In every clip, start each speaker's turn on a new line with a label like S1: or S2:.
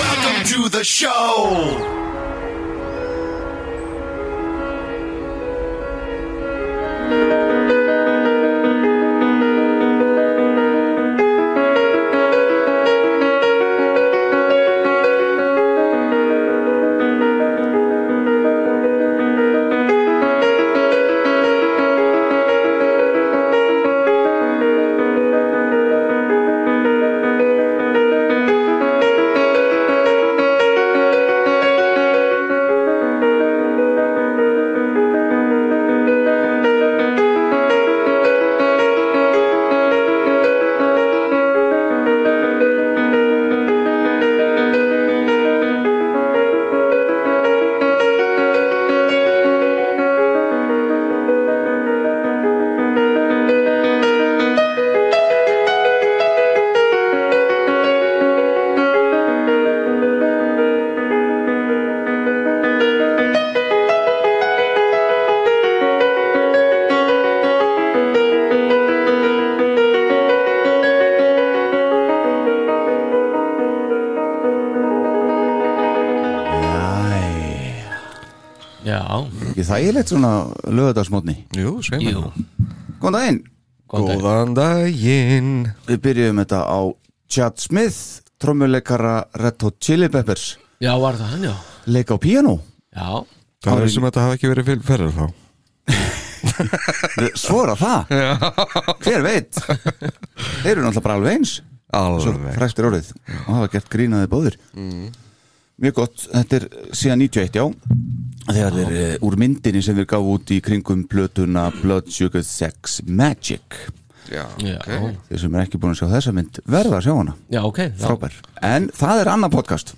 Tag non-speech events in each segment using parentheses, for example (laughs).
S1: Welcome to the show. Æ,
S2: Já,
S1: ekki þægilegt svona lögadagsmótni
S3: Jú, sveim
S2: jú
S1: Góðan daginn
S2: Góðan dag.
S3: Góðan daginn
S1: Við byrjum þetta á Chad Smith trommuleikara Red Hot Chili Peppers
S2: Já, var það hann, já
S1: leika á piano
S2: Já,
S3: Það
S1: Árið-
S3: er sem að þetta hafi ekki verið fyrir ferðar þá
S1: Eh, Svora það Hver veit Þeir eru náttúrulega bara alveg eins Svo
S3: Alveg
S1: fræktir orðið og hafa gert grínaði bóðir Mjög gott, þetta er síðan 91 já Þegar þeir eh, úr myndinni sem þeir gáfu út í kringum plötuna Blood Sugar Sex Magic
S3: Já,
S2: já,
S3: ok
S1: Þeir sem er ekki búin að sjá þessa mynd verða að sjá hana
S2: já ok já.
S1: Frábær En það er annað podcast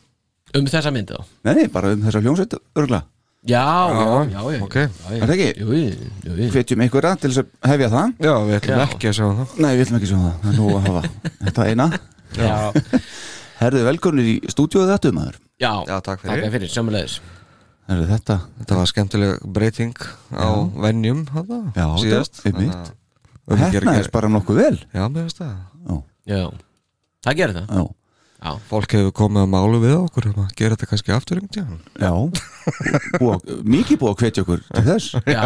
S2: Um þessa myndi þá
S1: Nei, nei, bara um þessa hljómsveit örgulega
S2: Já, já, já, já,
S3: ok.
S2: já,
S1: Er það
S2: já.
S1: ekki?
S2: Jú, jú, jú, jú.
S1: Hvetjum einhverja til þess að hefja það
S3: Já, við ætlum
S2: Já.
S3: ekki að sjá um það
S1: Nei, við viljum ekki sjá það, það er nú að hafa (laughs) Þetta eina
S2: Já,
S1: Herðu velkomnir í stúdíóðu þetta maður
S2: já,
S3: Já, takk fyrir.
S2: Takk fyrir, sömulegis
S1: Herðu þetta
S3: Þetta var skemmtileg breyting á venjum þarna,
S1: Já,
S3: síðast
S1: þetta- einmitt.
S3: Þannig að- um að gera-
S1: Hefnaðist bara nokkuð vel
S3: Já, mér finnst það
S1: Já,
S2: Já, það gerir það
S1: já,
S2: Já,
S3: Fólk hefur komið að málu við okkur um að gera þetta kannski aftur um tíðan
S1: já. Búa, Mikið búið að hvetja okkur til þess
S2: já,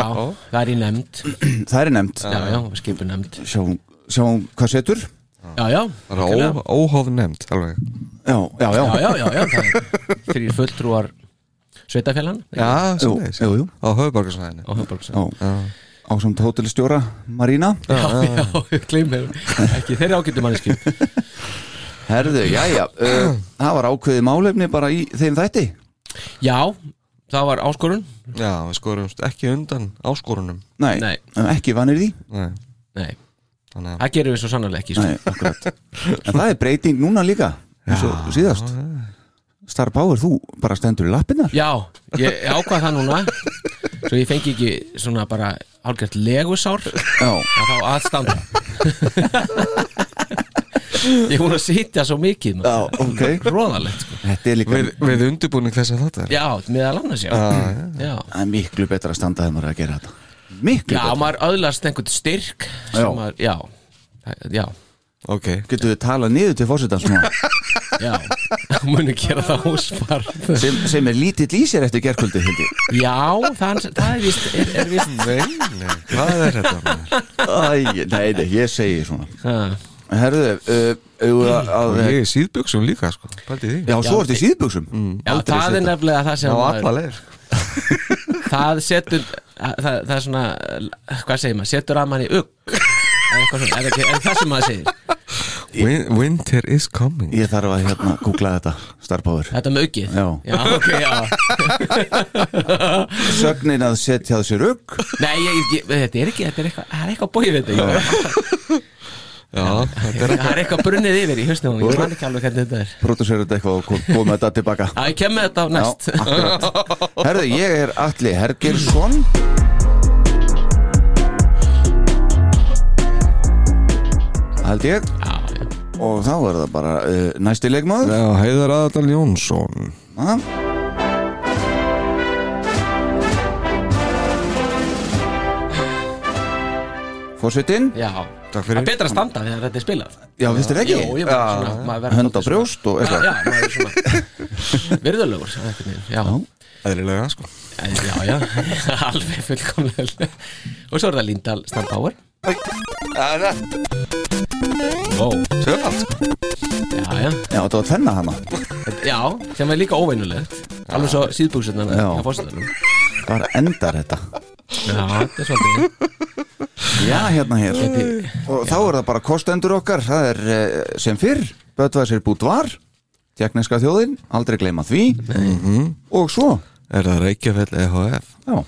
S2: það er í nefnd
S1: Það er nefnd
S2: Já, já, skipu nefnd
S1: Sjáum, sjáum hvað setur
S2: Já, já,
S3: Það
S2: algjörlega.
S3: er óhóð nefnd alveg
S1: Já, já, já,
S2: já, já, já, já það er Þrýr fulltrúar sveitafjallan
S3: Já,
S1: Jú,
S3: sem þess
S1: jú, jú.
S3: Á höfuborgarsvæðinu
S2: á Höfborgsson
S1: já. Á samt hótelstjóra Marína
S2: Já, já, ég gleymir ekki þeirra ágættu manneski
S1: Herðu, já, já uh, Það var ákveðið málefni bara í þeim þætti
S2: Já, það var áskorun
S3: Já, við skorumst ekki undan áskorunum
S1: Nei,
S2: Nei.
S1: ekki vanir því
S3: Nei,
S2: Nei,
S3: þannig að
S2: það gerum við svo sannarlega ekki sko.
S1: Nei, akkurat En það er breyting núna líka eins og síðast Star Power, þú bara stendur í lappinnar
S2: Já, ég ákvað það núna Svo ég fengi ekki svona bara hálfgjart legusár
S1: Já,
S2: að þá aðstanda Ég er búin að sitja svo mikið
S1: já, ok
S2: Róðalegt sko.
S1: Þetta er líka
S3: Við, við undirbúning þess að þetta
S2: Já, meðal annars já Já,
S1: Það er miklu betra að standa þegar maður er að gera þetta Miklu
S2: já
S1: betra
S2: maður öðlast einhvern styrk sem
S1: Já.
S2: Maður, já, Það- já,
S3: Ok,
S1: Getur við talað niður til fórsetans
S2: já (laughs) Hún muni gera það (laughs) óspar
S1: sem, sem er lítill í sér eftir gerkvöldi hindi.
S2: Já, það, það er vist, er, er vist
S3: nei, nei, hvað er þetta? maður?
S1: Æ, nei, nei, ég segi svona
S2: ha.
S1: Herðu, uh, uh, að,
S3: Og ég er síðbuksum líka, sko, pældi því
S1: Já, svo ertu í síðbuksum mm.
S2: Já, það er nefnilega það sem
S3: Já,
S2: maður-
S3: alla sko. leir
S2: það setur það, það er svona, hvað segir maður, setur að manni ugg Eða eitthvað svona, er, ekki- er það sem maður segir
S3: Win Winter is coming
S1: Ég þarf að hérna googla þetta Star Power
S2: Þetta með aukið
S1: Já.
S2: já (laughs) ok, já
S1: Sögnin að setja að sér ugg
S2: Nei, ég, ég, þetta er ekki, þetta er eitthvað Það er eitthvað bóið við þetta ég-
S3: Já, þetta er
S2: Það er eitthvað brunnið yfir í hausnum á mér, Ég man ekki alveg hvernig þetta er
S1: Produsera þetta eitthvað og kom- komið þetta tilbaka
S2: Já, ég kem með þetta á næst
S1: Já,
S2: (laughs)
S1: akkurat. Herðu, ég er Atli Hergersson Held ég
S2: Já,
S1: Og þá er það bara uh, næsti leikmaður
S3: Já, Heiðar Aðardal Jónsson
S1: Ha? Fórsetin
S2: já Það
S3: Takk fyrir.
S2: er betra að standa þegar þetta er spilað
S1: Já, finnst þér ekki?
S2: Jó, ég meina svona, maður verður
S1: Hönd á
S2: dálítið svona-
S1: brjóst og
S2: Já,
S1: eitthvað
S2: já, maður er
S1: (laughs)
S2: svona Virðulegur, svona einhvern veginn, já
S3: Eðlilega, sko
S2: Eh, Já, já, alveg fullkomlega Og svo er það Lindahl Stampáur Ó,
S3: Tvöfald, sko
S2: já, já
S1: Já, þetta var tvenna hana
S2: Já, sem er líka óveinulegt Alveg svo síðbúksunar
S1: Já.
S2: hjá fórsetanum
S1: Hvað endar þetta?
S2: Já, þetta er svolítið
S1: Já, hérna hér Og þá er það bara kostendur okkar Það er eh, sem fyrr Böðvæsir bútt var Tjekneska þjóðin, aldrei gleyma því Og svo
S3: Er það Reykjafell EHF
S1: Já,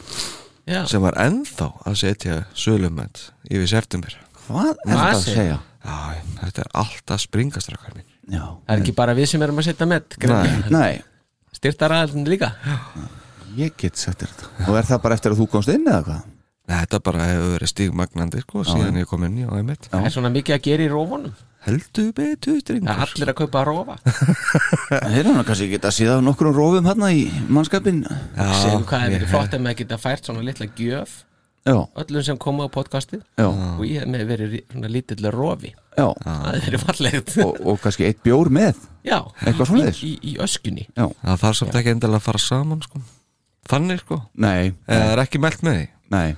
S2: Já,
S3: sem var ennþá að setja sölumönd yfir september
S1: hvað er
S2: Hvað
S1: þetta að
S2: segir-
S1: segja?
S3: Já, þetta er allt að springa strakkar mín
S1: Já,
S2: það er ekki bara við sem erum að setja met
S1: nei,
S2: Styrtar aðeins líka
S1: ég get sagt þér þetta Og er það bara eftir að þú komst inn eða hvað?
S3: Þetta bara hefur verið stígmagnandi sko, síðan ég kom inn í OMET
S2: Það er svona mikið að gera í rófunum
S3: Heldur betur
S2: Það er
S3: drengur
S2: allir að kaupa að rófa
S1: Þeir eru nú kannski geta síðan nokkrum rófum hérna í mannskapin
S2: Sem hvað er
S3: ég
S2: verið
S3: hef-
S2: flott ef maður geta fært svona litla gjöf
S1: Já,
S2: Öllum sem koma á podcastið
S1: já,
S2: Og ég hef með verið svona lítill rofi
S1: já
S2: Það er verið fallegt
S1: Og, og kannski eitt bjór með
S2: Já,
S1: Eitthvað svoleiðis?
S2: í, í, í öskunni
S1: Já,
S3: Það þarf samt ekki endilega að fara saman sko. Þannig sko
S1: nei,
S3: Eða það er ekki meld með því
S1: nei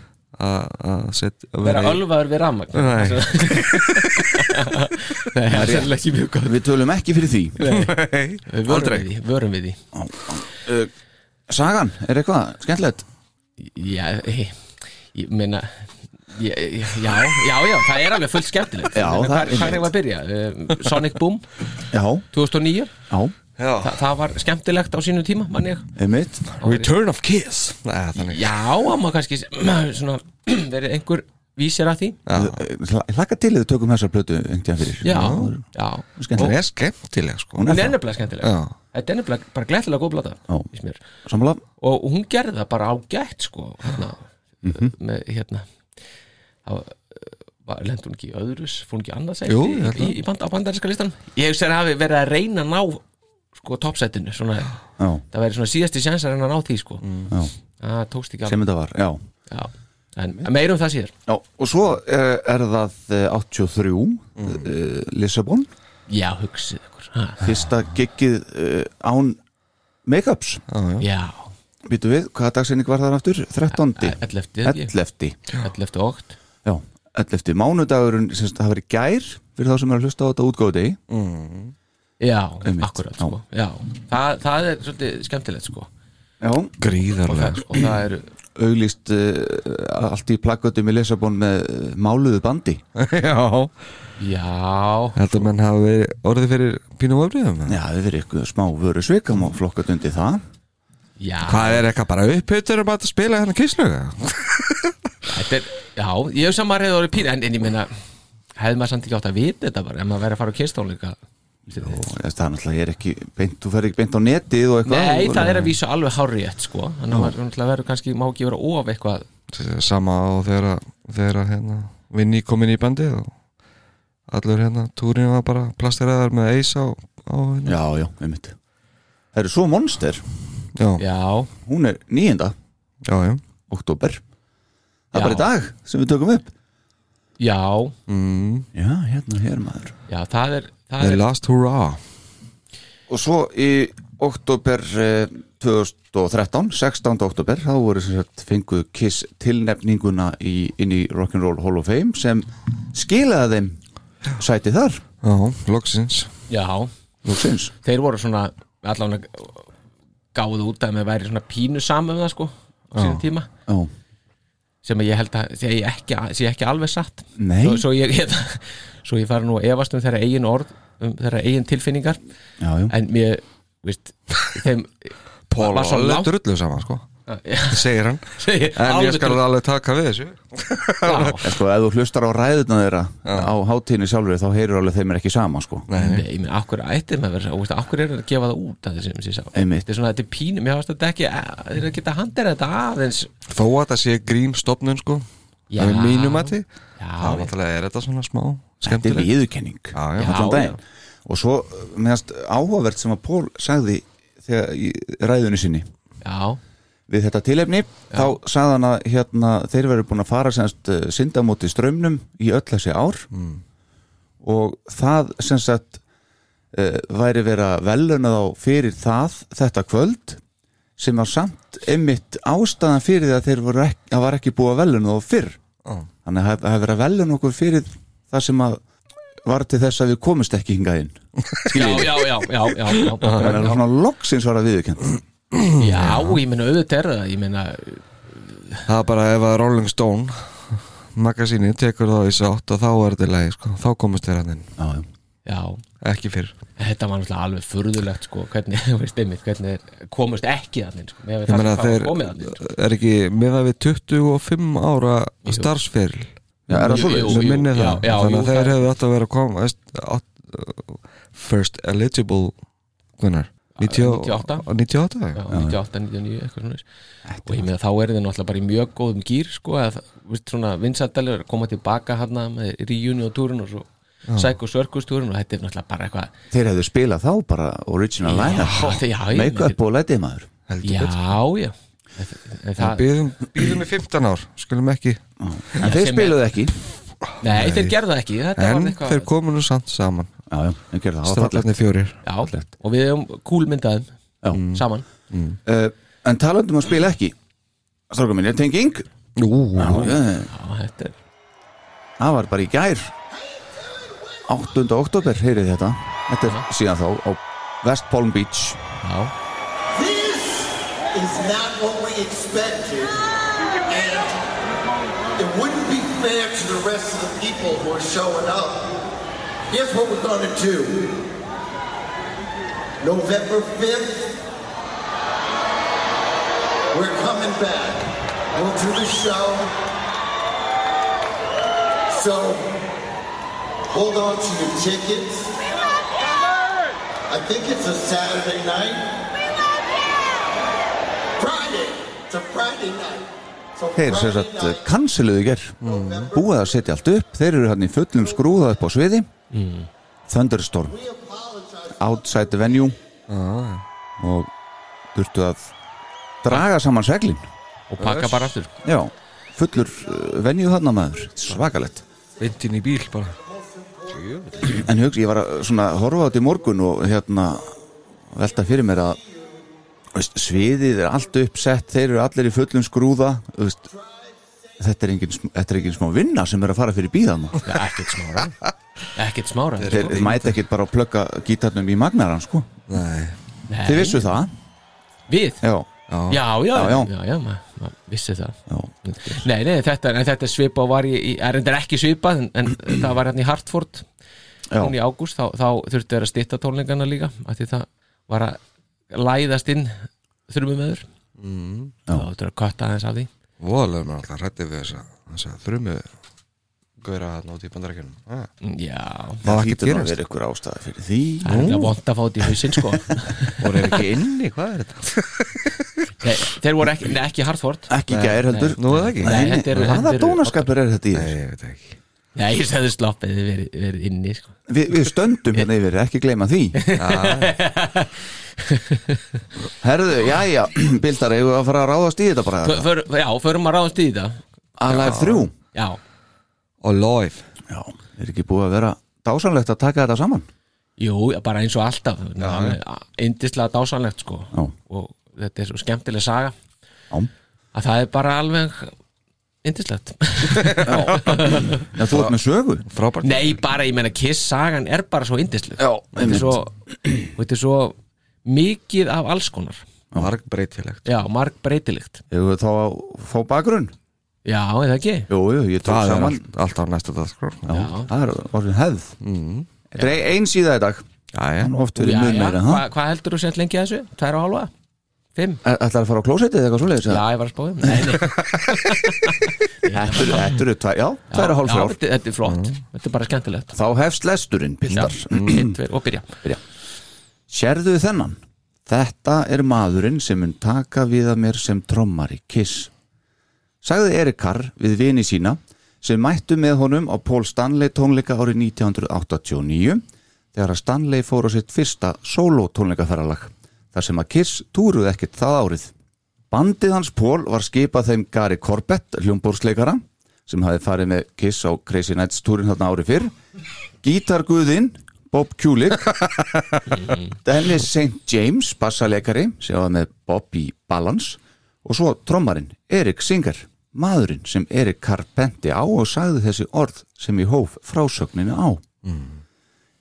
S3: að- að set- að
S2: vera
S3: vera í-
S2: ölvaður við rafmagn
S3: Nei.
S2: Nei, það er sérlega ekki mjög gott
S1: Við tölum ekki fyrir því
S3: Nei,
S2: Við vörum
S3: aldrei.
S2: við því, vörum við því
S1: uh, Sagan, er eitthvað skemmtilegt?
S2: Já, ég, ég meina Já, já, já, já, það er alveg fullt skemmtilegt
S1: Já, það er
S2: Hvar, hvar
S1: einmitt.
S2: er að byrja? Um, Sonic Boom
S1: Já,
S2: 2009
S1: já,
S2: Þa, Það var skemmtilegt á sínu tíma, mann ég
S1: einmitt
S3: Return of Kiss Nei, þannig
S2: Já, að maður kannski (clears throat) svona, verið einhver vísir að því
S1: eh, Hlakka til að við tökum þessar plötu einhvern fyrir
S2: Já, já
S3: Hún
S1: skemmtilegt
S3: er skemmtileg sko
S1: Hún
S2: Hún er
S1: er það,
S2: nefnilega
S3: Já.
S2: skemmtileg Þetta er nefnilega bara glættilega góð blata
S1: Já.
S2: finnst mér.
S1: sammála
S2: Og hún gerði það bara á gætt sko hérna, með, hérna á, lendi hún ekki í öðrus fór hún ekki í annað sæti
S3: Jú, ég
S2: í,
S3: held
S2: í, í band, á bandarinska listan Ég hef sér að hafi verið að reyna að ná sko toppsætinu svona,
S1: Já,
S2: það væri svona síðasti sjans að reyna að ná því sko
S1: já,
S2: það tókst ekki
S1: Mm. sem þetta var, já
S2: Já. En meirum það síðar
S1: Já, og svo er, er það eh, 83 mm. Lissabon,
S2: Já, hugsið ykkur ha,
S1: fyrsta giggið uh, án make-ups
S2: Já,
S1: Býtu við, hvaða dagsenning var það aftur? 13.
S2: Eh, 11., held ég.
S1: 11.
S2: all eftir ótt
S1: Já, 11. mánudagurinn, sem sagt, það var í gær fyrir þá sem er að hlusta á þetta útgóði
S2: Já,
S1: Einmitt.
S2: akkurat sko Já, það, það er svolítið skemmtilegt sko
S1: Já,
S2: og
S3: Gríðarlega
S2: það,
S3: sko.
S2: og það eru
S1: auglýst uh, allt í plaggötum í Lissabon með uh, máluðu bandi
S3: (laughs) Já
S2: Já,
S3: Þetta menn hafa verið orðið fyrir pínum öfriðum
S1: Já, það er eitthvað smá vöru svikam og flokkat undir það
S2: já,
S3: Hvað er eitthvað bara upphutur um að spila hérna kisslöga?
S2: þetta er, já, ég hef saman reyði orðið pín en, en ég meina, hefði maður samt ekki átt að vita þetta bara, en maður verið að fara á kistónleika
S1: og það er náttúrulega er ekki beint, þú fer ekki beint á netið og eitthvað
S2: Nei,
S1: og,
S2: það er að vísa alveg hárið sko, þannig að maður náttúrulega verður kannski má ekki vera of eitthvað
S3: Sama á þegar að- þegar að, hérna Vinni kom inn í bandið og allur hérna túrin var bara plasteraðar með eis á, á hérna.
S1: Já, já, einmitt Það eru svo monster,
S3: Já, já,
S2: Já,
S1: hún er 9.
S3: já, já.
S1: oktober Það
S2: Já.
S1: er bara í dag sem við tökum upp
S2: já,
S3: Mm,
S1: Já, hérna, hér maður
S2: já, það er það
S3: the
S2: er,
S3: last hurrah
S1: Og svo í oktober eh, 2013, 16. oktober þá voru sem sagt fenguð Kiss tilnefninguna í, inn í Rock'n'Roll Hall of Fame sem skilaði þeim sæti þar
S3: Já, loksins
S2: Já,
S1: lóksins
S2: þeir voru svona allan að gáðu út að með væri svona pínu saman með það sko á sínum tíma
S1: Já,
S2: sem ég held að sé ekki, sé ekki alveg satt
S1: Nei.
S2: svo, svo ég, (laughs) ég svo ég fara nú að efast um þeirra eigin orð um þeirra eigin tilfinningar
S1: já, já.
S2: en mér, veist þeim,
S3: Paul
S2: var
S3: var
S2: svo
S3: alveg
S2: langt-
S3: drullu saman sko
S2: já,
S3: segir hann
S2: Segir,
S3: en
S2: alveg
S3: ég skal
S2: drullu.
S3: alveg taka við þessu
S2: já,
S1: En sko, ef þú hlustar á ræðuna þeirra á hátíðinni sjálfur þá heyrur alveg þeim er ekki sama sko.
S2: Nei, ég meina, akkur ætti maður verið svo, akkur er að gefa það út að þessum sem sá
S1: Einmitt.
S2: Þetta er svona, þetta er pínum, ég hafast þetta ekki þeir eru að geta handera þetta aðeins
S3: þó að það sé grím stopnun sko
S2: Já.
S3: að mínum að því þá
S2: Já,
S3: náttúrulega er þetta svona smá
S1: Þetta er
S3: skemmtilegt
S1: viðurkenning
S3: Já, já.
S1: allan
S2: Já,
S1: daginn. Og svo, meðast áhugavert sem að Pól sagði þegar í ræðunni sinni
S2: já,
S1: við þetta tilefni, þá sagði hann að hérna, þeir verið búin að fara semst eh, syndamóti strömmnum í öll þessi ár og það sem sagt uh, væri verið að veluna þá fyrir það þetta kvöld sem var samt einmitt ástæðan fyrir því að þeir voru ekki, að var ekki búið að veluna þá fyrr
S3: Já.
S1: þannig að það hefur verið að veluna okkur fyrir það sem að var til þess að við komist ekki hingað inn
S2: já, já, já, já, já, já.
S1: þannig að svona loksins var að viðurkend
S2: Já, ég meina auðvitað er það Ég meina,
S3: það er bara ef að Rolling Stone magasíni tekur þá í sátt og þá er þetta í lagi sko þá komast þér hann inn
S1: já, já.
S2: já
S3: ekki fyrr
S2: Þetta var náttúrulega alveg furðulegt sko, hvernig, (laughs) þú veist einmitt, hvernig þeir komust ekki þannig sko, með
S3: ég meina
S2: það
S3: þeir
S2: komið þannig sko.
S3: er ekki með það við 25 ára starfsferil
S1: Já, er það
S2: Jú,
S1: svoleiðis?
S2: jú,
S3: sem minni
S2: já,
S3: það
S2: já,
S3: þannig
S2: jú,
S3: að þeir
S2: það-
S3: hefðu átt að vera að koma veist, átt, uh, first eligible hvernar?
S2: 98?
S3: 98 98
S2: Já, 98, 99, eitthvað svona og ég meina þá er þið náttúrulega bara í mjög góðum gýr sko, að veist, svona vinsættalur koma tilbaka hann með reunion-túrin og svo Psycho Circus-túrin og þetta er náttúrulega bara eitthvað
S1: þeir hefðu spilað þá bara original line
S2: það- já, ég meina-
S1: make-up og lætið maður
S3: heldur
S2: Já,
S3: betur.
S2: já En
S3: Það
S2: það,
S3: býðum, býðum í 15 ár skulum ekki,
S1: en þeir
S2: sem
S1: spiluðu ekki
S2: nei, þeir gerðu það ekki Þetta var
S3: en
S2: eitthvað
S3: þeir komu nú samt saman
S1: já, já, en gerðu það, það var fallegt.
S3: stráðlega fjórir
S2: Já, og við hefum kúlmyndaðum
S1: Já.
S2: Mm. saman
S1: uh, en talandum að spila ekki stráka minn, ég tenging
S3: Ú,
S1: það
S2: Já, þetta er
S1: var bara í gær 8. oktober, heyrið þetta þetta er síðan þá á West Palm Beach
S2: Já,
S4: This is not what we expected, and it wouldn't be fair to the rest of the people who are showing up. Here's what we're gonna do. November 5th, we're coming back. We'll do the show. So hold on to your tickets. I think it's a Saturday night. Friday, it's a Friday night. So
S1: þeir sem
S4: Friday
S1: sagt
S4: night,
S1: kansiluðu í gær
S2: Mhm.
S1: búið að setja allt upp þeir eru hann í fullum skrúða upp á sviði
S2: Mhm.
S1: Thunderstorm
S4: we apologize.
S1: outside the venue
S2: Ah.
S1: og þurftu að draga saman seglin
S2: og pakka bara aftur sko.
S1: já, fullur uh, venju þarna maður svakalett
S3: vindin í bíl bara
S1: En hugsi, ég var að svona horfa átt í morgun og hérna velta fyrir mér að veist, sviðið er allt uppsett, þeir eru allir í fullum skrúða þú veist, þetta, er engin, sm- þetta er engin smá vinna sem er að fara fyrir bíðan
S2: Já, Ekkert smára Ekkert smára sko.
S1: þeir mæta ekkert bara að plugga gítarnum í magnaran sko,
S3: nei,
S2: Nei.
S1: þeir vissu það
S2: Við?
S1: já,
S2: Já, já,
S1: Já,
S2: já,
S1: já.
S2: já, já maður ma, vissi það
S1: já,
S2: Nei, nei, þetta, en þetta svipa var í, í er þetta ekki svipað, en, en
S1: (clears throat)
S2: það var hérna í Hartford
S1: já.
S2: hún í ágúst, þá, þá þurfti þeir að stitta tónleikana líka, af því það var að læðast inn þrjumum öður mm, þá þurfti að kötta aðeins af því
S3: voðalega maður alltaf hrætti við þessa, þessa þrjumu gauðra þarna út í bandarækjunum ah.
S2: Já,
S3: Má ekki
S1: hlýtur nú að
S3: gerast.
S1: vera ykkur ástæði fyrir því
S2: það er ekki vont að fá þetta í hausinn sko
S1: (laughs)
S3: voru þeir ekki inni, hvað er þetta?
S2: Nei, Þeir voru ekki, nei, ekki Hartford
S1: ekki gær heldur
S3: nú er það ekki
S2: Nei,
S1: Nei,
S2: þetta eru-
S1: hvaða
S2: þetta eru-
S1: dónaskapur er þetta í
S3: nei,
S1: þessu?
S3: ég veit ekki
S2: Nei, ég sagði sloppið þið verið, verið inni sko.
S1: Við, við stöndum hérna yfir, ekki gleyma því Herðu, jæja, Bildar, eigum við að fara að ráðast í þetta bara
S2: F- för, Já, förum að ráðast í þetta
S1: Alive 3
S2: Já,
S3: og loif
S1: Já, er ekki búið að vera dásanlegt að taka þetta saman
S2: jú, bara eins og alltaf Indislega dásanlegt sko
S1: Já.
S2: og þetta er svo skemmtileg saga
S1: Já,
S2: að það er bara alveg indislegt
S1: Já þú ert með sögu
S3: frábært
S2: Nei, bara, ég meina, Kiss sagan er bara svo indisleg
S1: Já,
S2: Þetta er svo, þetta er svo mikið af alls konar
S3: marg breytilegt
S2: Já, marg breytilegt
S1: Eigum við þá að fá bakgrunn
S2: Já, er það ekki?
S1: Jú, jú, ég tók
S3: Það er
S1: saman
S3: allt, allt á næsta dagskrá
S1: Já, það er orðin hefð Þetta er ein síða í dag
S3: Jæja,
S1: Hann ofta verið mun meira
S2: Hvað
S1: ha?
S2: hva heldur þú sett lengi að þessu? Tvær og hálfa? Fimm?
S1: Ætlar að fara á klósettið eða eitthvað svoleiðis
S2: Já,
S1: eða?
S2: ég var að spáði Nei, nei
S1: (laughs) Þetta eru- þetta eru tvær, já, tvær og hálf Mm.
S2: Já,
S1: frár
S2: þetta- Þetta er flott, þetta er bara skemmtilegt mm.
S1: Þá hefst lesturinn, pildar
S2: Einn, tveir, og byrja
S1: Mm. Sérðu þennan? Þetta er maðurinn sem mun taka við að mér sem trommari Kiss. Sagði Erik Carr við vini sína sem mættu með honum á Paul Stanley tónleika árið 1989 þegar að Stanley fór á sitt fyrsta sóló tónleikaferralag þar sem að Kiss túruð ekkert það árið. Bandið hans Paul var skipað þeim Gary Corbett, hljómbórsleikara sem hafi farið með Kiss á Crazy Nights túrin þarna árið fyrr Gítarguðinn Bob Kulik Dennis St. James, bassaleikari sem var með Bobby Balance og svo trommarinn Erik Singer maðurinn sem Erik Carpenti á og sagði þessi orð sem ég hóf frásögninu á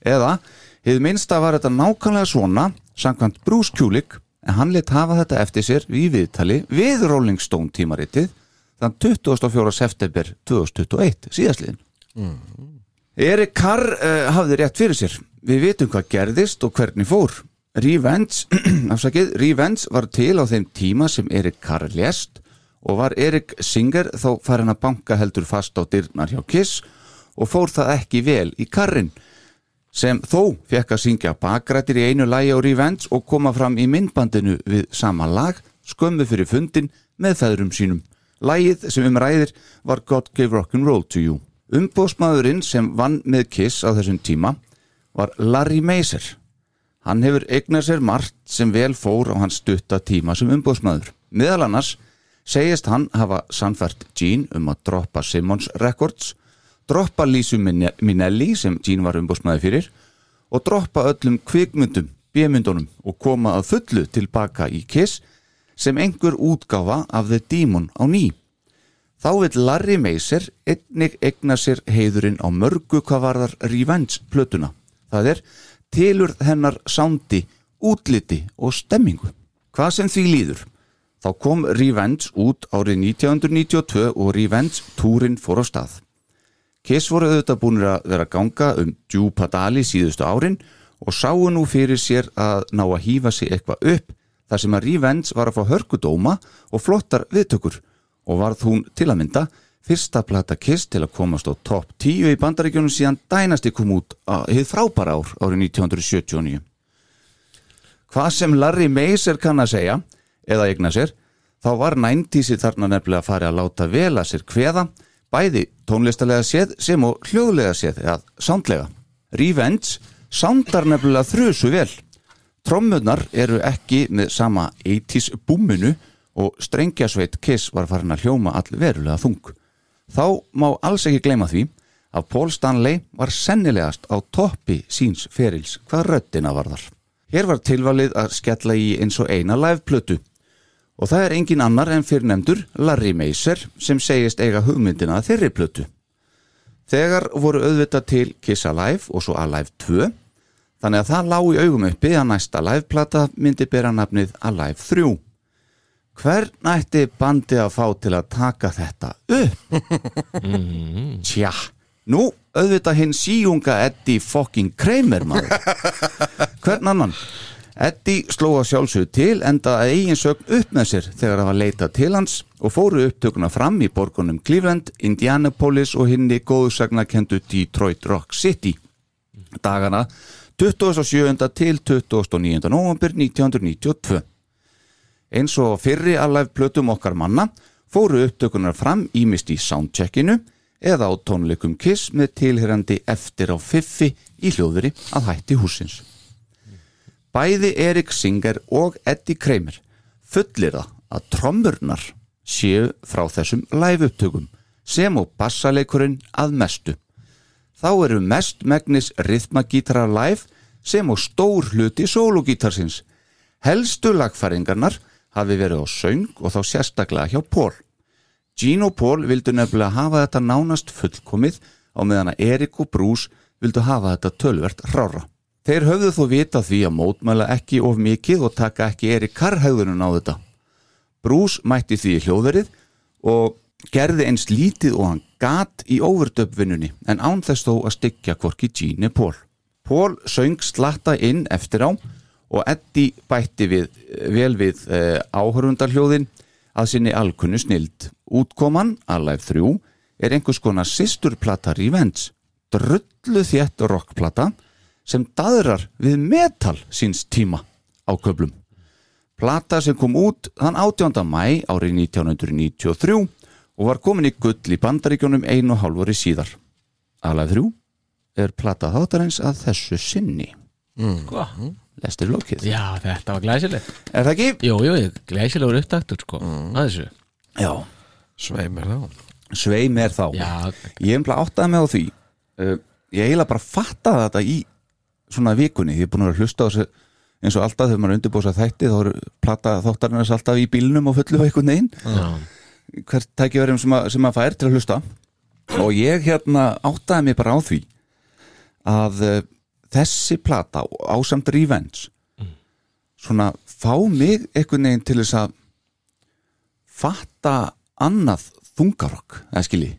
S1: eða, hið minnsta var þetta nákvæmlega svona, samkvæmt Bruce Kulik en hann lit hafa þetta eftir sér í viðtali við Rolling Stone tímaritið þann 24. september 2021, síðastliðin Erik Carr uh, hafði rétt fyrir sér Við vitum hvað gerðist og hvernig fór Revenge, (clears throat) afsakið, Revenge var til á þeim tíma sem Erik Carr lést og var Erik Singer þá farin að banka heldur fast á dyrnar hjá Kiss og fór það ekki vel í Karrin sem þó fekk að syngja bakrættir í einu lagi á Revenge og koma fram í myndbandinu við sama lag skömmu fyrir fundin með feðrum sínum. Lagið sem um ræðir var God Gave Rock'n'Roll to You. Umbóðsmaðurinn sem vann með Kiss á þessum tíma var Larry Mazer. Hann hefur eignar sér margt sem vel fór á hans stutta tíma sem umbóðsmaður. Meðal annars segist hann hafa samfært Gene um að droppa Simmons Records, droppa Lísu Minne- Minelli sem Gene var umbóðsmaður fyrir og droppa öllum kvikmyndum, bjömyndunum og koma að fullu tilbaka í Kiss sem einhver útgáfa af The Demon á ný. Þá vil Larry Mazer einnig egna sér heiðurinn á mörgu hvað varðar Revenge plötuna. Það er tilur hennar sándi, útliti og stemmingu. Hvað sem því líður? Þá kom Revenge út árið 1992 og Revenge túrin fór á stað. Kiss voru auðvitað búinir að vera að ganga um djúpa dali síðustu árin og sáu nú fyrir sér að ná að hýfa sig eitthvað upp þar sem að Revenge var að fá hörkudóma og flottar viðtökur og varð hún til að mynda fyrsta plata Kiss til að komast á topp 10 í bandaríkjunum síðan Dynasty kom út að hið frábæra ár árið 1979. Hvað sem Larry Mazer kann að segja, eða eigna sér, þá var 90'si þarna nefnilega farið að láta vel að sér kveða, bæði tónlistalega séð sem og hljóðlega séð, eða sándlega. Revenge sándar nefnilega þrjusu vel. Trommunar eru ekki með sama 80's búminu og strengjasveit Kiss var farin að hljóma all verulega þung. Þá má alls ekki gleyma því að Paul Stanley var sennilegast á toppi síns ferils hvað röddina varðar. Hér var tilvalið að skella í eins og eina liveplötu og það er engin annar en fyrrnemdur Larry Mazer sem segist eiga hugmyndina að þeirri plötu. Þegar voru auðvitað til Kiss Alive og svo Alive 2 þannig að það lág í augum uppi að næsta liveplata myndi bera nafnið Alive 3. Hvern ætti bandi að fá til að taka þetta upp? Tja, nú auðvitað hinn síunga Eddie fucking Kramer maður hvern annan Eddie sló að sjálfsögðu til enda að eigin sögn upp með sér þegar það var leitað til hans og fóru upptökuna fram í borgunum Cleveland, Indianapolis og hinni góðsagnakendu Detroit Rock City dagana 27. til 29. november 1992 eins og fyrri alveg plötum okkar manna fóru upptökunar fram ímist í soundcheckinu eða á tónleikum Kiss með tilherandi eftir á fiffi í hljóðveri að hætti húsins. Bæði Erik Singer og Eddie Kramer fullir það að trommurnar séu frá þessum live upptökum sem og bassaleikurinn að mestu. Þá eru mest megnis rithmagítara live sem og stór hluti sólugítarsins. Helstu lagfæringarnar hafi verið á söng og þá sérstaklega hjá Paul. Gene og Paul vildu nefnilega hafa þetta nánast fullkomið á meðan að Erik og Bruce vildu hafa þetta tölvert rára. Þeir höfðu þó vita því að mótmæla ekki of mikið og taka ekki Erik Karr hegðunum á þetta. Bruce mætti því í hljóðverið og gerði eins lítið og hann gat í overdubvinnunni en án þess þó að styggja hvorki Gene Paul. Paul söng slatta inn eftir á og Eddie bætti við, vel við eh, áhörfundarhljóðin að sinni alkunnu snild. Útkoman, Alive 3, er einhvers konar sýsturplata Revenge, drullu þétt rockplata sem daðrar við metal síns tíma á köflum. Plata sem kom út þann 18. mæ árið 1993 og var komin í gull í bandaríkjónum einu og hálfari síðar. Alaf 3 er plata þáttarins að þessu sinni.
S2: Hva?
S1: Lestir lokið.
S2: Sko, Já, þetta var glæsilegt
S1: Er það ekki?
S2: Jú, jú, glæsilegur upptaktur sko
S1: Mm.
S2: að þessu
S1: Já.
S3: sveimir þá
S1: Svei mér þá.
S2: Já,
S1: Ég heimla áttaði mig á því. Uh, ég heimla bara fattaði þetta í svona vikunni. Ég er búin að vera að hlusta á þessu eins og alltaf þegar maður undirbúsa þætti þá eru plata þáttarins alltaf í bílnum og fullu á einhvern veginn.
S2: já,
S1: hvert tækifærum sem, að- sem að fær til að hlusta og ég hérna áttaði mig bara á því að uh, þessi plata og ásamt Revenge svona fá mig einhvern veginn til þess að fatta annað þungarokk, eða skilji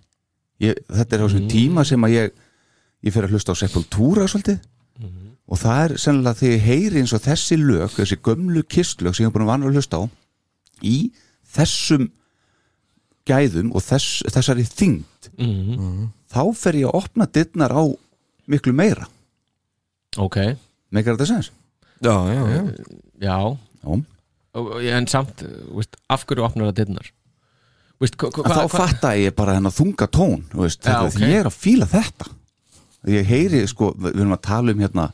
S1: ég, þetta er á þessum tíma sem að ég ég fer að hlusta á Sepultura svolítið og það er sennilega þegar ég heyri eins og þessi lög, þessi gömlu kistlög sem ég er búin að vanur að hlusta á í þessum gæðum og þess, þessari þyngd
S2: Mhm.
S1: þá fer ég að opna dittnar á miklu meira
S2: ok
S1: meikar þetta sens?
S3: já, já, já,
S2: Já,
S1: Já.
S2: Og- og- en samt, uh, veist, af hverju opnar það dittnar? Veist, hva, hva,
S1: Hva, þá
S2: hva,
S1: fatta ég bara hennar þunga tón þú veist,
S2: Já,
S1: þetta,
S2: ok.
S1: því ég er að fíla þetta ég heyri sko, við við erum að tala um hérna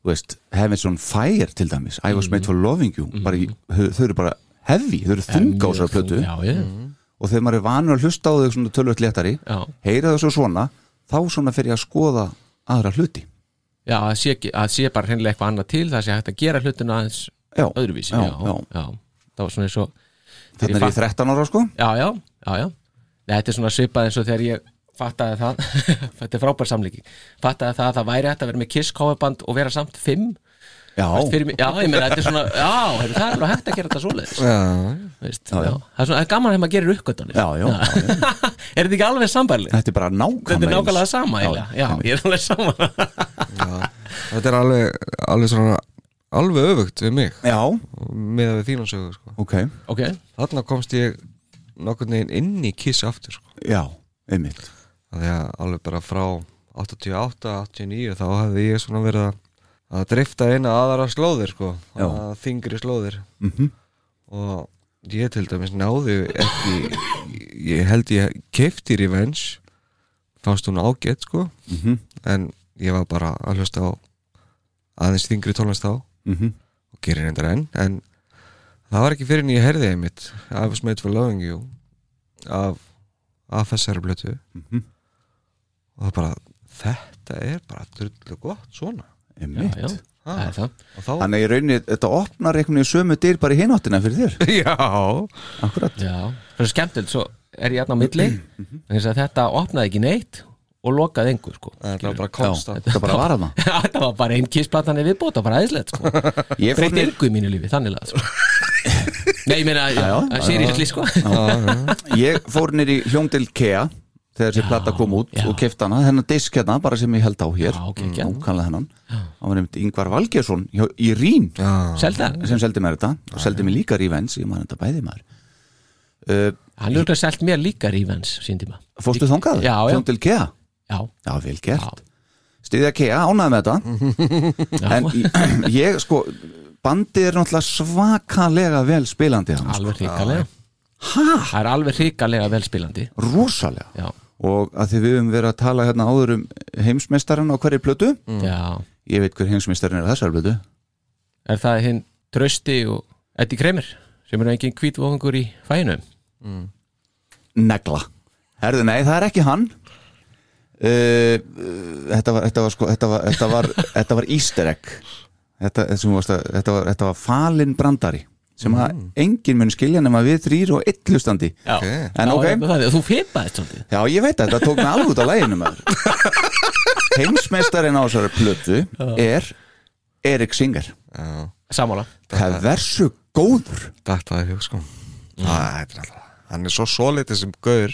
S1: þú veist, hefðið svona fire til dæmis I was
S2: Mhm.
S1: made for loving you bara, í- þau þau eru bara heavy, þau eru þunga á þessari plötu
S2: Já, já,
S1: og þegar maður er vanur að hlusta á þau svona tölvöld léttari
S2: já
S1: heyra þau svo svona, þá svona fer ég að skoða aðra hluti
S2: Já, að sé, ekki- að sé bara hreinlega eitthvað annað til það sé hægt að gera hlutina aðeins
S1: já,
S2: öðruvísi
S1: já,
S2: já,
S1: já.
S2: það var svona eins og
S1: þarna er ég 13 ára sko
S2: já, já, já, já. Nei, þetta er svona svipað eins og þegar ég fattaði það (laughs) þetta er frábær samlíking fattaði það að það væri hægt að vera með kiss kofaband og vera samt fimm
S1: já,
S2: Veist, fyrir, mig- já, ég meina, þetta er svona, já, heyrðu, það er alveg hægt að gera þetta svoleiðis
S3: já.
S2: Veist, já, Það er svona það er gaman að maður gerir uppgötanir
S1: já, já, já.
S2: (laughs) Er þetta ekki alveg sambarlið?
S1: þetta er bara nákvæmlega
S2: Þetta er nákvæmlega
S1: eins.
S2: sama, já, já, ég er alveg sama
S3: þetta er alveg, alveg svona alveg öfugt við mig
S1: já,
S3: með við þínan sögu sko.
S1: ok,
S2: Ok,
S3: þarna komst ég nokkurn veginn inn í kiss aftur sko.
S1: já, einmitt
S3: að því að alveg bara frá 88, 89 þá hefði ég svona verið að- að drifta inn að aðra slóðir sko,
S1: Já. Mhm.
S3: að þingri slóðir -hmm. og ég til dæmis náði ekki ég held ég kefti Revenge fannst hún ágætt sko
S1: Mhm.
S3: en ég var bara að hlusta á aðeins þingri tónlist þá
S1: mm
S3: og gerir reyndar enn en það var ekki fyrir en ég herði einmitt I was made for loving you af, af þessari blötu
S1: Mhm.
S3: og það bara þetta er bara drullu gott svona
S2: já, já,
S1: einmitt
S2: það er það
S3: og þá (laughs)
S1: þannig að ég raunir, þetta opnar einhvern veginn sömu dyr bara í hináttina fyrir þér
S3: já,
S1: akkurat,
S2: Já, það er skemmtilegt, svo er ég aðna
S1: (clears throat)
S2: á milli
S1: Mhm.
S2: þannig að þetta opnaði ekki neitt og lokaði engu, sko
S3: það var bara
S1: já,
S3: konstant
S1: þetta bara var að það
S2: (laughs) Þetta var bara einn kissplattan í viðbót, það var aðeinslegt, sko
S1: (laughs) ég fór
S2: Breytti
S1: mér,
S2: engu í mínu lífi, þannig
S1: (laughs)
S2: að sko. Nei, ég meina, já,
S1: já,
S2: það sér í hlutlið, sko Já,
S1: ég fór nýr í hljóndil Kea þegar þessi platta kom út
S2: já.
S1: og kefti hana hennar disk hérna, bara sem ég held á hér
S2: Já, ok, gegn.
S1: nákvæmlega hennan hann var nefnd Ingvar Valgersson hjá- í Rín
S2: selda
S1: sem seldi mér þetta, og seldi mér líka Revenge ég maður þetta bæði maður uh,
S2: Hann er auðvitað selt mér líka rífans síndíma
S1: fórstu þangað,
S2: Já, já.
S1: hljóndil Kea
S2: Já,
S1: já, vel
S2: já,
S1: gert stiðja Kea, ánæði með þetta
S2: (laughs) já,
S1: en í- (clears throat) ég sko bandið er náttúrulega svakalega vel spilandi hann, sko.
S2: alveg hrikalega
S1: ha,
S2: Það er alveg hrikalega velspilandi
S1: rosalega
S2: Já,
S1: og að því við höfum verið að tala hérna áður um heimsmeistarinn á hverju plötu
S2: já
S1: ég veit hver heimsmeistarinn er á þessar plötu
S2: er það hinn trösti og Eddie Kramer sem eru engin kvítvóðungur í fæinu
S1: negla herðu nei, það er ekki hann uh, þetta, var, þetta var sko þetta var, þetta
S2: (laughs)
S1: var, þetta var easter egg þetta, sem þú varst að, þetta, var, þetta var falin brandari sem að enginn mun skilja nema við þrýr og eitt hlustandi
S2: Mm. Já,
S1: en ok,
S2: það, þú fipaðist svolítið
S1: Já, ég veit að þetta tók mig alveg út á læginu maður Heimsmeistarinn á þessari plötu er Erik Singer
S2: Samála
S1: Hversu góður
S3: Mm. þetta er hug sko það er alltaf hann er svo solitið sem gaur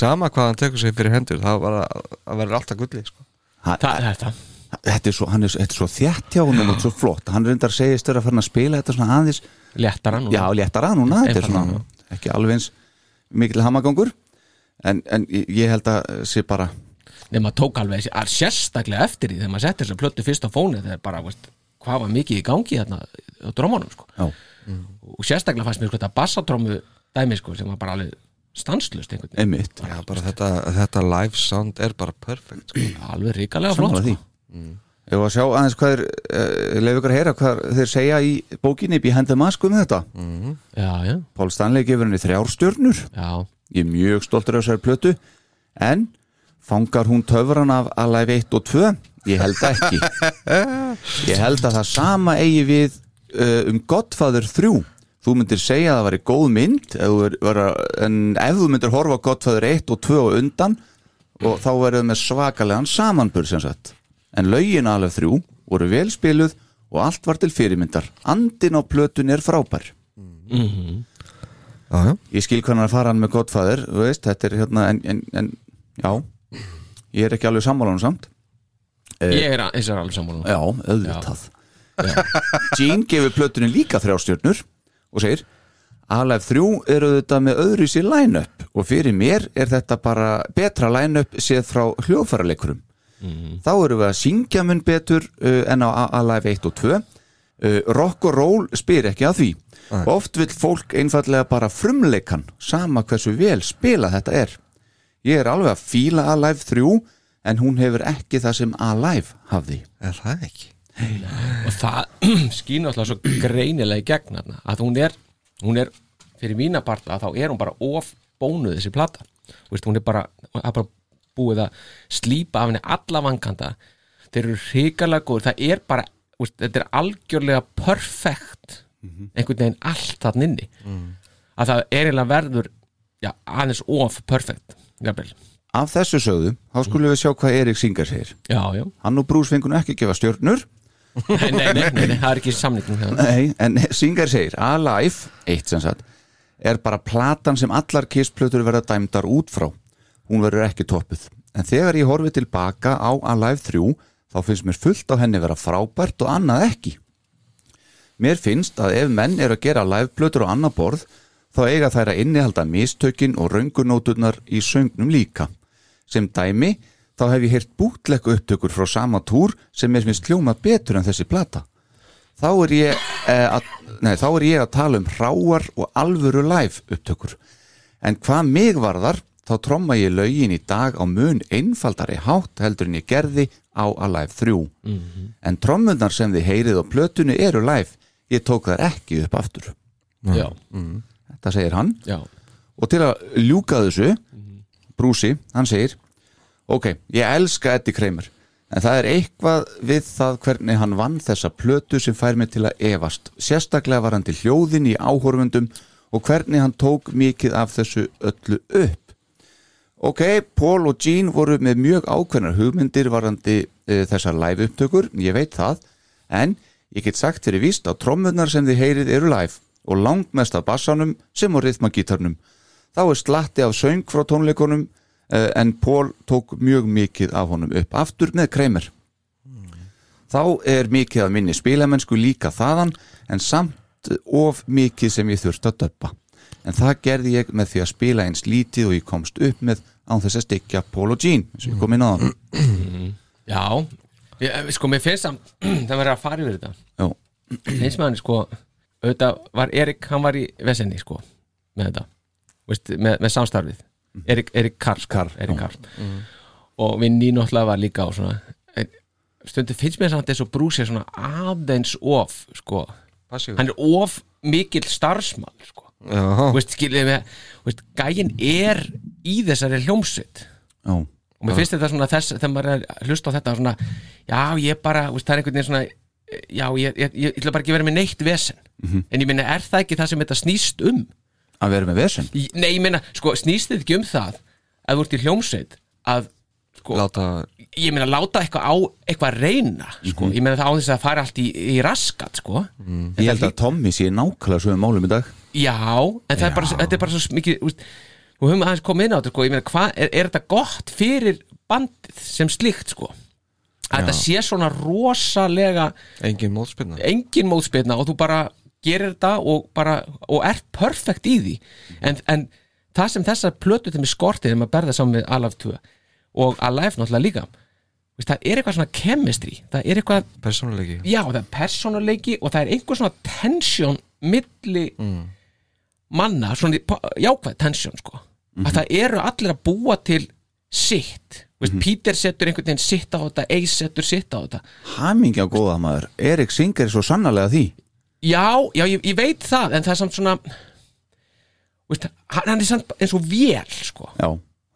S3: sama hvað hann tekur sig fyrir hendur það var að, að vera alltaf gulli sko.
S1: hann,
S2: það er þetta
S1: þetta er svo, hann er, svo- þetta er svo þjætt hjá honum og svo flott, hann reyndar að segja störa að fara að spila þetta svona aðeins,
S2: léttara núna
S1: já, léttara núna þetta er
S2: Einfaldara,
S1: svona, ekki alveg eins mikil hamagangur en, en ég- ég held að sé bara
S2: Nei, maður tók alveg að sérstaklega eftir því þegar maður setti þess að plötu fyrst á fónu þegar bara, veist, hvað var mikið í gangi þarna á drómanum, sko
S1: já,
S2: og sérstaklega fannst mér sko þetta bassatrómu dæmi, sko, sem var bara alveg stanslust einhvern veginn,
S1: einmitt
S3: já, bara þetta, þetta live sound er bara perfect (clears throat) sko.
S2: alveg ríkalega flott,
S1: Sammála
S2: sko
S1: því. Ég var að sjá aðeins hvað er, uh, leif ykkur að heyra hvað þeir segja í bókinni Behind the Mask um þetta.
S2: Já, já,
S1: Pál Stanley gefur henni þrjár stjörnur.
S2: já,
S1: Ég er mjög stoltur af þessari plötu, en fangar hún töfran af Alive 1 og 2? Ég held það ekki. Ég held að það sama eigi við uh, um Godfather 3. Þú myndir segja að það væri góð mynd, ef þú ver- vera, en ef þú myndir horfa á Godfather 1 og 2 og undan, og þá verðum með svakalegan samanburð sem sagt. En lögin alveg þrjú voru vel spiluð og allt var til fyrirmyndar. Andin á plötun er frábær.
S3: já, já.
S1: Ég skil hvernig hann er að fara hann með gottfæðir, þú veist, þetta er hérna, en, en, en já, ég er ekki alveg sammálanum samt.
S2: ég er að, eins og er alveg sammála
S1: Eh, Já, auðvitað. Gene gefur plötunni líka þrjástjörnur og segir, Alive 3 eru þetta með öðru sér line-up og fyrir mér er þetta bara betra line-up séð frá hljóðfæraleikurum. Þá eru við að syngja mun betur uh, en á A- Alive 1 og 2. Uh, rock og roll spyr ekki að því. Oft vill fólk einfallega bara frumleikan, sama hversu vel spila þetta er. Ég er alveg að fíla Alive 3 en hún hefur ekki það sem Alive hafði.
S3: er það ekki
S2: og það (clears throat) skýna alltaf svo greinilega í gegn hana, að hún er, hún er fyrir mína parta að þá er hún bara of bónuð þessi plata Vist, hún er bara, það er bara búið að slípa af henni alla vankanda þeir eru hrikalega góður, það er bara vist, þetta er algjörlega perfekt einhvern veginn allt þann inni að það er eiginlega verður já, aðeins of perfekt jafnvel.
S1: Af þessu sögðu, þá skulum við sjá hvað Erik Singer segir.
S2: já, já,
S1: Hann og Bruce fengun ekki að gefa stjörnur,
S2: nei, nei, nei, nei, nei, það er ekki samlíking hérna.
S1: nei, en Singer segir Alive, eitt sem sagt, er bara platan sem allar kissplötur verða dæmdar út frá. Hún verður ekki toppuð. En þegar ég horfi tilbaka á Alive 3, þá finnst mér fullt á henni vera frábært og annað ekki. Mér finnst að ef menn eru að gera liveplötur á annað borð, þá eiga þær að innihalda mistökin og raungunóturnar í söngnum líka. Sem dæmi, þá hef ég heyrt bútleku upptökur frá sama túr sem mér finnst hljóma betur en þessi plata. Þá er ég, eh, að, nei, þá er ég að tala um hráar og alvöru live upptökur. En hvað mig varðar, þá tromma ég lögin í dag á mun einfaldari hátt heldur en ég gerði á Alive 3. En trommunar sem þið heyrið á plötunni eru live, ég tók þar ekki upp aftur.
S2: já,
S1: Þetta segir hann.
S2: já,
S1: Og til að ljúka þessu, Brúsi, hann segir, ok, ég elska Eddie Kramer, en það er eitthvað við það hvernig hann vann þessa plötu sem fær mig til að efast. Sérstaklega var hann til hljóðin í áhorfundum og hvernig hann tók mikið af þessu öllu upp. Ok, Paul og Gene voru með mjög ákveðnar hugmyndir varandi e, þessar live upptökur, ég veit það, en ég get sagt fyrir víst að trommunar sem þið heyrið eru live og langmest af bassanum sem og rithmagítarnum. Þá er slatti af söng frá tónleikunum e, en Paul tók mjög mikið af honum upp aftur með kreimir. Þá er mikið að minni spilamennsku líka þaðan en samt of mikið sem ég þurfti að döppa. En það gerði ég með því að spila eins lítið og ég komst upp með án þess að stykja Paul og Gene eins og ég kom inn á þann.
S2: Já, ég, sko mér finnst samt (clears throat) það verður að fara yfir þetta
S1: Já,
S2: finnst maður sko, auðvitað var Erik hann var í vesenni sko með þetta, Veist, með, með samstarfið Erik, Erik Karl, Karl, Erik Karl. og Vinni náttúrulega var líka á svona en stundu finnst mér samt þess að brúsi svona aðeins of sko,
S3: Passífur.
S2: hann er of mikill starfsmann sko
S3: Já.
S2: Þú veist, skiljiði með, þú veist, gæin er í þessari hljómsveit
S1: já,
S2: og mér finnst þetta svona þess þegar maður er að hlusta á þetta svona, já ég bara, þú veist, það er einhvern veginn svona já ég, ég, ég ætla bara ekki að vera með neitt vesen en ég meina er það ekki það sem þetta snýst um
S1: að vera með vesen.
S2: Í- nei ég meina, sko snýst þetta ekki um það að þú ert í hljómsveit að sko,
S3: láta
S2: ég meina láta eitthvað á eitthvað reyna, sko, ég meina það á þess að fara allt í, í raskat, sko
S1: Ég held að Tommy sé í nákvæmlega sögum málum í dag.
S2: Já, en það er bara, þetta er bara svo mikið þú veist, Við höfum aðeins komið inn á þetta sko, ég meina, hva, er, er þetta gott fyrir bandið sem slíkt sko að þetta sé svona rosalega
S3: Engin mótspinna
S2: engin mótspilna og þú bara gerir þetta og, bara, og ert perfekt í því en, en það sem þessar plötu þeim er skortið um að berða saman við Alive 2 og Alive náttúrulega líka Veist, það er eitthvað svona chemistry það er eitthvað,
S3: Persónuleiki
S2: já það er personuleiki og það er einhver svona tension milli manna, svona í- pa- jákvæð tension sko, að það eru allir að búa til sitt Veist, Peter setur einhvern veginn sitt á þetta Ace setur sitt á þetta
S1: Hamingja góða maður, Erik Singer er svo sannarlega því
S2: Já, já, ég, ég veit það En það er samt svona veist, hann, hann er samt eins og vél sko.
S1: Já,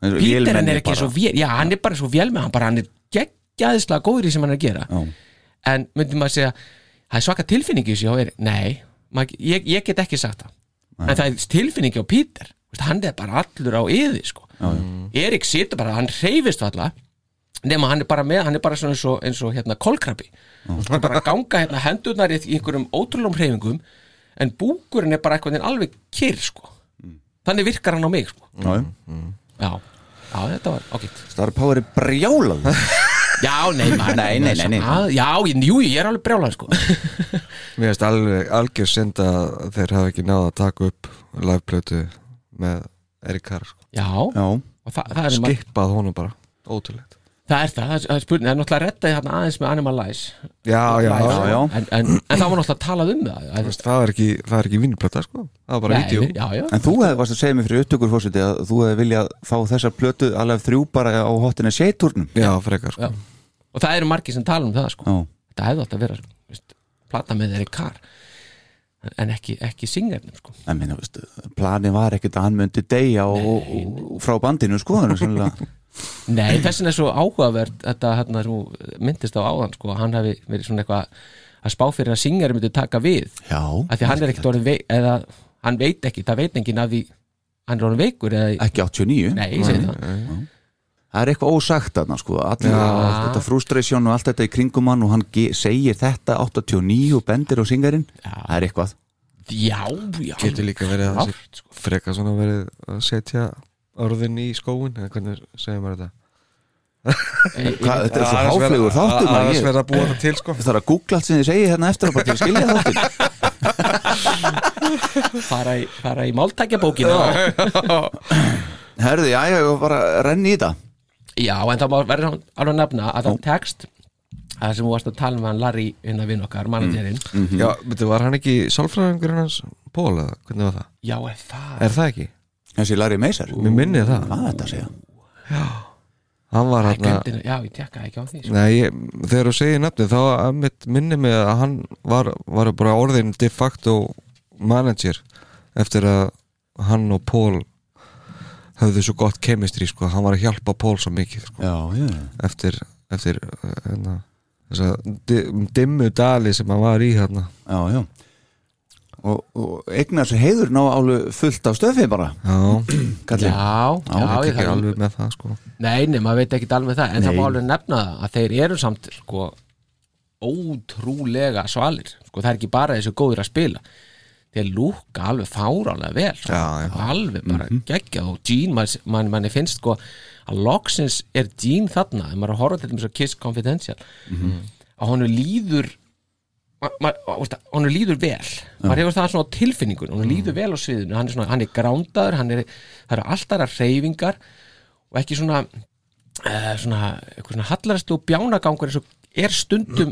S2: Peter hann er ekki eins og vél Já, hann er bara eins og vél með hann bara, Hann er geggjaðislega góður í sem hann er að gera
S1: Já.
S2: En myndi maður segja Það er svaka tilfinningi þessi hjá er Nei, maður, ég, ég get ekki sagt það En það er tilfinningi á Peter veist, Hann er bara allur á yði sko. já, já. Erik situr bara, hann reyfist alltaf nema hann er bara með, hann er bara svona eins og, eins og hérna kolkrabi hann bara ganga hérna hendurnar í einhverjum ótrúlum hreyfingum en búkurinn er bara eitthvað veginn alveg kyrr sko þannig virkar hann á mig sko
S1: Já, já.
S2: já, já þetta var ágætt
S1: Star Power er brjálað
S2: já, nei, maður
S1: Nei, nei, nei, nei.
S2: Að, já, ég, jú, ég er alveg brjálað sko
S3: Mér finnst alveg algjör synd að þeir hafa ekki náð að taka upp liveplötu með Erik Carr sko.
S2: já,
S1: Já,
S2: og það, það er maður
S3: Skippað honum bara, ótrúlegt
S2: það er það, það er, það er spurning, það er náttúrulega rettaði hérna aðeins með Animal Lies
S3: Já, já,
S2: Lies.
S3: já, já.
S2: En, en, en það var náttúrulega talað um það að-
S3: Veist, Það er ekki, það er ekki vínplata sko Það var bara
S2: Nei,
S3: vídeo
S2: já, já,
S1: en þú hefði varst að segja mér fyrir upptökur fórseti að þú hefði viljað fá þessa plötu alveg þrjú bara á hotinni séturnum
S3: Já, frekar sko
S2: Já. og það eru margir sem tala um það sko.
S1: Já,
S2: þetta hefði alltaf verið veist, plata með þeirri kar en ekki, ekki singarnum sko.
S1: en minna, veist, planin var ekkert að hann myndi deyja og, og, og frá bandinu sko þannig sennilega.
S2: nei, þessin er svo áhugavert þetta hérna, svo, myndist á áðan sko. hann hefði verið svona eitthvað að spá fyrir að singar myndi taka við
S1: Já,
S2: af því að hann er ekkert orðin veik eða hann veit ekki, það veit enginn af því hann er orðin veikur eða,
S1: ekki 89
S2: nei, ég segi það
S3: Eh,
S1: það er eitthvað ósagt þarna sko allir, allt þetta frustration og allt þetta í kringum hann og hann ge- segir þetta 89 og bendir á singarinn, það er eitthvað
S2: já, já,
S3: Getur líka verið að
S2: Klárt,
S3: það sé frekar svona verið að setja orðin í skóin eða hvernig segir maður þetta
S1: Hvað, þetta er svo
S3: Aðeins vera-
S1: háflegur þáttum að
S3: Aðeins
S1: ég
S3: verið að búa þetta til sko
S1: Það er að googla allt sem þið segir hérna eftir og bara til að skilja þáttin
S2: fara í, fara í máltækjabókina
S3: (laughs)
S1: Herði, já, já, ég bara renni í það
S2: Já, en það má verður alveg að nefna að það text að sem þú varst að tala með hann Larry hérna vinn okkar, managerinn
S1: Mhm.
S3: Já, betur, var hann ekki sálfræðingurinn hans Pól eða hvernig var það?
S2: Já, er það
S3: Er það ekki?
S1: Þessi Larry Meiser,
S3: Mér minnið það
S1: hvað er þetta að segja?
S3: Hann var
S2: Ég
S3: hann
S2: glemdi nú- Já, ég tekka ekki á því sko.
S3: Nei, ég, þegar þú segir nafnið þá einmitt minnir mig að hann var, var bara orðin de facto manager eftir að hann og Pól höfðu svo gott kemistri sko, hann var að hjálpa Pól svo mikið sko,
S1: Já, já,
S3: eftir, eftir uh, hérna, þess að di- dimmu dali sem hann var í hérna
S1: já, já. Og, og eignar sér heiður ná alveg fullt af stöfi bara
S3: Já,
S1: Kalli,
S2: Já, já,
S3: hann
S2: ég
S3: ekki
S2: það
S3: alveg með það sko
S2: Nei, nei, maður veit ekki alveg það En það
S1: Nei.
S2: má alveg nefna það að þeir eru samt sko, ótrúlega svalir sko, það er ekki bara þessu góður að spila þeir lúka alveg fárálega vel sko.
S3: Já, Mhm. já.
S2: alveg bara mm og Gene, mann man, man finnst sko að loksins er Gene þarna ef maður er að horfa til þess að Kiss Confidential
S3: Mhm.
S2: að honum líður ma- ma- þú veist að honum líður vel maður hefur það svona á tilfinningun honum líður
S3: Mm.
S2: vel á sviðinu, hann er, svona, hann er grándaður hann er, það eru alltaf reyfingar og ekki svona uh, svona, eitthvað svona hallarasti og bjánagangur eins og er stundum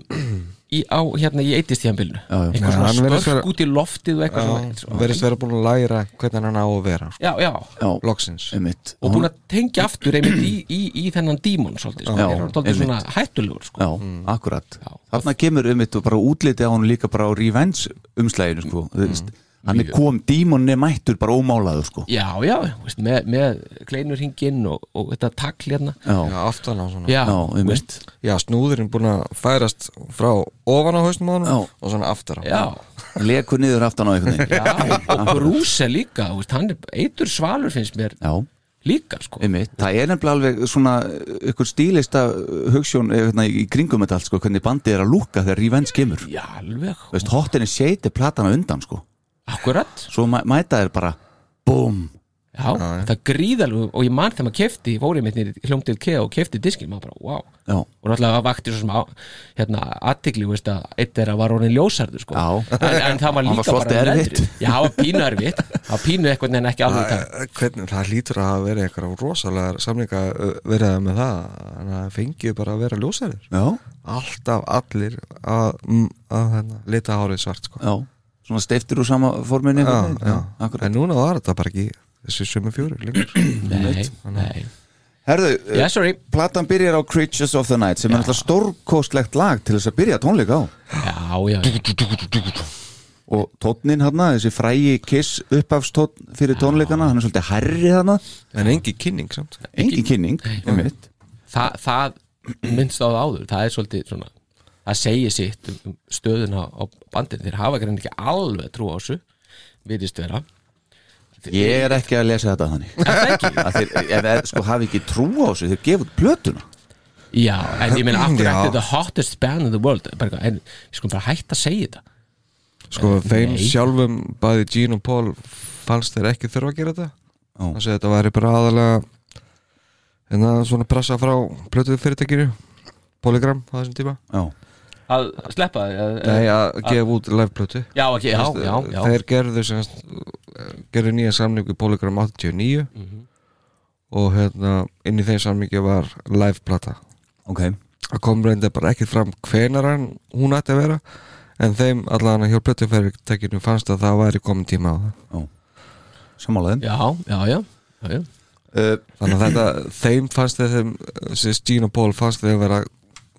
S2: í, á, hérna í eittistíðanbylnu
S3: Já,
S2: eitthvað
S3: hann
S2: svona
S3: virðist
S2: störk
S3: vera-
S2: út í loftið og eitthvað
S3: Já,
S2: svona
S3: verðist vera búin að læra hvernig hann á að vera sko.
S2: já, já,
S1: já,
S3: loksins
S1: einmitt
S2: og búin að tengja aftur einmitt í, í, í þennan dímon svolítið, sko.
S1: Já,
S2: er hann svolítið svona
S1: einmitt.
S2: hættulegur sko.
S1: Já, akkurat
S2: Já.
S1: Þarna kemur um mitt og bara útliti á hún líka bara á revenge umslæginu sko
S2: Mm.
S1: Þú veist, Hann er kom, dímon er mættur bara ómálaður sko
S2: já, já, þú veist, með, með kleinurhingin og, og þetta takl hérna
S3: Já,
S1: Já,
S3: aftan á svona
S2: já,
S1: já,
S2: þú
S1: um
S2: veist,
S1: mitt
S3: Já, snúðurinn búin að færast frá ofan á hausnum á hann
S1: Já.
S3: og svona aftar á
S2: já,
S1: Leku niður aftan á einhvern veginn
S2: já
S1: (laughs)
S2: og Bruce er líka, þú veist, hann er eitur svalur finnst mér
S1: Já,
S2: líka sko.
S1: einmitt, það er nefnilega alveg svona uh, ykkur stílista uh, hugssjón eh, hérna, í í kringum þetta allt sko, hvernig bandið er að lúka þegar revenge kemur
S2: já, alveg
S1: Þú veist, hotinni seiti platan á undan sko
S2: Af akkurat
S1: svo mæ, mæta þér bara BOOM
S2: Já, það gríðalveg og ég man þegar maður kefti fórið mitt nýri hljómtil kea og kefti diskin maður bara, wow
S1: Já.
S2: og náttúrulega vakti svo sem á, hérna, aðtikli, veist að eitt er að var orðin ljósarður sko.
S1: Já.
S2: en, en það var
S1: Hann var
S2: líka
S1: svolítið
S2: bara
S1: erfitt.
S2: neðri. Já, það var pínu erfitt, það var pínu eitthvað en ekki alveg það
S3: Æ, Eh, hvernig, það lítur að vera eitthvað rosalega samlinga eh, verið með það þannig að það fengi bara að vera ljósarir
S1: já,
S3: alltaf allir að, mm, að hérna, lita hárið svart sko.
S1: já, svona steiftur úr sama forminu
S3: já,
S1: einhvern veginn.
S3: já.
S1: akkurat.
S3: en núna var þetta bara ekki þessi sömu fjórir lengur
S1: (clears throat)
S2: Nei, nei,
S1: Herðu,
S2: já,
S1: eh,
S2: sorry
S1: platan byrjar á Creatures of the Night sem er alltaf stórkostlegt lag til þess að byrja tónleika á
S2: Já, já,
S1: og tónnin hann, þessi frægi kiss upphafstón fyrir tónleikana hann er svolítið hærri hann,
S3: en engi kynning samt
S1: engin kynning einmitt.
S2: Þa, það minnst á það áður, það er svolítið svona það segir sitt um- um stöðuna á bandin, þeir hafa grein ekki alveg trú á þessu, virðist vera
S1: ég er ekki að lesa þetta þannig Að þeir, ef þeir sko hafi ekki trú á þessu þeir gefa út plötuna
S2: Já, en ég meina akkur
S3: Já.
S2: ætti the hottest band in the world bara, eitthvað, en við skulum bara hætta að segja þetta
S3: sko þeim
S2: Eh, Nei.
S3: sjálfum bæði Gene og Paul fannst þeir ekki þurfa að gera þetta
S1: Ó.
S3: þannig að þetta væri bara aðalega hérna svona pressa frá plötuðu fyrirtækinu Polygram á þessum tíma
S1: já,
S2: að sleppa Eh, að,
S3: Nei, að gefa út live plötu Eh,
S2: já, ekki, já, já, já,
S3: þeir gerðu semast, gerðu nýja samningu í Polygram 89
S2: Mhm.
S3: og hérna inn í þeim samningu var live plata
S1: ok,
S3: það kom reynda bara ekkert fram hvenar hann hún ætti að vera en þeim allan að hjá plötuferðtekinu fannst að það væri komin tíma á það
S1: sammálaðin
S2: já, já, já, já, já.
S1: uh,
S3: þannig að þetta, þeim fannst þeim sem Gene og Paul fannst þeim vera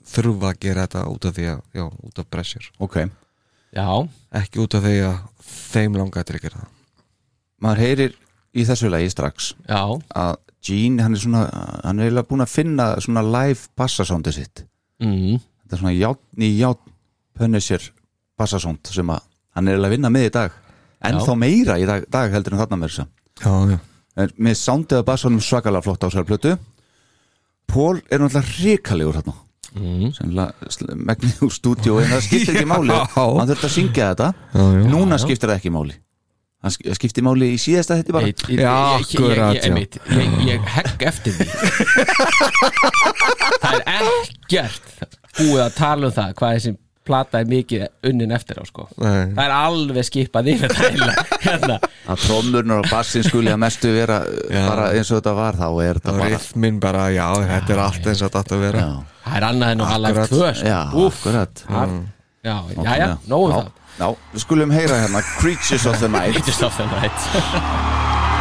S3: þurfa að gera þetta út af því að já, út af pressure,
S1: ok,
S2: já.
S3: ekki út af því að þeim langaði til að gera það
S1: maður heyrir í þessu lagi strax
S2: já.
S1: að Gene, hann er svona hann er eiginlega búin að finna svona live bassasóndi sitt
S2: Mm.
S1: þetta er svona játn í játn Punisher bassasónd sem að hann er eiginlega að vinna með í dag en
S2: Já.
S1: þá meira í dag, dag heldur en þarna með þess að
S3: já, já,
S1: en með soundið að bassanum svakalega flott á sér plötu Paul er náttúrulega ríkalegur þarna
S2: Mm.
S1: sem la- sl- megnið úr stúdíu en það skiptir ekki máli
S3: Já.
S1: hann þurft að syngja þetta
S3: já, já.
S1: núna
S2: Já, já.
S1: skiptir það ekki máli hann sk- skiptir máli í síðasta þetta bara
S2: Ég- ég- ég- ég-
S3: Já,
S2: ég-
S3: akkurat,
S2: ég-
S3: já.
S2: einmitt, ég, ég hegg eftir því það er ekkert búið að tala um það hvað þessi plata er mikið unnin eftir á sko.
S3: Nei.
S2: það er alveg skipað yfir það eiginlega, hérna.
S1: að trommurnar og bassin skuli að mestu vera uh,
S3: Já.
S1: bara eins og þetta var þá er þetta
S3: það var
S1: bara
S3: rithmin bara, já, þetta er allt eins og þetta átti að vera
S1: já,
S2: það er annað en á alveg
S3: Akkurat. Mm.
S2: tvö sko.
S1: já,
S2: Úff.
S1: akkurat
S2: Þar- já, já, já, nógum
S1: Já,
S2: um það
S1: já, við skulum heyra hérna Creatures of the Night
S2: Creatures of the Night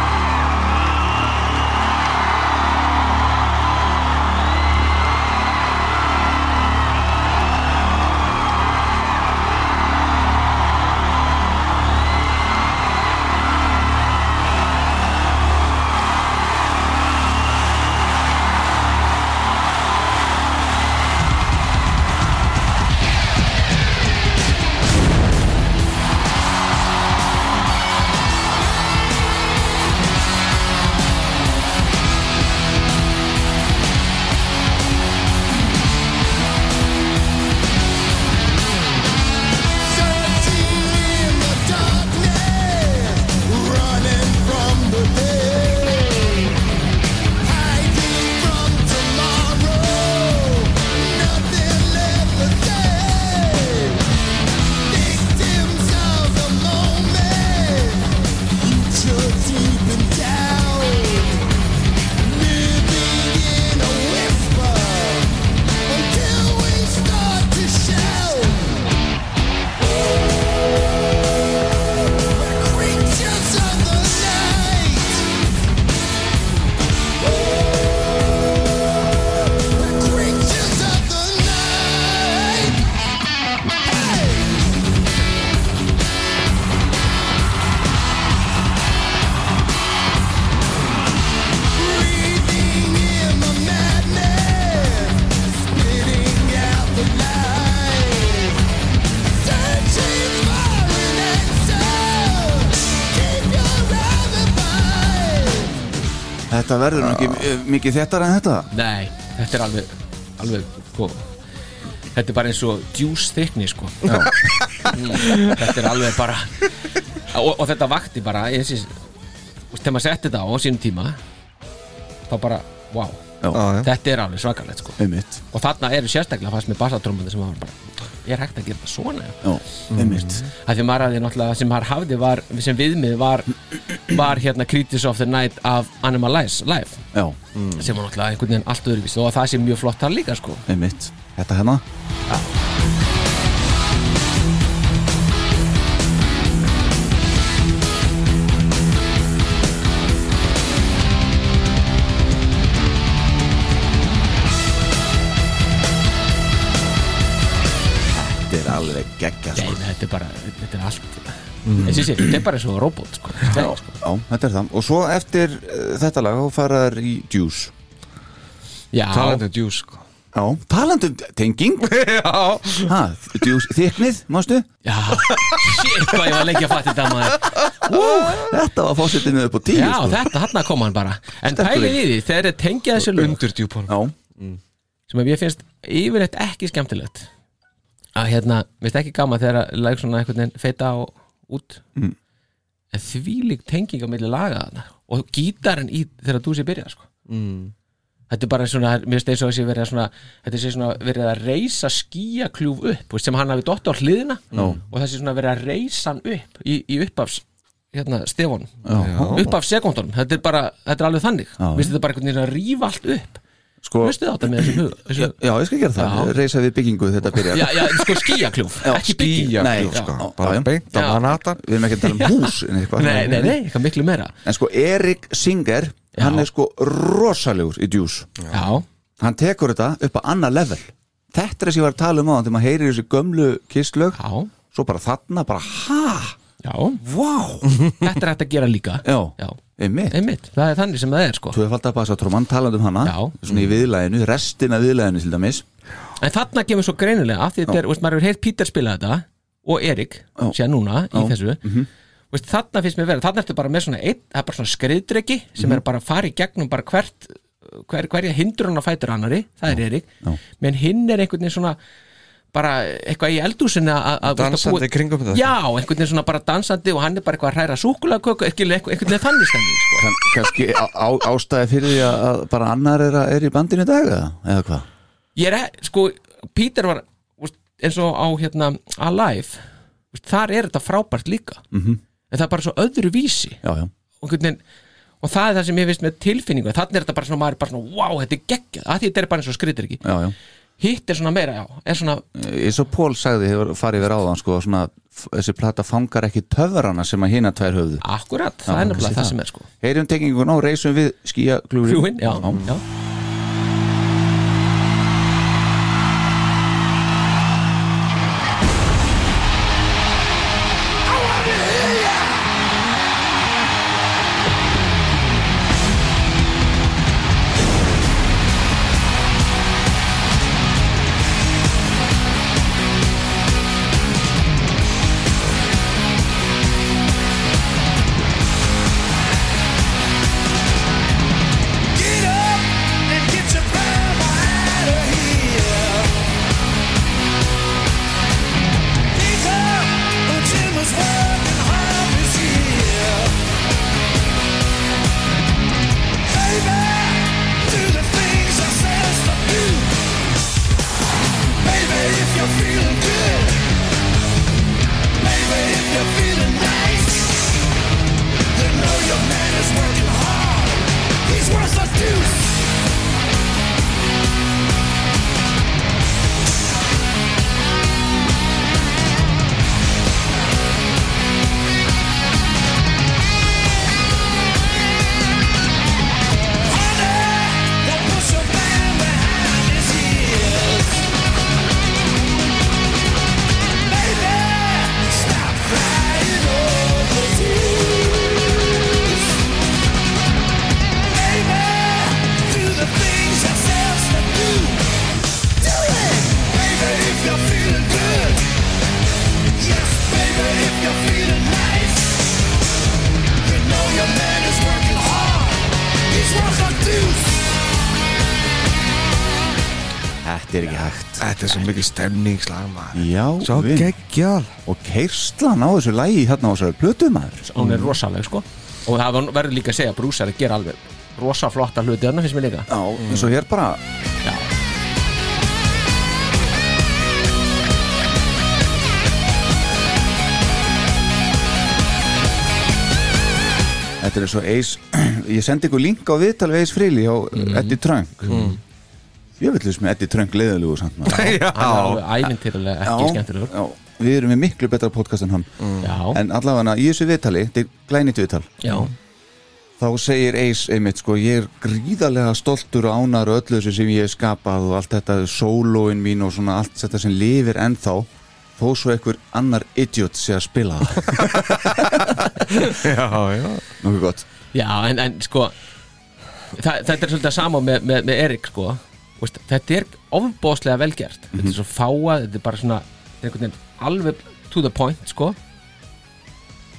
S5: Until we start to shout Creatures of the night. Creatures of the night. Breathing in the madness, spitting out the light. Searching for an answer. Keep your alibi.
S1: Þetta verður nú ekki eh, mikið þettar en þetta
S2: Nei, þetta er alveg, alveg sko, Þetta er bara eins og djús þykni sko. þetta er alveg bara og, og þetta vakti bara eins og veist, þegar maður setti þetta á á sínum tíma þá bara, wow
S3: já, já.
S2: þetta er alveg svakalegt sko
S1: einmitt
S2: og þarna eru sérstaklega fannst með bassatrómandi sem var bara, ég er hægt að gera þetta svona
S1: Já, einmitt
S2: að því maður hafði náttúrulega sem maður hafði var, sem viðmið var var hérna Critics of the Night af Animalize Live
S1: Já,
S2: Mm. sem var náttúrulega einhvern veginn allt öðruvís og það sé mjög flott þar líka sko
S1: einmitt Þetta hérna Þetta er alveg geggja
S2: Nei,
S1: sko.
S2: nei, þetta er bara, þetta er allt mm. sé, þetta er bara eins og robot sko.
S1: Já,
S2: Nei, sko.
S1: já, þetta er það Og svo eftir uh, þetta lag þá fara þær í Juice
S2: Já,
S3: talandi um djús sko.
S1: Já, talandi um (laughs) tenging
S3: já,
S1: ha, Juice þyknið, mástu?
S2: já Shit, hvað ég var lengi að fatta þetta maður
S1: Ú, þetta var fósitinu upp á tíu
S2: Já,
S1: sko.
S2: þetta, hann kom hann bara En
S1: Stekkur
S2: pælið í því, þegar þeir tengja þessu lög
S3: undir djúpan
S1: já,
S2: sem að ég finnst yfirleitt ekki skemmtilegt að hérna, mér finnst ekki gaman þegar að lag svona einhvern veginn feita og út mm. en þvílík tenging á milli laga þarna og gítarinn í þegar þú sé byrjað sko. mm. þetta er bara svona, mér finnst eins og þessi verið að svona, þetta sé svona verið að reysa skíakljúf upp þú veist, sem hann hafi dott á hliðina mm. og þessi svona verið að reysa hann upp í, í uppafs hérna, stefunum uppaf sekundunum, þetta er bara þetta er alveg þannig,
S1: Já.
S2: mér finnst þetta bara einhvern veginn að rífa allt upp
S1: sko,
S2: Veistu þetta með þessum hug? Þessu...
S1: já, ég skal gera það
S2: Já.
S1: Reisa við byggingu þegar þetta byrjar
S2: Já, já, sko skíakljúf, ekki bygging
S1: skýja
S3: Nei,
S1: Nei,
S3: sko,
S1: já, já,
S3: bara
S1: já.
S3: beint að
S2: Já.
S3: Manhattan
S1: Við erum ekki að tala um hús en eitthvað.
S2: Nei, nei, nei, eitthvað miklu meira
S1: En sko, Erik Singer Hann
S2: Já.
S1: er sko rosalegur í Juice
S2: Já,
S1: Hann tekur þetta upp á annað level Þetta er þess að ég var að tala um á hann Þegar maður heyrir þessi gömlu kistlög
S2: já,
S1: Svo bara þarna, bara ha,
S2: já
S1: vá
S2: Þetta er hægt að gera líka
S1: Já,
S2: já.
S1: einmitt
S2: Einmitt, það er þannig sem það er sko
S1: Tvöfaldar basatróman talandi um hana
S2: Já. Mm.
S1: Svona í viðlæðinu, restina viðlæðinu til dæmis
S2: En þarna kemur svo greinilega af því þetta er, veist, maður hefur heyrt Pítur spila þetta og Erik,
S1: Já.
S2: sér núna í
S1: Já. Mhm.
S2: þessu veist, Þarna finnst mér vera, þarna ertu bara með svona einn, það er bara svona skriðdreki sem
S1: Mhm.
S2: er bara að fara í gegnum bara hvert hver, hverja hindrun á fætur annari, það er Erik
S1: Já.
S2: menn hinn er einhvern veginn svona bara eitthvað í eldúsinu að- að- veist, að
S3: Dansandi
S2: búa-
S3: í kringum þetta.
S2: Já, einhvern veginn svona bara dansandi og hann er bara eitthvað að hræra súkulaköku einhvern einhvern veginn þannig stendin sko.
S1: Kann, kannski á, á, ástæði fyrir því að að bara annar er, að, er í bandinu í dag eða, eða hvað
S2: ég er, e- sko, Peter var úst, eins og á hérna Alive, úst, þar er þetta frábært líka -hmm. en það er bara svo öðru vísi
S1: já, já.
S2: og, hvernig, og það er það sem ég veist með tilfinningu þannig er þetta bara svona, maður er bara svona, wow, þetta er geggjað að því þetta er bara eins og skritir ekki
S1: Já, já.
S2: hitt er svona meira, já, er svona
S1: eins og Pól sagði hefur farið verið áðan sko, svona, f- þessi plata fangar ekki töfrana sem að hina tvær höfðu
S2: akkurat, það er nefnilega það sem er sko
S1: heyrum tekingun á, reysum við skýja
S2: Hrjúin, já, já.
S5: Get up,
S1: þetta er ekki hægt
S3: Þetta er svo mikið stemningslag maður
S1: Já,
S3: Svo
S1: vin.
S3: geggjal
S1: Og keirslan á þessu lægi hérna á þessari plötu maður
S2: hún er rosaleg sko og það var- verður líka að segja að brúsar að gera alveg rosa flotta hluti þarna finnst mér líka
S1: Já, eins og hér bara Þetta er eins og Ace (clears throat) Ég sendi ykkur link á viðtal við Ace Frehley hjá
S2: Mhm.
S1: Eddie Trunk
S2: Mm.
S1: Ég vil þess með Eddie Trunk leiðalegu samt maður
S2: hann er alveg ævintýrulega (laughs) ekki skemmtilegur Mm.
S1: já, við erum með miklu betra podcast en hann
S2: já,
S1: en allavega í þessu viðtali, þetta er glænit viðtal
S2: já,
S1: þá segir Ace einmitt sko, ég er gríðarlega stoltur og ánar öllu þessu sem ég hef skapað og allt þetta sólóin mín og svona allt þetta sem lifir ennþá þó svo einhver annar idiot sé að spila
S2: (laughs)
S1: það
S3: Já, já
S1: nokkuð gott
S2: já en, en sko þa þetta er svolítið að sama með, með, með Erik sko Vist, þetta er ofbóðslega velgjert þetta er svo fáað, þetta er bara svona þetta er einhvern veginn alveg to the point sko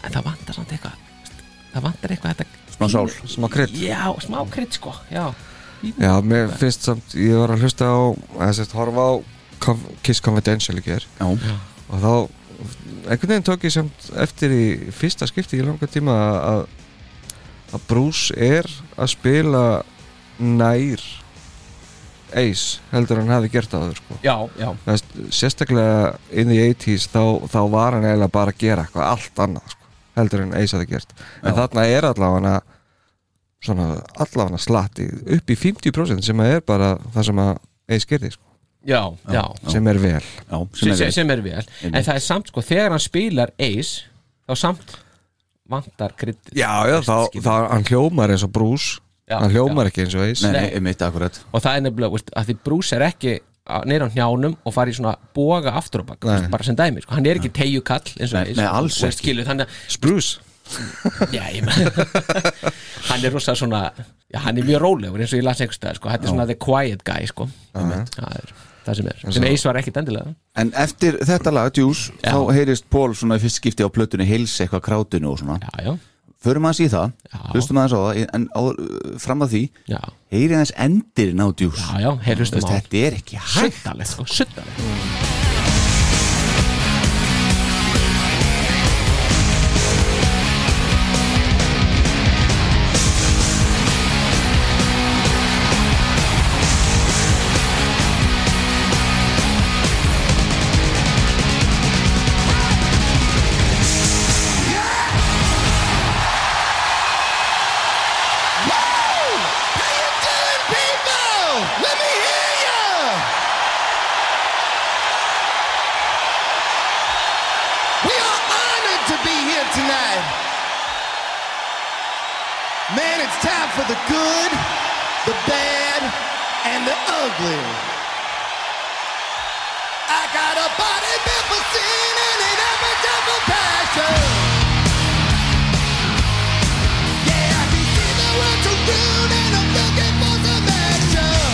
S2: en það vantar samt eitthvað veist, það vantar eitthvað þetta
S1: Smá sál.
S3: Smá krydd
S2: já, smá krydd sko já,
S3: Já, mér finnst samt Ég var að hlusta á eða sett horfa á Conf- Kiss Confidential í ger
S1: já,
S3: og þá einhvern veginn tók ég samt eftir í fyrsta skipti í langa tíma að, að Bruce er að spila nær Ace heldur en hann hafi gert áður sko.
S2: já, já,
S3: Það veist, sérstaklega in the 80s þá, þá var hann eiginlega bara að gera eitthvað allt annað sko, heldur en Ace hafi gert en þarna er allavega svona allavega slatti upp í 50% sem er bara það sem að Ace gerði sko,
S2: já, já,
S3: sem er vel
S1: já,
S2: sem, sem,
S1: vel.
S2: sem er vel en það er samt sko, þegar hann spilar Ace þá samt vantar krydd
S3: Já, já, þá, þá hann hljómar eins og brús
S2: Já,
S3: Hann hljómar ekki eins og eis
S1: Nei,
S2: Nei.
S1: einmitt akkurat
S2: og það er nefnilega, veist, að því Bruce er ekki neira á njánum og fari svona boga aftur og bak,
S3: Nei.
S2: veist, bara sem dæmi sko. hann er ekki tegju kall eins og sko,
S1: Nei,
S2: Ace
S1: nei, alls
S2: og
S1: ekki.
S2: skilu, þannig að,
S3: Sprús
S2: (laughs) já, ég meina (laughs) hann er rosa svona já, hann er mjög rólegur eins og ég las einhvers stað sko. þetta er svona the quiet guy sko. það er það sem er, sem Ace var ekkit endilega
S1: en eftir þetta lag, Juice, þá heyrist Pól svona í fyrst skipti á plötunni heilsa eitthvað krátinu og svona,
S2: já, já,
S1: förum aðeins í það
S2: Já.
S1: hlustum aðeins á það, en á, fram að því
S2: já,
S1: heyrið aðeins endirinn á Juice
S2: já, já, heyrðustum
S1: Veist,
S2: á
S1: þetta er ekki hægt
S2: suttalegt, sko, suttalegt
S5: How you doing, people? Let me hear you. We are honored to be here tonight. Man, it's time for the good, the bad, and the ugly. I got a body built for sin and an appetite for passion. Yeah, I can see the world too rude and I'm looking for some action.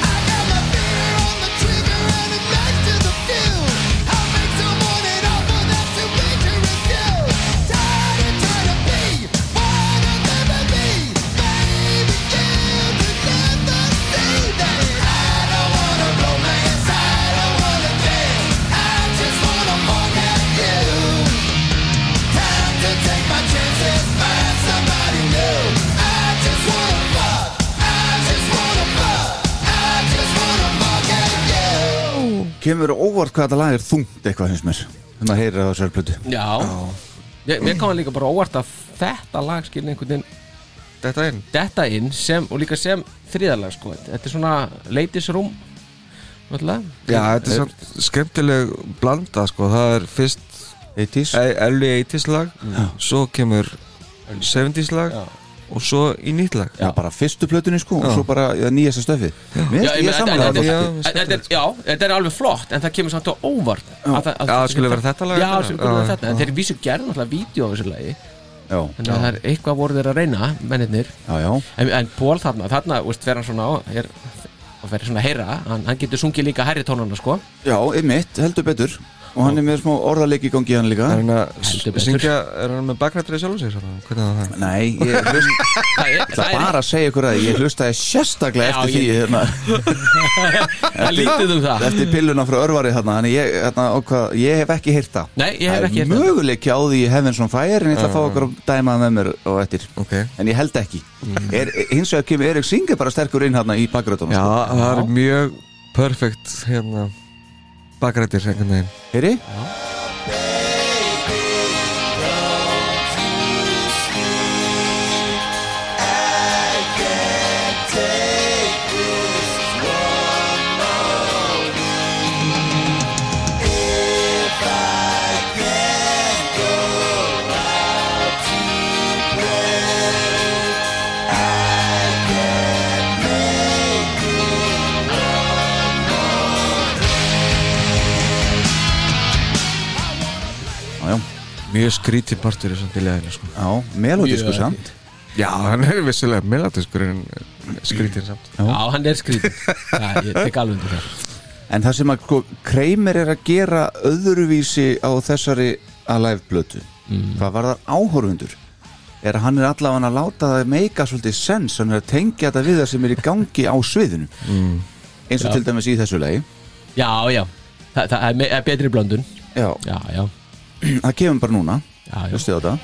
S5: I got my finger on the trigger and it's back to the fuse. I'll make someone an offer that's too big to refuse. Tired and trying to be one of them and me. Maybe you could let them see that I don't wanna romance, I don't wanna dance, I just wanna walk at you. Time to take my chances, find somebody new. I just wanna fuck, I just wanna fuck, I just wanna fuck at you.
S1: kemur óvart hvað þetta lag er þungt eitthvað hins mér þegar maður heyrir það á sér plötu
S2: Já, Ég, mér kom líka bara óvart að þetta lag skilni einhvern veginn
S3: Þetta inn
S2: detta inn sem, og líka sem þriðalag sko, þetta er svona leitisrúm náttúrulega
S3: Já, þetta er samt skemmtileg blanda sko. Það er fyrst
S1: 80s
S3: e- early 80s lag Svo kemur 70s lag
S2: Já.
S3: Og svo í nýtt lag
S1: já, bara fyrstu plötunni sko og svo bara ja, nýjasta stöfið Mér
S2: Já,
S1: finnst-
S2: ég
S1: ég er
S2: meina, þetta-
S1: samanlega
S2: þetta-
S3: Já, sko.
S2: þetta- þetta- þetta- já, þetta er alveg flott en það kemur samt á óvart að það
S3: Já, skuli vera þetta lag
S2: Já,
S3: þetta?
S2: skilur vera
S3: Já,
S2: þetta, en þeir eru vísu gerð náttúrulega vídeo á þessu lagi
S1: já,
S2: þannig að það er eitthvað voru þeir að reyna, mennirnir
S1: já, já,
S2: en, en Pól þarna, þarna, veist, fer hann svona á er, og fer svona að heyra, hann, hann getur sungið líka hærri tónana, sko
S1: já, einmitt, heldur betur og hann er með smá orðarleik í gangi hann líka
S3: Er hann að
S2: Heldur betur.
S3: syngja, er hann með baknættur í sjálfum sig? svona? Hvernig var það?
S1: Nei, ég hlust,
S2: Það er,
S1: ætla bara að segja ykkur að ég hlustaði sérstaklega
S2: Já,
S1: eftir því
S2: ég-
S1: hérna,
S2: það lítið um það
S1: eftir pilluna frá örvari hérna, þannig ég, hérna, hvað, ég hef ekki heyrt það
S2: Nei, ég hef ekki heyrt
S1: það
S2: það.
S1: er möguleik á því Heavens on Fire en ég ætla að fá okkur að dæma það með mér á eftir
S3: Ok.
S1: en ég held ekki er, hins vegar kemur Erik Singer bara sterkur inn hérna í bakgröðunum
S3: Já, það er mjög perfekt hérna bakrættir einhvern veginn
S1: Heyri? Já, já,
S3: Mjög skrítið partur í svona til aðeins sko.
S1: já, melodísku
S2: Mjög
S1: samt
S3: Já, hann er vissulega melodiskur en skrítið samt
S2: Já, hann er skrítið Það, ég tek alveg undir það
S1: En það sem að sko, Kramer er að gera öðruvísi á þessari Alive blötu hvað var það áhorfundur er að hann er allavega að láta það meika svolítið sens, hann er að tengja þetta við það sem er í gangi á sviðinu eins og til dæmis í þessu lagi
S2: Já, já, það, það er, me- er betri blöndun
S1: Já,
S2: Já, já,
S1: það kemur bara núna
S2: já, já.
S1: Hlustu á þetta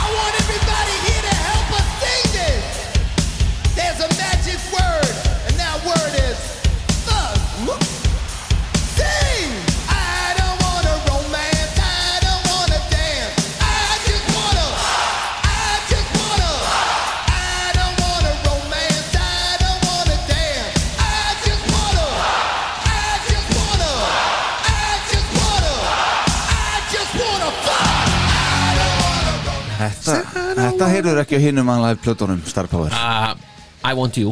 S5: I want everybody here to help us sing this. There's a magic word, and that word is thug. Sing. I don't wanna romance. I don't wanna dance. I just wanna. I just wanna. I don't wanna romance. I don't wanna dance. I just wanna. I just wanna. I just wanna. I just wanna fuck. I don't wanna.
S1: Þetta, þetta heyrður ekki á hinum Alive blötunum Star Power
S2: Uh, I want you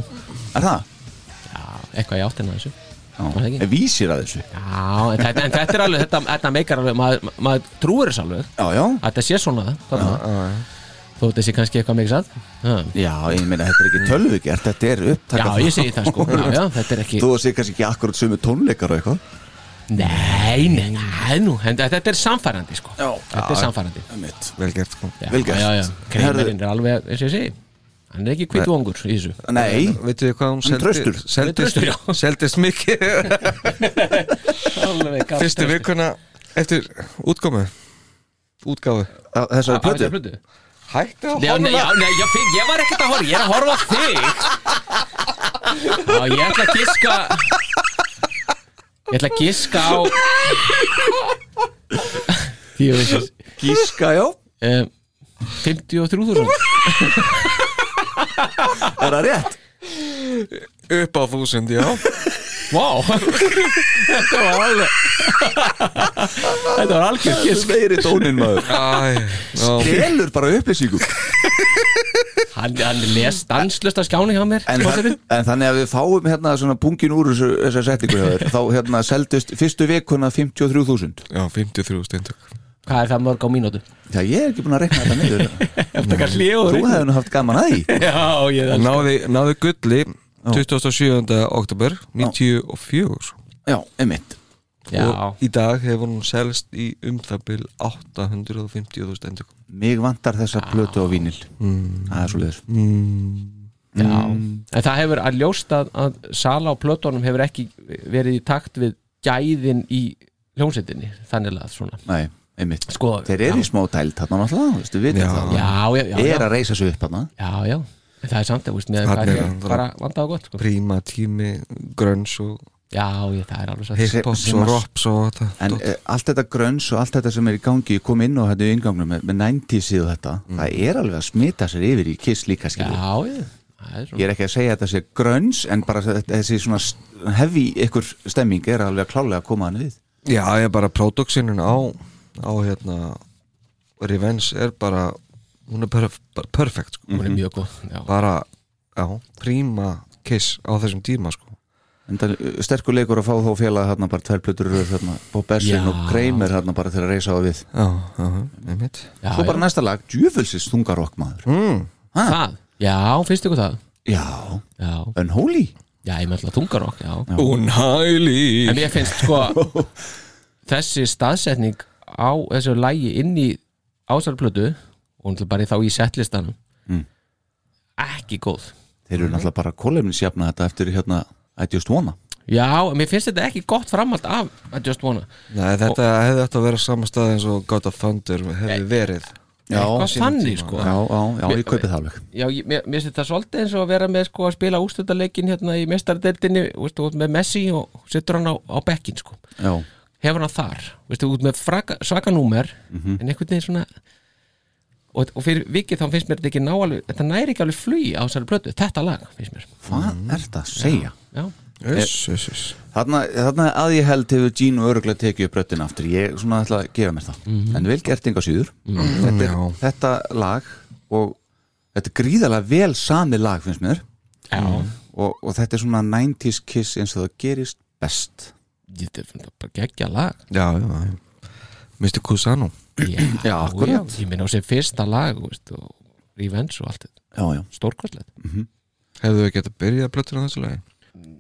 S1: Er það?
S2: Já, eitthvað ég átti hennar þessu Var það
S1: Já,
S2: ekki?
S1: vísir að þessu
S2: Já, en þetta, en þetta er alveg, þetta, þetta meikar alveg maður, ma- maður trúir þess alveg
S1: Já, já,
S2: að þetta sé svona þarna Þó þetta sé kannski eitthvað mikið satt Já,
S1: já, ég meina þetta er ekki tölvugert Þetta er
S2: já
S1: upptaka frá-
S2: ég segi
S1: (laughs)
S2: það sko Já, já, þetta er ekki
S1: Þú sé kannski ekki akkurat sömu tónleikar og eitthvað
S2: Nei, nei, nei, nú en Þetta þetta er samfærandi sko Já, Þetta er samfærandi
S1: Einmitt.
S3: Vel gert sko
S2: Já,
S1: Vel gert.
S2: já, já,
S1: Herðu-
S2: kreimerinn er alveg, eins og ég segi Hann er ekki kvitt vongur í þessu
S1: Nei,
S3: Veitu þið hvað hún
S1: Hann er traustur.
S3: seldi- seldist
S2: Hann er traustur, já.
S3: (laughs) Seldist
S1: (laughs)
S3: mikið
S2: Alveg gafst
S3: Fyrstu
S2: þessu.
S3: vikuna eftir útgáfu Útgáfu
S1: á þessari
S2: Á þessari
S1: plötu
S2: plötu?
S3: Hætti að
S2: Já, nei, já, nei, já, fyrir, ég var ekkert að horfa, ég er að horfa á þig Já, ég ætla að giska Ég ætla að giska á Því að þessi
S1: Gíska, já,
S2: um, 53.000
S1: er það rétt?
S3: Upp á þúsund, já
S2: Vá Þetta var alveg Þetta var algjör gisk
S1: Meiri tónin (laughs) maður
S3: Æ, já
S1: Delur bara upplýsingum
S2: Hann, hann les stanslust að skjáni hjá mér
S1: en, þa- en þannig að við fáum hérna svona pungin úr þessu, þessu setningu hjá þér Þá hérna seldust fyrstu vikuna 53.000
S3: Já, 53 stundök
S2: Hvað er það mörg á mínútu?
S1: Já, ég er ekki búin að rekna þetta (laughs) niður
S2: Eftir hvað hljóður
S1: Þú hefði nú haft gaman að því
S2: Já, ég það
S3: Náði, náði gulli 27. oktober 94
S1: Já, einmitt
S2: Já,
S3: og í dag hefur hún selst í um það bil 850.000 endur
S1: Mig vantar þessa plötu á vínil Það er svo leiður
S3: Mm.
S2: Já, Mm. en það hefur að ljóst að, að sala á plötunum hefur ekki verið í takt við gæðin í hljómsveitinni, þannig að svona
S1: Nei, einmitt
S2: Sko,
S1: Þeir eru í
S2: já,
S1: smá dælt þarna náttúrulega, þú veistu, við
S3: Já.
S1: það
S2: já, já, já,
S1: Er
S2: já,
S1: að reisa sig upp þarna
S2: já, já En það er samt að, veist, með
S3: Þarna
S2: hvað
S3: er
S2: er
S3: hann,
S2: bara vandað og gott sko.
S3: príma tími, grönns og
S2: Já, ég, það er alveg satt
S1: Hey.
S3: hiphops
S1: sem
S3: og
S1: að-
S3: raps og þetta
S1: En
S3: dót.
S1: uh, allt þetta grönns og allt þetta sem er í gangi ég kom inn á þetta í ingangnum með, með 90s og þetta, það er alveg að smita sér yfir í kiss líka
S2: Mm.
S1: skilur
S2: Já, já, það er
S1: Ég
S2: svona
S1: er ekki að segja að þetta sé grönns en bara þetta- þessi svona hefi ykkur stemming er alveg að klálega að koma hann við
S3: já, ég er bara próduksinun á á hérna Revenge er bara hún er perf, bara perfect sko.
S2: Hún er mjög góð, já,
S3: bara, já, príma kiss á þessum tíma sko
S1: En það er eh, sterkur leikur að fá þó félag þarna bara tvær plötur í röð, þarna, Bob Bessin
S2: Já.
S1: og Kramer þarna bara til að reisa á við
S3: já, já, einmitt
S2: já,
S1: Svo bara
S2: já.
S1: næsta lag, djöfulsis þungarokk maður
S3: mm.
S2: Það, já, finnst ykkur það
S1: Já,
S2: Já,
S1: Unholy
S2: Já, ég með alltaf tungarokk, já
S3: Unhæli
S2: En mér finnst sko þessi staðsetning á þessu lægi inn í ásarplötu og hún bara þá í settlistanum ekki góð
S1: Þeir eru náttúrulega bara kólefnisjafna þetta eftir hérna I just wanna
S2: Já, en mér finnst þetta ekki gott framhald af I Just Wanna
S3: Nei, þetta hefði átt að vera sama stað eins og God of Thunder hefði verið
S1: Já,
S2: Eitthvað
S3: sínum
S2: þannig
S3: tíma.
S2: sko
S1: já, já, já ég kaupið það alveg
S2: Já, ég, mér, mér finnst þetta svolítið eins og að vera með sko að spila ústöldarleikin hérna í mestardeldinni veistu, út með Messi og setur hann á, á bekkin sko
S1: Já,
S2: hefur hann þar, veistu, út með fraka, svaka númer
S1: Mhm.
S2: en einhvern veginn svona og, og fyrir vikið þá finnst mér þetta ekki ná alveg, þetta næri ekki alveg flugi á þessari plötu, þetta lag finnst mér
S1: hvað er þetta að segja?
S2: já,
S3: Þess, þess, þess
S1: Mhm. Þarna, þarna að ég held hefur Gene öruglega tekið upp röddina aftur Ég svona ætla að gefa mér það
S2: Mhm.
S1: En vel gert enga síður þetta, er,
S3: Já.
S1: þetta lag og þetta er gríðalega vel samið lag finnst mér
S2: já.
S1: og, og þetta er svona 90s kiss eins og það gerist best
S2: Ég, þetta er bara geggja lag
S3: Já, já, já Mr. Cusano
S2: já,
S1: (clears throat) Já,
S2: já,
S1: akkurat.
S2: ég minna á sem fyrsta lag veistu, og Revenge og allt þetta,
S1: Já, já
S2: stórkostlegt
S3: Hefðu við getað byrjað plötur á þessu lagi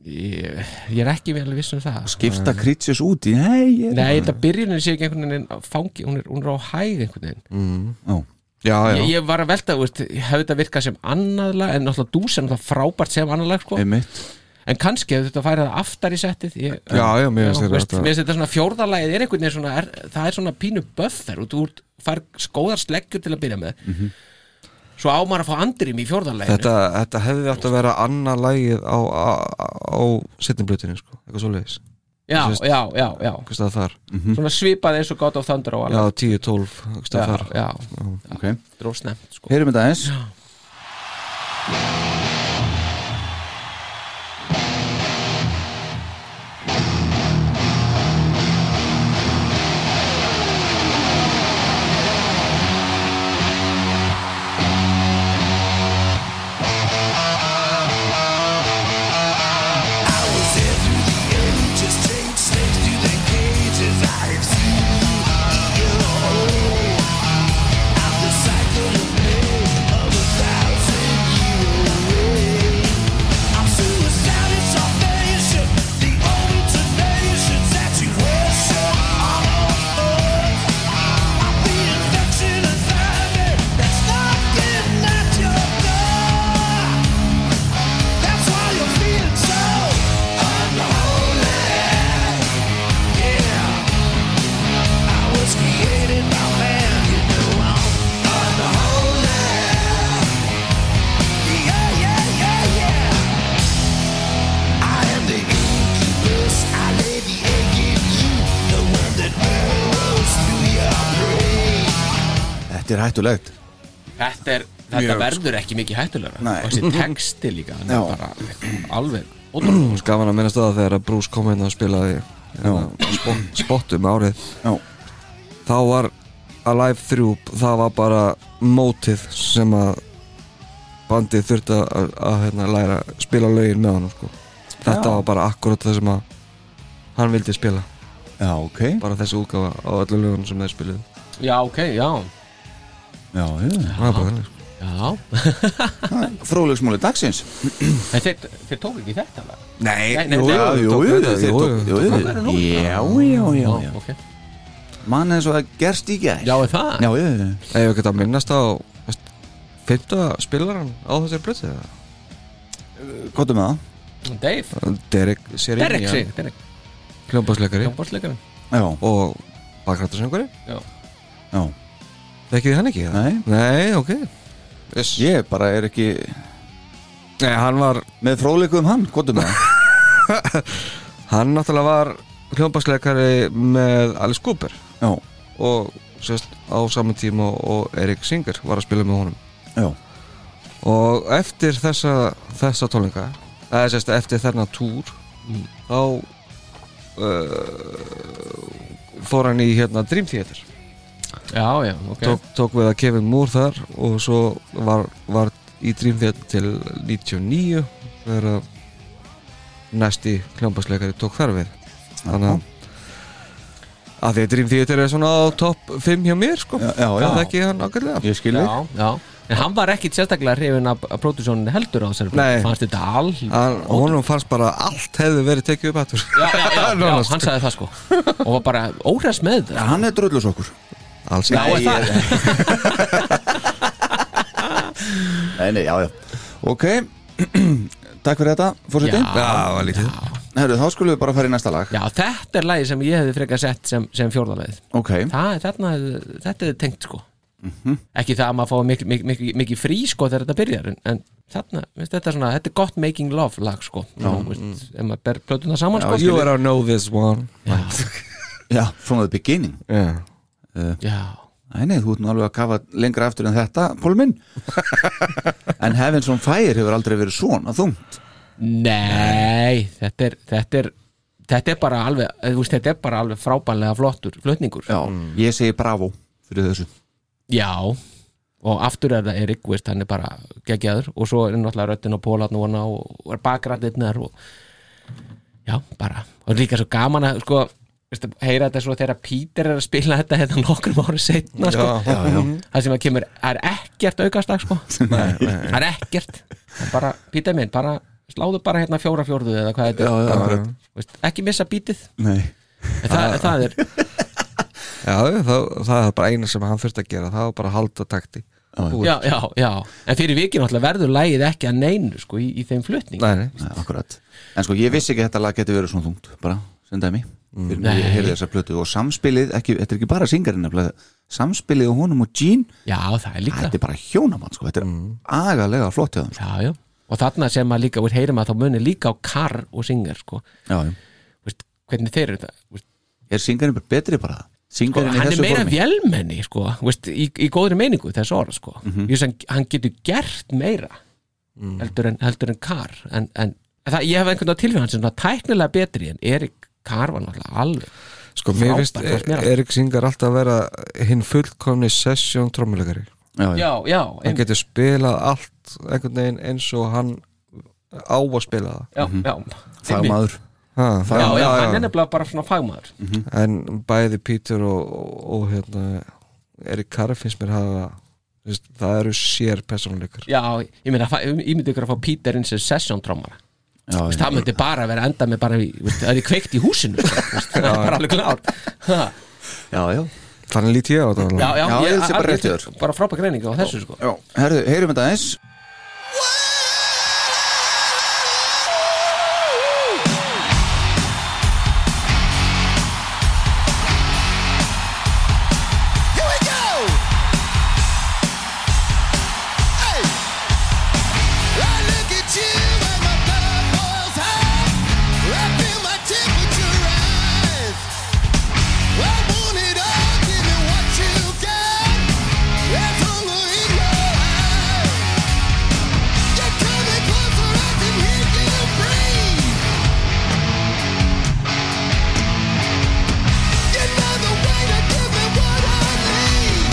S2: ég, ég er ekki vel viss um það
S1: Skipta kritsjus út í Nei, ég
S2: Nei, þetta byrjunin sé ekki einhvern veginn að fangi, hún er, hún er á hæð einhvern veginn
S1: Ó,
S3: Já, já
S2: ég, ég var að velta, þú veist, hefði þetta virkað sem annað lag, en náttúrulega dús er náttúrulega frábært sem annað lag, sko,
S1: einmitt
S2: en kannski hefði þetta færið aftar í settið ég,
S3: Já, já, mér finnst þetta
S2: veist,
S3: alltaf-
S2: mér finnst þetta svona fjórðalagið er einhvern veginn svona, er, það er svona pínu böffer og þú ert- fær skóðar sleggjur til að byrja með svo á maður að fá andrim í fjórðalaginu
S3: Mhm. Þetta, þetta hefði átt að vera annað lagið á, á, á setjum blötunni sko, eitthvað svoleiðis
S2: já,
S3: sést-
S2: já, já, já,
S3: eitthvað stað þar,
S2: svona svipað eins og God of Thunder og
S3: Mhm. já
S2: alveg
S3: 10-12 eitthvað stað
S2: já,
S3: þar
S2: já,
S1: okay.
S2: drósnefnt sko.
S1: Heyrum þetta eins
S5: That's why you're feeling so unholy. Yeah, I was created by man. You know I'm unholy. Yeah, yeah, yeah, yeah. I am the incubus. I lay the egg in you. The one that burrows through your brain.
S1: Þetta er hættulegt
S2: þetta, er, þetta verður ekki mikið hættulega
S1: Nei.
S2: og þessi texti líka hann
S1: Já.
S2: er bara alveg
S3: Þú veist gaman að minnast á það þegar að Bruce kom hérna og spilaði hérna, spot- spottum árið
S1: Já,
S3: þá var Alive 3 það var bara mótið sem að bandið þurfti að, að, að hérna, læra spila lögin með hann sko. þetta
S1: Já.
S3: var bara akkurat það sem að hann vildi spila,
S1: já ok
S3: bara þessi útgáfa á öllu lögunum sem þeir spiluðu
S2: já, ok, já,
S1: Já, já
S3: það var bara þannig sko.
S2: já.
S1: Fróðlegsmúli dagsins
S2: En þeir, þeir tók ekki þetta lag
S3: Nei,
S2: Nei, nei, jú,
S1: Já,
S3: jú,
S1: jú,
S3: tók
S1: jú,
S3: þetta,
S1: þeir
S3: jú,
S1: tók- jú,
S3: jú, tók
S1: jú. Já, já, já, já
S2: okay.
S1: Mann eins og það gerst í gær
S2: Já, er það?
S1: já, já, já.
S3: Ef ég geta að minnast á veist, Fynda spilaran á þessari blötu
S1: Kottum með það
S2: Dave,
S3: Derek Serenian
S2: Derek sig Derek,
S3: Hljómbásleikari
S2: hljómborðsleikarinn
S1: Já,
S3: Og bakrættarsöngari
S1: já
S3: Þekkið þið hann ekki? eða?
S1: Nei.
S3: Nei, ok yes.
S1: Ég bara er ekki
S3: Nei, hann var
S1: með fróðleikum um hann Kottum með það
S3: Hann náttúrulega var hljómbásleikari með Alice Cooper
S1: Já,
S3: Og sérst á saman tíma og Erik Singer var að spila með honum
S1: já,
S3: Og eftir þessa, þessa tónleika eða sérst eftir þennan túr þá uh, fór hann í hérna Dream Theater
S2: Já, já, ok
S3: tók, tók við að Kevin Moore þar og svo var, var í Dream Theater til 99 þegar að næsti hljómbasleikari tók þar við þannig að að því að Dream Theater er svona á topp 5 hjá mér sko
S1: Já, já, já.
S3: það ekki hann ágætlega
S1: Ég skil þig
S2: já, já En hann var ekkit sérstaklega hrifin af af pródúsjóninni heldur á þessari plötu.
S3: Nei.
S2: Fannst þetta
S3: (laughs)
S2: all
S3: Hann- honum fannst bara að allt hefði verið tekið upp aftur
S2: já, já, já, já,
S3: Nánast.
S2: hann sagði það sko Og var bara óhress með þetta
S1: Hann er drullus okkur
S3: alls ekki
S1: ég Nei, nei, já, já Ok, (clears throat) takk fyrir þetta, fórseti
S3: já, var lítið
S1: Herru, þá skulum við bara fara í næsta lag
S2: Já, þetta er lagi sem ég hefði frekar sett sem, sem fjórðalagið
S1: Ok,
S2: Það, þarna, þetta er tengt sko
S3: Mhm.
S2: Ekki það að maður fá mikið mik, mik, mik frí sko þegar þetta byrjar En, en þarna, veist, þetta, er svona, þetta er gott making love lag sko Ná, veist, Ef maður ber plötuna saman sko
S3: you are I know this one
S1: já, from the beginning
S3: já
S2: Já,
S1: Nei, nei, þú ert nú alveg að kafa lengra aftur en þetta, Pól minn En Heavens on Fire hefur aldrei verið svona þungt
S2: nei, þetta er, þetta er Þetta er bara alveg, eh, þú veist, þetta er bara alveg frábænlega flottur, flutningur
S1: Já, Mm. ég segi bravo fyrir þessu
S2: Já og aftur er það Erik, veist, hann er bara geggjaður og svo er náttúrulega röddin og pólatn og hana og og er bakrættinnar og já, bara og líka svo gaman að, sko veist, heyra þetta svo þegar Pítur er að spila þetta hérna nokkrum ári setna, sko
S3: Já,
S1: (laughs)
S3: já, já.
S2: það sem að kemur, það er ekkert aukastak, sko það er ekkert Það er bara, Pítur minn, bara sláðu bara hérna fjóra fjórðu eða hvað þetta er
S1: já,
S2: veist, ekki missa bítið,
S1: Nei,
S2: en það, það er
S3: já það, það er bara eina sem hann þurfti að gera það var bara að halda takti Búið.
S2: (laughs) já, já, já, en fyrir vikið náttúrulega verður lægið ekki að neinu, sko, í, í þeim flutning
S3: nei, nei.
S1: nei, akkurat En sko, ég vissi ekki að þetta lag geti verið svona þungt bara, sendaði mig fyrir mig
S2: Nei.
S1: að heyra þessa plötu og samspilið, ekki, þetta er ekki bara syngarinn nefnilega, samspilið á honum og Jean
S2: Já, það er líka
S1: þetta er bara hjónamann sko, þetta er agalega flott hjá þeim sko.
S2: já, já. Og þarna sem maður líka, við heyrum að þá muni líka á Carr og Singer sko.
S1: já, já.
S2: Vist, Hvernig þeir eru það Vist,
S1: er syngarinn bara betri bara
S2: sko,
S1: syngarinn í
S2: Hann er
S1: þessu
S2: meira
S1: formi
S2: vélmenni sko. Vist, í, í góðri meiningu þess orð sko. mm hann, hann getur gert meira heldur, en, heldur en Carr en, en það, ég hef einhvern veginn tilfæðan sem það tæknilega betri en Erik Carr var náttúrulega alveg
S3: sko mér
S2: Frábær,
S3: finnst
S2: fannst mér hann.
S3: Erik Singer alltaf að vera hinn fullkomni session trommulegari
S1: já, já.
S2: Já, já,
S3: hann
S2: einmitt.
S3: getur spilað allt einhvern veginn eins og hann á að spila það
S2: já, já, einmitt.
S1: fagmaður
S3: ha,
S2: já, já,
S3: já,
S2: hann er nefnilega bara svona fagmaður
S3: en bæði Pítur og, og, og hérna, Erik Karr finnst mér hafa þú veist, það eru sér persónuleikar
S2: Já, ég meina, fa- ég myndi ykkur að fá Peter eins og session trómara
S1: já,
S2: Veist, það myndi bara vera enda með bara í- veist, það er kveikt í húsinu sko, veist, það er bara alveg klár ha,
S1: já, já.
S3: þannig lít ég á þetta alveg.
S2: já,
S1: Já, ég held sé bara rétt hjá
S2: alveg- bara frábæk reyning á þessu sko.
S1: Já. Herðu, heyrum þetta eins
S5: Here we go! Hey! I look at you and my blood boils high. I feel my temperature rise. I want it all, give me what you got. There's hunger in your eyes. You're coming closer, I can hear you breathe. You know the way to give me what I need.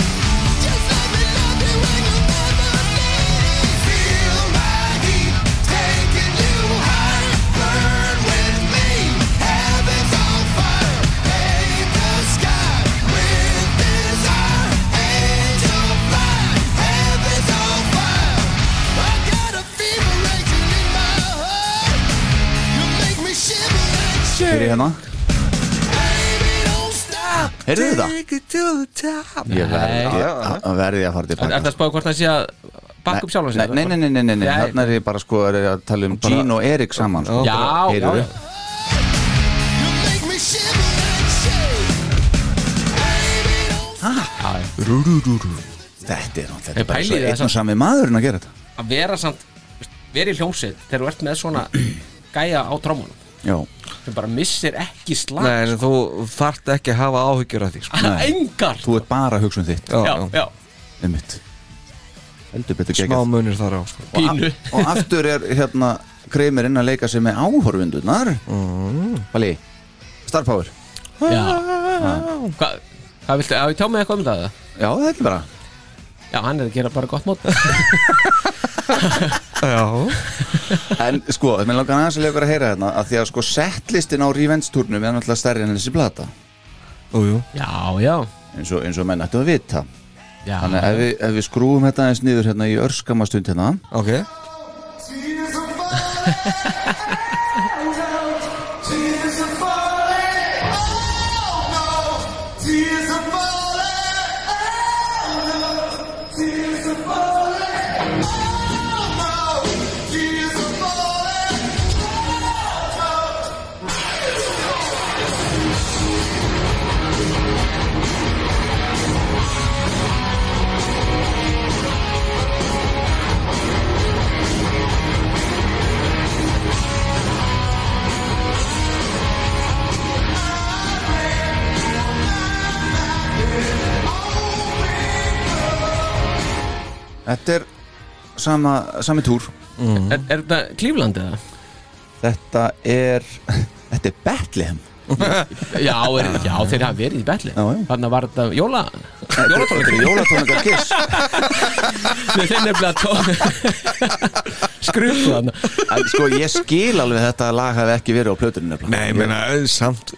S5: Just let me love you when you never leave. Feel my heat taking you higher. Burn with me, heaven's on fire. Paint the sky with desire. Angel fly, heaven's on fire. I got a fever raging in my heart. You make me shiver and shake.
S1: Heyri hérna
S5: Baby, don't stop.
S1: Heyrðu þetta?
S3: Take it to the top
S1: Ég verði,
S2: Nei.
S1: að- að verði að fara til
S2: er er
S1: baka
S2: það spáð hvort það sé að bakka upp sjálf
S1: Nei, nei, nei, nei, nei, nei.
S2: Nei.
S1: þarna er ég bara sko er ég að tala um Gene og Erik saman sko.
S2: já, já,
S1: Heyrðu.
S2: já,
S5: You make me shiver and shake. Baby, don't
S1: Þetta er náttúrulega
S2: Nei,
S1: bara
S2: pælið
S1: svo
S2: þið
S1: einn og
S2: þessa-
S1: sami maðurinn að gera þetta
S2: að vera samt veist, vera í hljómsveit þegar þú ert með svona gæja á trómunum
S1: Já,
S2: sem bara missir ekki slag
S3: Nei, en þú þarft ekki að hafa áhyggjur af því sko.
S2: engar
S1: þú ert bara að hugsa um þitt
S3: já,
S2: já,
S3: já.
S2: já,
S1: Einmitt. Heldur betur
S3: smá
S1: geggjað
S3: munir þar á sko.
S2: pínu
S1: og aftur er hérna kreimurinn að leika sig með áhorfundunar Bali, Star Power
S2: já hvað hva viltu, að ég tjá mig eitthvað um það eða?
S1: já það er ekki bara
S2: já, hann er að gera bara gott mót
S3: já,
S1: en sko, mér langar aðeins að leikur að heyra hérna að því að sko settlistin á Revenge turnum er náttúrulega stærri en þessi plata
S3: Jú, jú,
S2: (laughs) Já, já,
S1: eins og, eins og menn ættu að vita
S2: já
S1: Þannig að ef við, ef við skrúum þetta aðeins niður hérna í örskama stund hérna
S3: ok
S5: Tears are falling. Tears are falling. Oh no. Tears are falling. Oh no. Tears are falling. Oh no. Tears are falling.
S1: Þetta er sama, sami túr
S2: Er, er þetta Cleveland eða?
S1: Þetta er (laughs) Þetta er Bethlehem
S2: Já, er, já þeir hafa verið í Betli
S1: Já, já.
S2: Þannig var þetta jóla
S1: Þetta er jólatónleikar kiss
S2: Þeir þeir nefnilega tó (laughs) Skrufla þarna
S1: En sko ég skil alveg að þetta lag hafi ekki verið á plötunum nefnilega.
S3: Nei, ég meina, eh, samt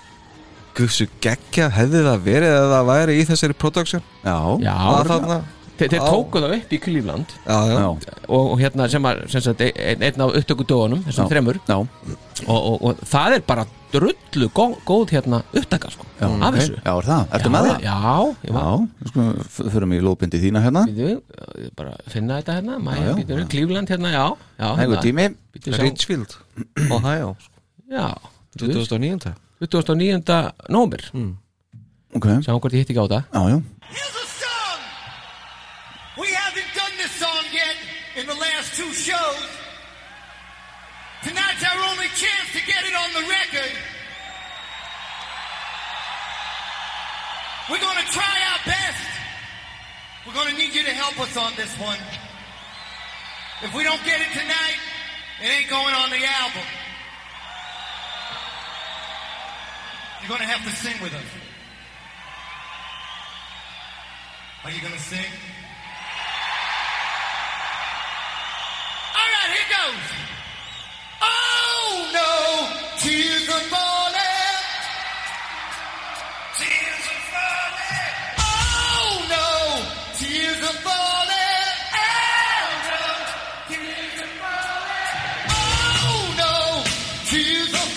S3: Gussu geggja hefði það verið að það væri í þessari production
S1: Já,
S2: Já,
S3: að þarna
S2: þeir, þeir
S3: Á.
S2: tóku það upp í Cleveland
S3: Já, já,
S1: já,
S2: og, og hérna sem var sem sagt, ein, einn af upptöku dögunum þessum
S1: Já.
S2: þremur
S1: já,
S2: og, og, og það er bara drullu góð, góð hérna upptaka sko,
S1: já,
S2: af
S1: ok.
S2: þessu
S1: já, er það, ertu með það?
S2: Já, já, ég var
S1: já sko, förum í lópindi þína hérna
S2: Býtu, ég bara finna þetta hérna
S1: Já,
S2: Maja,
S1: já.
S2: býtu, Cleveland hérna, já, já
S1: Hægur tími
S2: Býtu, sjá,
S3: Ridgefield, Ohio
S2: já
S3: 2009
S2: 29. nómur
S1: Ok, já,
S2: Sjáum hvort ég hitti ekki á það
S1: já,
S6: Here's a song. We haven't done this song yet in the last two shows. Tonight's our only chance to get it on the record. We're gonna try our best. We're gonna need you to help us on this one. If we don't get it tonight, it ain't going on the album. You're gonna have to sing with us. Are you gonna sing? All right, here goes. Oh no, tears are falling. Tears are falling. Oh no, tears are falling. Oh no, tears are falling. Oh no, tears are falling.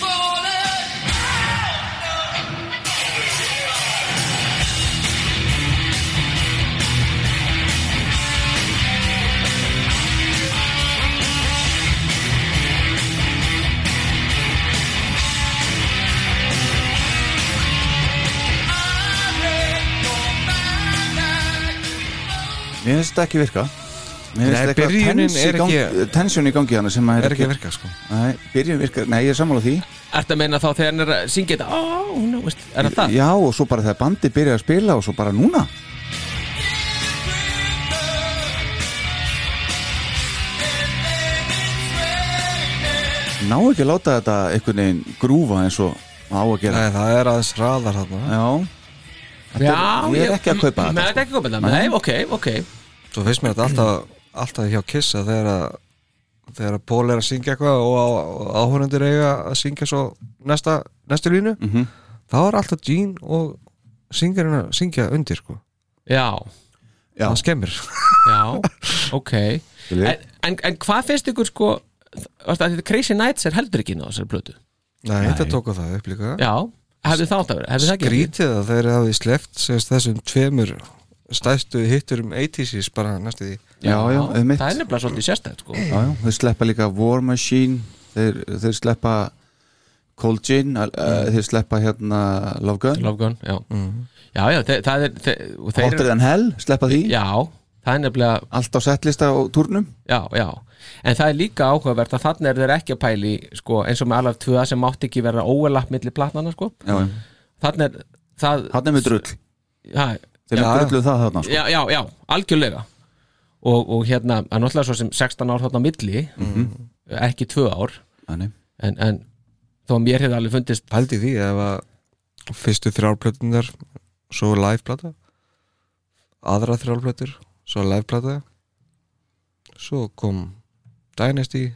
S1: Mér finnst þetta ekki virka Mér
S3: Nei,
S1: finnst eitthvað
S3: byrjunin
S1: tens í
S3: er
S1: gangi-
S3: ekki-
S1: Tensjón í gangi hana sem að
S3: Er ekki að virka, sko
S1: Nei, byrjun virkar, nei ég er sammála því
S2: Ertu að meina þá þegar hann er að syngja þetta Ó, nú, veist, er það það?
S1: Já og svo bara þegar bandi byrja að spila og svo bara núna Ná ekki að láta þetta einhvern veginn grúfa eins og á að gera
S3: Nei, það er aðeins raðar þarna
S1: Já,
S2: Já, Mm,
S1: ég er ekki að kaupa þetta,
S2: Nei,
S1: sko.
S2: þetta er ekki að kaupa þetta,
S1: Nei.
S2: nei, ok, ok
S3: Svo finnst mér þetta alltaf, alltaf hjá Kiss að þegar að þegar að Paul er að syngja eitthvað og áhörundir eiga að syngja svo næsta, næstu línu
S1: Mhm.
S3: þá er alltaf Gene og syngjarinn að syngja undir sko
S2: Já,
S1: Já.
S3: það skemmir
S2: (laughs) já, ok en, en, en hvað finnst ykkur sko varstu að þetta Crazy Nights er heldur ekki inn á þessari blötu
S3: Nei, þetta tóku það upp líka
S2: Já, hefði það átt að vera, hefði það ekki verið?
S3: Grítið að þeir hafi sleppt sérst, þessum tveimur stæstu hitturum 80's bara næstu því
S1: já, já, um mitt
S2: Það er nefnilega svolítið sérstætt sko
S1: já, já, Þeir sleppa líka War Machine Þeir, þeir sleppa Cold Gin uh, Þeir sleppa hérna Love Gun
S2: Love Gun, já Já, já, þe það er þe og þeir-
S1: Hotter Than Hell, sleppa því
S2: Já, það er nefnilega,
S1: Allt á settlista og turnum
S2: já, já En það er líka áhugavert að þannig er þeir ekki að pæli sko, eins og með alveg tvöða sem mátti ekki vera óelapp milli platnana, sko
S1: Já, já.
S2: Þannig er það
S1: Þarna er með drull
S2: það,
S1: Þeir
S3: Já,
S1: eru
S3: já.
S1: drulluð það þarna sko.
S2: já, já, já, algjörlega og, og hérna, að náttúrulega svo sem 16 ár þarna á milli
S1: Mhm.
S2: ekki tvö ár
S1: Þannig.
S2: en, en þó að mér hefði alveg fundist
S3: Pældi því ef að fyrstu þrjárplötunar svo liveplata aðra þrjárplötur svo liveplata svo kom Dynasty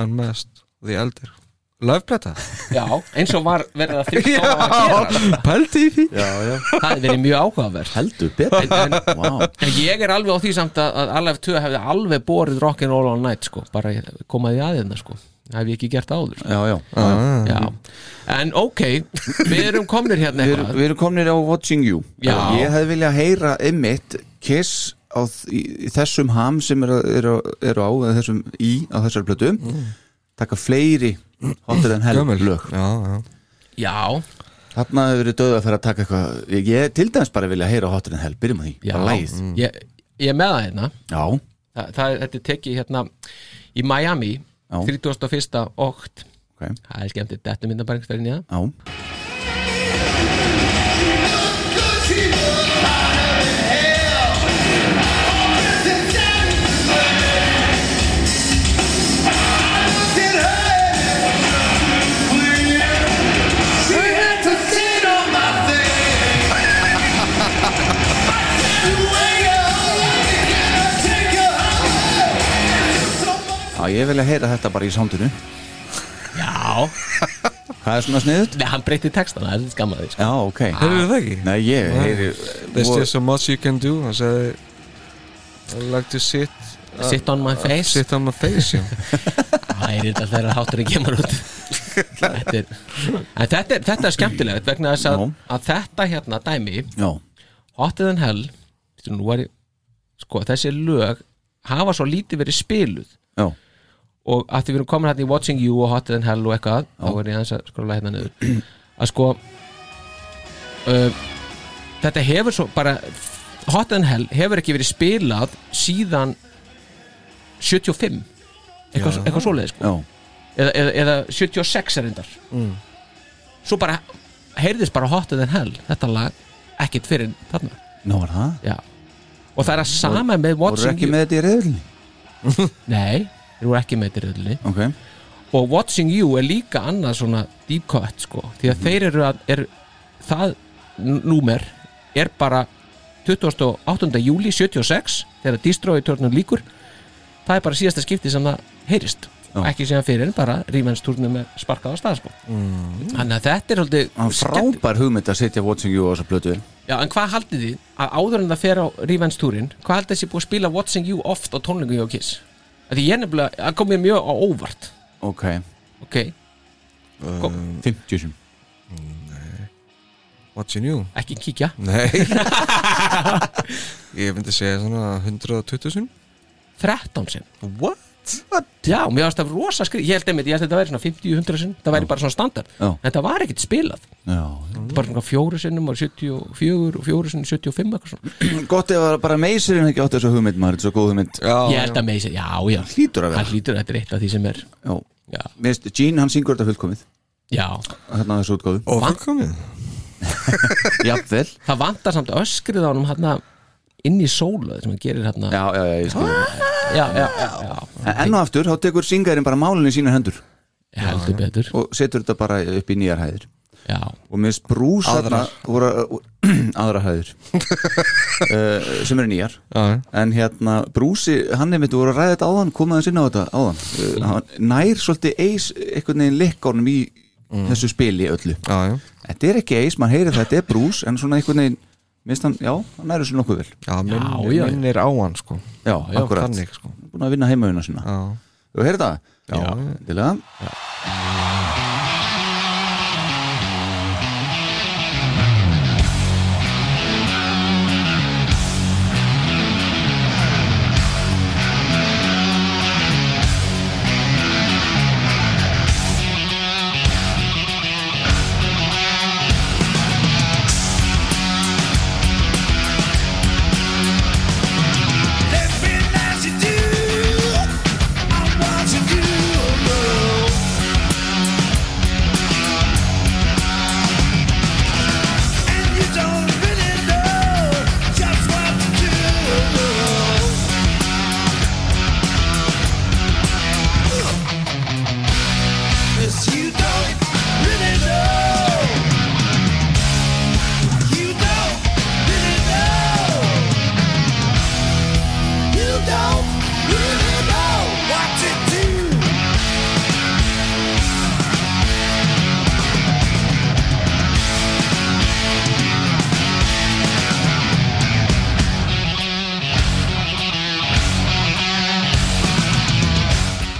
S3: Unmasked The Elder löfplata
S2: Já, eins og var verið að 15
S3: (laughs)
S2: ára að gera
S3: Já, pældi í því
S7: já, já
S2: Það hefði verið mjög áhugavert
S7: heldur
S1: (laughs)
S7: betur
S2: En-
S7: wow.
S2: En ég er alveg á því samt að, að Alive 2 hefði alveg borið Rock'n'Roll All Night sko, bara komaði aðeina sko Það hef ég ekki gert áður sko.
S1: já, já
S3: Ah,
S2: Já, en ok Við erum komnir hérna
S1: Mhm. Við erum,
S2: eitthvað
S1: við erum komnir á Watching You
S2: Já.
S1: Ég hefði viljað heyra ymmit Kiss á þ- í, í þessum ham sem eru er, er á eða þessum í á þessari plötu taka fleiri hotter en hell
S3: Gömul.
S1: lög
S3: Já, já
S2: Já,
S1: Þarna hefur verið döða að fara að taka eitthvað Ég, ég til dæmis bara vilja heyra hotter en hell byrjum á því,
S2: já Mm.
S1: bara lægið
S2: ég, ég er með það hérna
S1: Já,
S2: Þa, það, Þetta er tekið hérna í Miami
S1: Já.
S2: 31. okt
S1: ok,
S2: Það er skemmt, þetta mynda bara einhverjum í það
S1: já
S5: (laughs)
S1: Já, ég vilja heyra þetta bara í sándinu
S2: Já,
S1: Hvað er svona sniðut?
S2: Nei, hann breytti textana, það er skammaði sko.
S1: Já, ok
S3: Hefur það ekki?
S1: Nei, ég heyri
S3: There's
S1: vor-
S3: just so much you can do Það sagði I like to sit
S2: Sit on my face
S3: Sit on my face, (laughs) já
S2: Það er þetta þegar hátturinn kemur út þetta er, En þetta er, þetta er skemmtilegt vegna þess að,
S1: Já.
S2: að þetta hérna dæmi
S1: Já,
S2: Hotter than hell veistu, nú var ég, sko, þessi lög hafa svo lítið verið spiluð
S1: já,
S2: og að því við erum komin hérna í Watching You og Hotter than hell og eitthvað þá er ég aðeins að skrolla hérna niður að sko uh, þetta hefur svo bara Hotter than hell hefur ekki verið spilað síðan 75 eitthvað, eitthvað svoleiði sko
S1: já
S2: eða, eða, eða 76 er reyndar
S1: Mm.
S2: svo bara heyrðist bara hotter than hell þetta lag ekkit fyrir þarna
S1: Nú var það
S2: já. og það er að sama með
S1: Voru
S2: Watching
S1: ekki með þetta í reyðlinni?
S2: You nei, þeir voru ekki með dyröðli
S1: Ok,
S2: og Watching You er líka annað svona deep cut sko því
S1: Mhm.
S2: að þeir eru að er, það n- númer er bara 28. júli 76 þegar Destroy turnum líkur það er bara síðasta skipti sem það heyrist
S1: Já.
S2: ekki sem fyrir en bara Rímens turnum er sparkað á stað sko þannig að þetta er
S1: Mhm. hann
S2: svolítið skemmt-
S1: frábær hugmynd að setja Watching You á þessa plötu
S2: Já, en hvað haldið þið að áður en það fer á Rímens túrin hvað haldið þessi búið að spila Watching You oft á tónlingu hjá Kiss Af því ég nefnilega, það kom mér mjög á óvart
S1: Ok,
S2: ok,
S1: 50 sem
S3: Watching you
S2: ekki kíkja
S3: Nei Ég myndi segja svona 120 sinn
S2: 13 sinn
S3: What?
S2: Já, mér varst það rosa skrið, ég held einmitt, ég held að þetta væri svona 50-100 sinn, það væri bara svona standard
S1: Já.
S2: en það var ekkit spilað,
S1: Já (clears throat)
S2: bara svona fjóru sinnum og 74 og fjóru sinnum 75 eitthvað svona,
S1: Gott ef að bara meisirinn ekki átti þessu hugmynd maður, þetta er svo góð hugmynd
S3: Já,
S2: ég held að með þessi, já, já
S1: Hlýtur að vera
S2: það hlýtur þetta er eitt af því sem er
S1: Já
S2: Já,
S1: Mist, Gene, hann syngur þetta fullkomið
S2: já.
S1: Hérna á þessu útgáðu
S3: Og fullkomið
S1: Jafnvel
S2: það vantar samt öskrið á honum hérna inn í sólu sem hann gerir hérna
S1: Já, já, já, ég skil
S2: já, já, já,
S1: En enn og aftur, þá tekur syngarinn bara málinn í sína hendur
S2: já heldur betur
S1: og setur þetta bara upp í nýjar hæðir
S2: já,
S1: og mér finnst brús þarna
S3: Aðrar.
S1: voru (clears throat) aðra (laughs) hæðir uh, sem eru nýjar
S3: Já,
S1: en hérna brúsi, hann er mitt voru að ræða þetta áðan komaðan sinna á þetta áðan uh, hann nær svolítið eis einhvern veginn leikkornum í þessu spili öllu
S3: já, já
S1: þetta er ekki eis, maður heyrir þetta er brús en svona einhvern veginn, minnst hann, já, hann nær þessu nokkuð vel
S3: Já, minn,
S2: já.
S3: minn er á hann sko
S1: já,
S3: Já,
S1: akkurat,
S3: Þannig sko
S1: búin að vinna heimauna sinna
S3: Já
S1: Þú heyrðu það? Já, til að
S5: Everything that you do, I want you to know.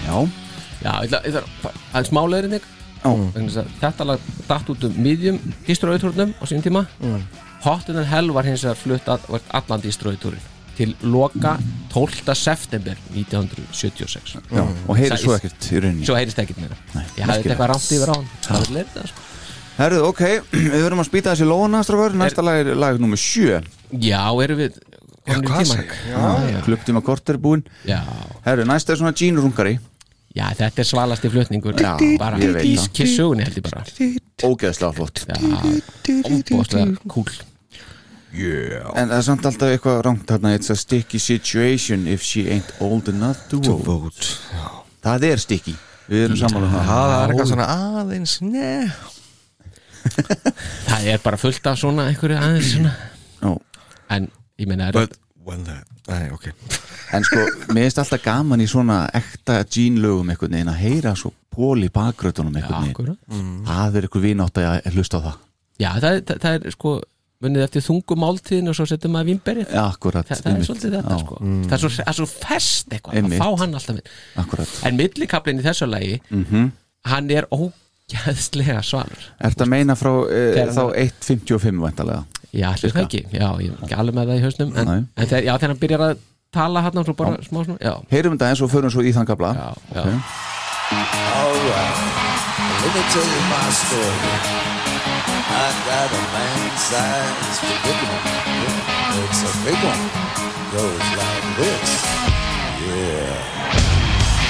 S2: Já, ég ætla, ég ætla að smá leiðurinn þig
S1: Já.
S2: Vegna þess að Þetta lag datt út um miðjum í strauðtúrnum á sínum tíma mm. Hot in the Hell var hins vegar flutt að, var allan í strauðtúrin til loka 12. september 1976
S1: Já, og heyri
S2: Mm. Sæ-
S1: svo ekkert í rauninni
S2: Svo heyrist ekkert meira
S1: Nei,
S2: Ég hafði
S1: merkilegt.
S2: eitthvað rámt yfir á hann Það er leirða sko
S1: Herruð, ok, við verum að spýta þessi lóna strafur, næsta lag er lag nummer 7
S2: Já, erum við komin
S3: hvað
S2: í tíma
S3: segir-
S2: já, já.
S1: Ah, klukktíma kort er búinn
S2: já,
S1: Herruð, næsta er svona Gene Rungari
S2: já, þetta er svalasti flutningur
S1: Já,
S2: Bara
S1: ég veit
S2: í
S1: það.
S2: kissugunni held ég bara
S1: ógeðslega flott
S2: Já, óbúðslega kúl
S1: en það er samt alltaf eitthvað rangt þarna it's a sticky situation if she ain't old enough to vote það er sticky, við
S2: Mm.
S1: erum saman um það
S3: það er eitthvað svona aðeins ne
S2: Það er bara fullt af svona einhverju aðeins svona
S1: Já.
S2: en ég meina er
S3: but when the nei ok
S1: en sko, mér finnst alltaf gaman í svona ekta Gene lögum einhvern veginn að heyra svo pól í bakgröðunum einhvern veginn
S2: akkurat.
S1: það er eitthvað vinátt að hlusta á það
S2: Mm. Já, það, það, það er sko munið eftir þungu máltíðin og svo setjum maður vimberið
S1: Ja, akkurat,
S2: það, það er
S1: einmitt.
S2: svolítið þetta
S1: Já, Mm.
S2: sko það er svo, það er svo fest eitthvað
S1: Einmitt.
S2: að fá hann alltaf við
S1: akkurat.
S2: en millikablin í þessu lagi
S1: Mhm.
S2: hann er ógæðslega svalur
S1: Ertu að meina frá e,
S2: Þegar
S1: þá
S2: hann-
S1: 1.55 vantalega
S2: Já, allir það ekki, já, ég er ekki alveg með það í hausnum en,
S1: Nei.
S2: en þegar, já, þegar hann byrjar að tala hann og svo bara smá svona, já,
S1: heyrum þetta eins og förum svo í þann gabla
S2: já, já.
S1: Ok.
S7: All right, let me tell you my story. I got a man-sized predicament. Yeah, It's a big one. Goes like this. Yeah.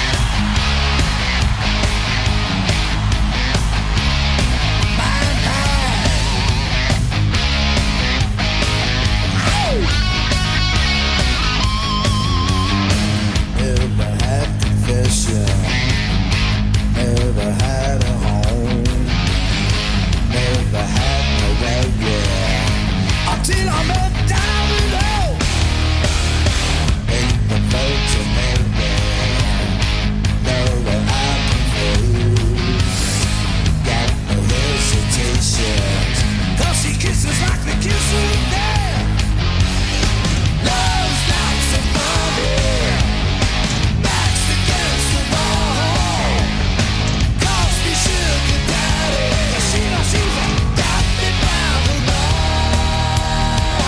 S7: Never had confession. Never had a home. Never had no regular. Until I met Down Low. Ain't the folks a member. Know that I'm confused. Got no hesitations. Cause she kisses like the kiss of death. Love's like somebody. Backs against the wall. Calls me sugar daddy. She knows she's got me by the ball.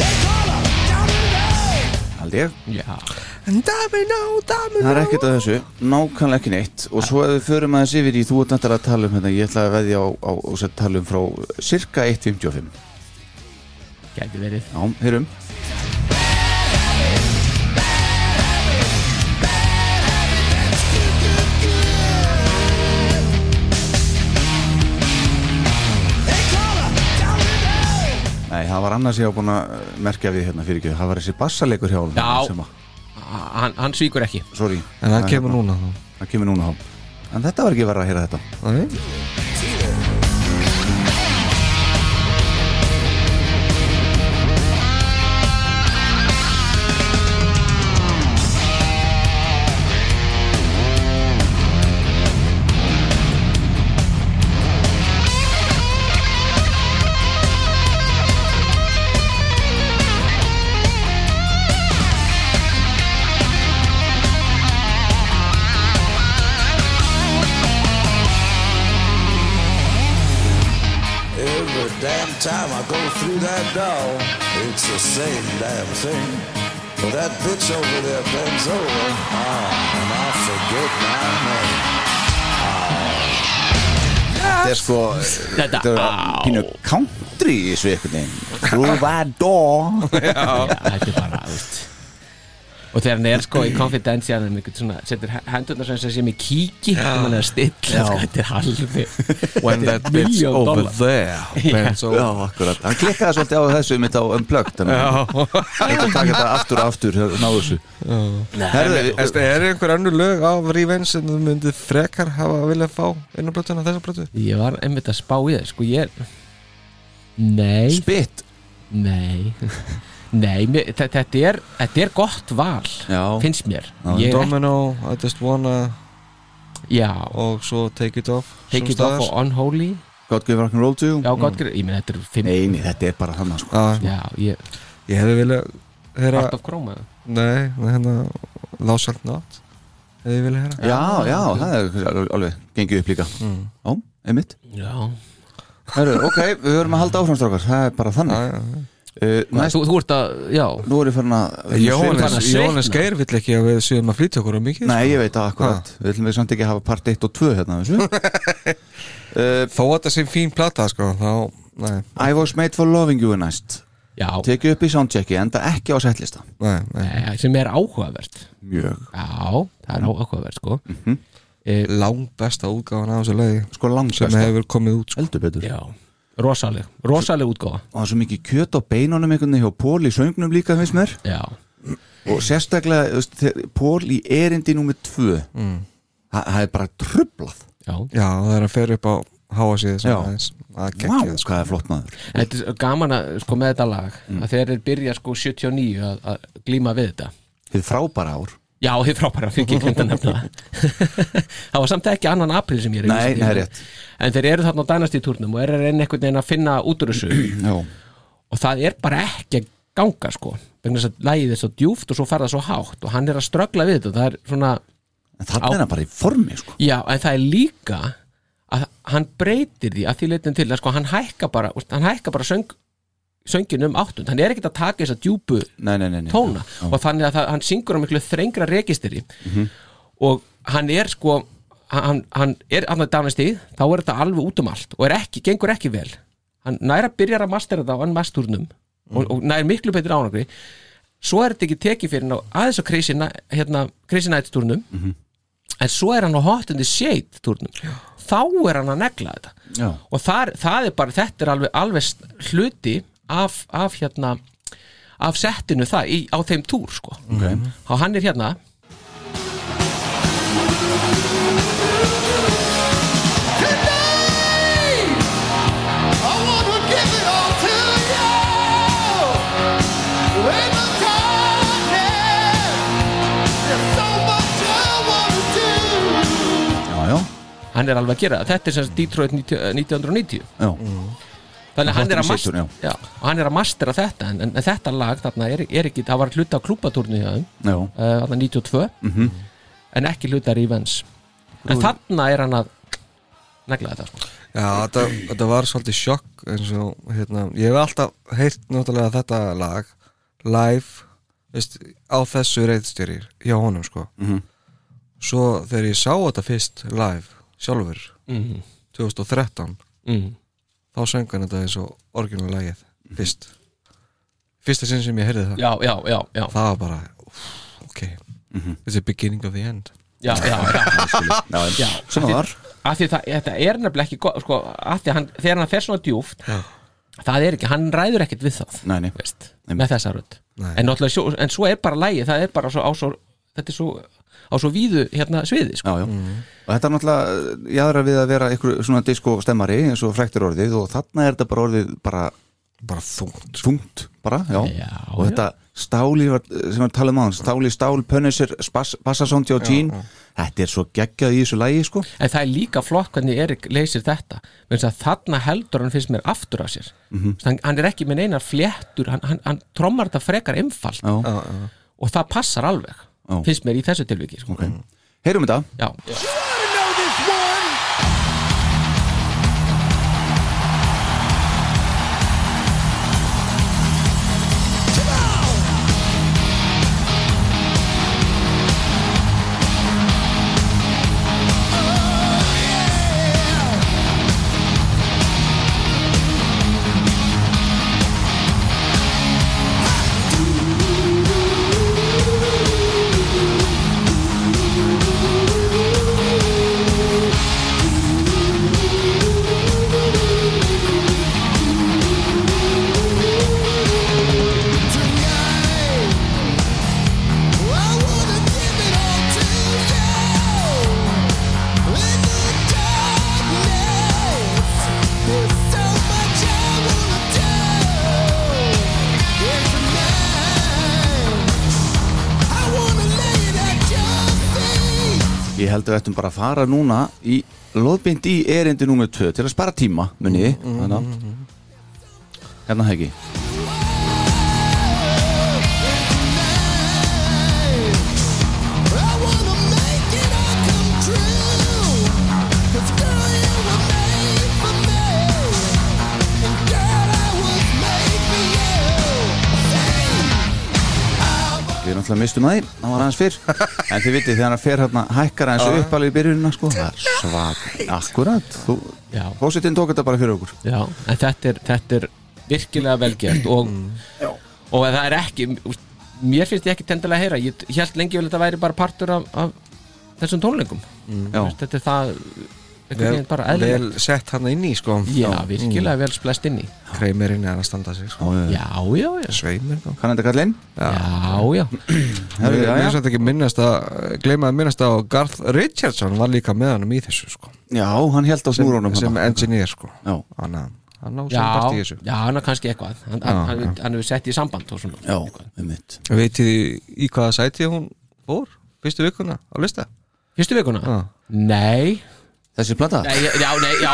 S7: They call her Domino.
S1: held ég
S2: já.
S3: Domino Domino
S1: Það er ekkert að þessu, nákvæmlega ekki neitt og svo ef við förum aðeins yfir í þú ert nættar að tala um hérna, ég ætla að veðja á, á, á að tala um frá cirka 1.55
S2: gæti verið
S1: Já, heyrum Nei, það var annars ég á búin að eh, merkja við hérna fyrir ekki, það var þessi bassalegur hjá honum
S2: Já.
S1: sem að,
S2: hann, hann svíkur ekki
S1: sorry
S3: en hann kemur núna þá
S1: Það kemur núna þá En þetta var ekki verið að heyra þetta
S3: Nei?
S7: Every damn time I go through that door, it's the same damn thing. But that bitch over there bends over, ah, and I forget my name. Ah.
S1: Þetta er sko
S2: Þetta-
S1: Þetta er
S2: á.
S1: pínu country í þessu einhvern veginn
S2: (laughs)
S1: Trúvador
S2: Já, þetta er bara þú veist. og þegar hann er sko í konfidensi hann er mikið svona, setur hendurna sem sem í kíki þegar hann er still sko, þetta er halvi
S3: when that bitch
S2: Million
S3: over
S2: dollar.
S3: there bends
S1: Já,
S3: over
S1: akkurat Hann klikkaði svolítið á þessu mitt á Unplugged Þannig að þetta taka þetta aftur og aftur Náðu þessu Herðu,
S3: Erstu, er einhver annu lög af Revenge sem þú myndið frekar hafa viljað fá inn á blötuna þessa blötu?
S2: ég var einmitt að spá í það sko ég er nei,
S1: Spitt
S2: nei (laughs) nei, mér, þe- þetta er þetta er gott val,
S1: Já.
S2: finnst mér ég er,
S3: Domino, I Just Wanna
S2: ekki- já,
S3: og svo Take It Off
S2: take
S3: sums
S2: it off
S3: staðar.
S2: og unholy
S1: God give rock'n'roll to you
S2: já, gott greið, ég meina þetta er fimm
S1: Nei, nei, þetta er bara hann sko.
S3: Já,
S2: já, ég,
S3: Ég hefði viljað heyra
S2: Heart of Chroma
S3: Nei, nei, hérna Lásalt Not eða ég vilja hérna
S1: Já, já, það er alveg- alveg gengið upp líka Já, einmitt
S2: Já,
S1: Heru, Ok, við verum að halda áfram strákar Það er bara þannig uh, næst,
S2: þú, þú ert að, já
S1: Nú er ég farin að
S2: farin að
S3: Jóhannes,
S2: svitna.
S3: Jóhannes Geir vill ekki að við séum að flýta okkur á mikið
S1: Nei, ég veit það akkurat Við ætlum við samt ekki að hafa part 1 og 2 hérna af þessu.
S3: Þó að það sé fín plata sko þá, nei,
S1: I was made for loving you er næst
S2: Já,
S1: Tekið upp í soundchecki, enda ekki á settlista
S3: nei, nei.
S2: eh, sem er áhugavert
S1: Mjög
S2: Já, það er áhugavert sko
S3: Lang besta útgáfan á þessu leiði
S1: Sko
S3: sem
S1: langbesta
S3: hefur komið út sko.
S1: Heldur betur
S2: Já, rosaleg, rosaleg útgáfa
S1: Og það er svo mikið kjöt á beinunum einhvern veginn hjá Pól í söngnum líka finnst mér
S2: Já,
S1: Og sérstaklega, þú veist, þegar- Pól í erindi númer 2 mm. Það er bara trublað
S2: já
S3: Já, það er að fer upp á háa síðu
S1: Já.
S3: Það
S1: Vá,
S3: gekkið sko.
S1: hvað er flott maður
S2: Þetta er gaman að, sko, með þetta lag að þegar þeir byrja, sko, 79 að, að glíma við þetta
S1: Þið frábæra ár
S2: Já, þið frábæra fengið glinda nefna það Það var samt ekki annan april sem ég er að
S1: Nei,
S2: vísa í.
S1: það er rétt.
S2: En þeir eru þarna á dænastítúrnum og eru að reyna einhvern veginn að finna út úr þessu
S1: (clears throat) Já,
S2: og það er bara ekki að ganga sko vegna þess að lægið er svo djúft og svo farða svo hátt og hann er að ströggla við þetta það er svona,
S1: en þarna
S2: Á-
S1: er hann bara í formi sko.
S2: já, en það er líka að hann breytir því að því leitin til að sko hann hækka bara úst, hann hækka bara söng, söngin um áttund hann er ekkert að taka þessa djúpu
S1: Nei, nei, nei, nei
S2: tóna og þannig að það, hann syngur á miklu þrengra registeri og hann er sko hann, hann er hann að dánastíð þá er þetta alveg út um allt og er ekki, gengur ekki vel hann næra byrjar að mastera þetta á enn masturnum og, og nær miklu betur ánangri svo er þetta ekki tekið fyrir hann á aðeins á Crazy Ni- hérna, Crazy Nights turnum en svo er hann á Hot in the Shade turnum þá er hann að negla þetta
S1: Já.
S2: og þar, það er bara, þetta er alveg, alveg s- hluti af, af hérna af settinu það í, á þeim túr sko. okay.
S1: Mhm.
S2: og hann er hérna
S1: Já, já,
S2: hann er alveg að gera það, þetta er sem sagt Detroit 90, eh, 1990
S1: já
S2: þannig að hann er að,
S1: Hotline
S2: mast,
S1: Satan,
S2: já, og hann er að mastera þetta en, en, en þetta lag þarna er, er ekki, það var hluta af klúpatúrnu hjá þeim
S1: Já,
S2: uh, 92 Mhm. en ekki hluta Revenge en þarna er hann að negla þetta sko.
S3: Já, þetta, þetta var svolítið sjokk eins og hérna, ég hef alltaf heyrt náttúrulega þetta lag live veist, á þessu reyðstjörir hjá honum sko
S2: Mhm.
S3: -hmm. svo þegar ég sá þetta fyrst live sjálfur
S2: Mhm.
S3: 2013
S2: mm.
S3: þá söng hann þetta eins og orginal lagið fyrst fyrsta sinn sem ég heyrði það
S2: já, já, já, já,
S3: það var bara, úff, ok
S2: Mhm.
S3: it's the beginning of the end
S2: já, já, já.
S1: já, já. Sem það var
S2: af því það, þetta er nefnilega ekki gott, sko, af því hann, þegar hann fer svona djúft það er ekki, hann ræður ekkert við það
S1: Nei, nei.
S2: veist,
S1: Nei.
S2: með þessa rödd
S3: Nei.
S2: en, náttúrulega svo, en svo er bara lægi, það er bara svo, á svo þetta er svo, á svo víðu hérna sviði, sko,
S1: Já, já Og þetta er náttúrulega jáðra við að vera ykkur svona disco stemmari eins og fræktir orðið og þarna er þetta bara orðið bara
S3: bara þungt
S1: tungt bara, já,
S2: Já,
S1: og þetta stáli var- sem við talum á hans, stáli, stál, pönnisir bassasondi og tín þetta er svo geggjað í þessu lægi sko
S2: en það er líka flott hvernig Erik leysir þetta Vegna þess að þarna heldur hann finnst mér aftur af sér
S1: Mhm.
S2: mm hann, hann er ekki með neinar fléttur hann, hann, hann trommar þetta frekar einfalt
S1: Já.
S3: já, já.
S2: og það passar alveg
S1: Já.
S2: finnst mér í þessu tilviki sko.
S1: okay. Heyrum þetta
S2: já,
S1: Ég held að við ættum bara að fara núna í loðbind í erindi númer 2 til að spara tíma, munni mm, mm, mm. Hérna hegi
S5: Tonight,
S1: náttúrulega mistum að því, hann var aðeins fyrr en þið vitið þegar hann fer hérna hækkar aðeins uh. upp alveg í byrjunina sko, það er svag akkurat, þú,
S2: Já.
S1: fósitinn tók þetta bara fyrir okkur
S2: Já, en þetta er, þetta er virkilega velgjert og, og það er ekki mér finnst ég ekki tendilega að heyra ég held lengi vel að þetta væri bara partur af, af þessum tónlengum
S1: Já.
S2: Veist, þetta er það
S3: vel,
S2: vel, bara eðlilegt
S3: vel sett hann inn í sko
S2: Já, virkilega vel splest inn í
S3: kreimirinn er að standa sig sko.
S1: Já,
S2: Já, já, já,
S3: sveimir þá
S1: kann þetta kallinn?
S2: já, já.
S3: Mér
S1: já,
S3: mér
S1: já.
S3: er samt ekki minnast að gleyma að minnast að Garth Richardson var líka með hann í þessu sko
S1: Já, hann held á
S3: sem,
S1: snúrónum
S3: sem
S1: þarna.
S3: engineer sko
S1: Já.
S3: hann, hann á sem
S2: Já,
S3: part í þessu
S2: já, hann er kannski eitthvað hann, hann, hann, hann hefur sett í samband og svona
S1: Já, um mitt
S3: veitir þið í hvaða sæti hún fór fyrstu vikuna á lista
S2: Fyrstu vikuna?
S3: Já.
S2: Nei,
S1: Þessi plata?
S2: nei, ég- já, nei, já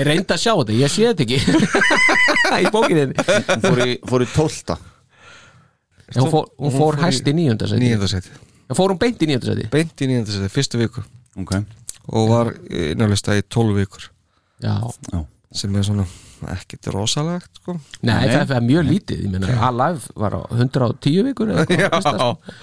S2: Ég reyndi að sjá þetta, ég sé þetta ekki Í (laughs) bókinni
S1: Hún fór í, fór í tólta
S2: Já, hún fór, hún fór hæst í nýjönda sæti
S3: nýjönda sæti
S2: Já, Fór hún beint í nýjönda sæti
S3: beint í nýjönda sæti fyrstu viku
S1: Ok,
S3: og var inn á lista í 12 vikur
S2: Já,
S3: sem er svona ekkit rosalegt sko
S2: nei, það er mjög lítið Ég meina, Alive var á 110 vikur eða hvað, fyrsta, sko.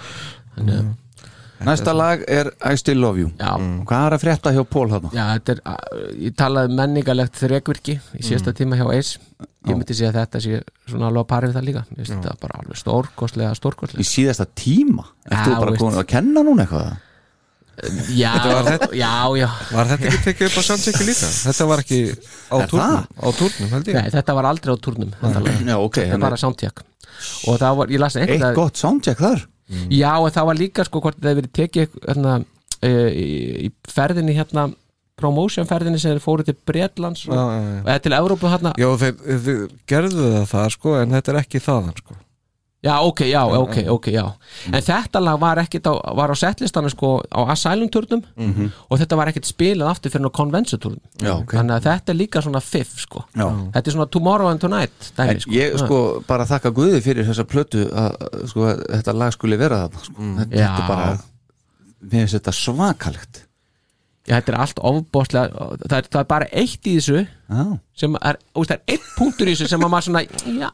S2: Þannig að-
S1: næsta lag er I Still Love You
S2: Já. Mm.
S1: Hvað er að frétta hjá Pól þarna?
S2: Já, þetta er, að- ég talaði um menningalegt þrekvirki í síðasta tíma hjá Ace Ég myndi sé að þetta sé svona alveg að pari við það líka Ég veist þetta bara alveg stórkostlega,
S1: Í
S2: stórkostlega
S1: síðasta tíma? Ertu
S2: Já,
S1: bara
S2: veist.
S1: komin að kenna núna eitthvað?
S2: (laughs) Já, já, já
S3: var þetta ekki tekið upp á samtíki líka þetta var ekki á
S1: Er það?
S3: turnum á turnum held ég
S2: Nei, þetta var aldrei á turnum Þetta lag.
S1: Já, ok,
S2: Þetta er
S1: hann
S2: bara
S1: er
S2: soundcheck Og það var, ég las
S1: eitt
S2: einhvern að-
S1: gott soundcheck þar
S2: Já, en það var líka sko hvort það hefði verið tekið hérna, e, í, í ferðinni hérna promotion ferðinni sem þeir fóru til Bretlands og,
S3: Já, já, já.
S2: og eða til Evrópu hérna
S3: já þeir, þeir gerðu það þar sko en þetta er ekki þaðan sko
S2: Já, ok, já, ok, ok, já
S1: Mm.
S2: En þetta lag var ekkit á, var á settlistana sko á Asylum turnum og þetta var ekkit spilað aftur fyrir á Convention turnum
S1: Já, Mhm. ok.
S2: Þannig að þetta er líka svona fiff sko
S1: Já.
S2: Þetta er svona Tomorrow and Tonight dæmi,
S1: En ég sko
S2: Já.
S1: bara þakka Guði fyrir þessa plötu að að, sko, að þetta lag skuli vera þarna sko. þetta,
S2: Já.
S1: þetta er bara mér finnst þetta svakalegt
S2: Já, þetta er allt ofbóðslega það, er- það er bara eitt í þessu
S1: Já,
S2: sem er, þú veist, það er eitt punktur í þessu sem að maður svona, já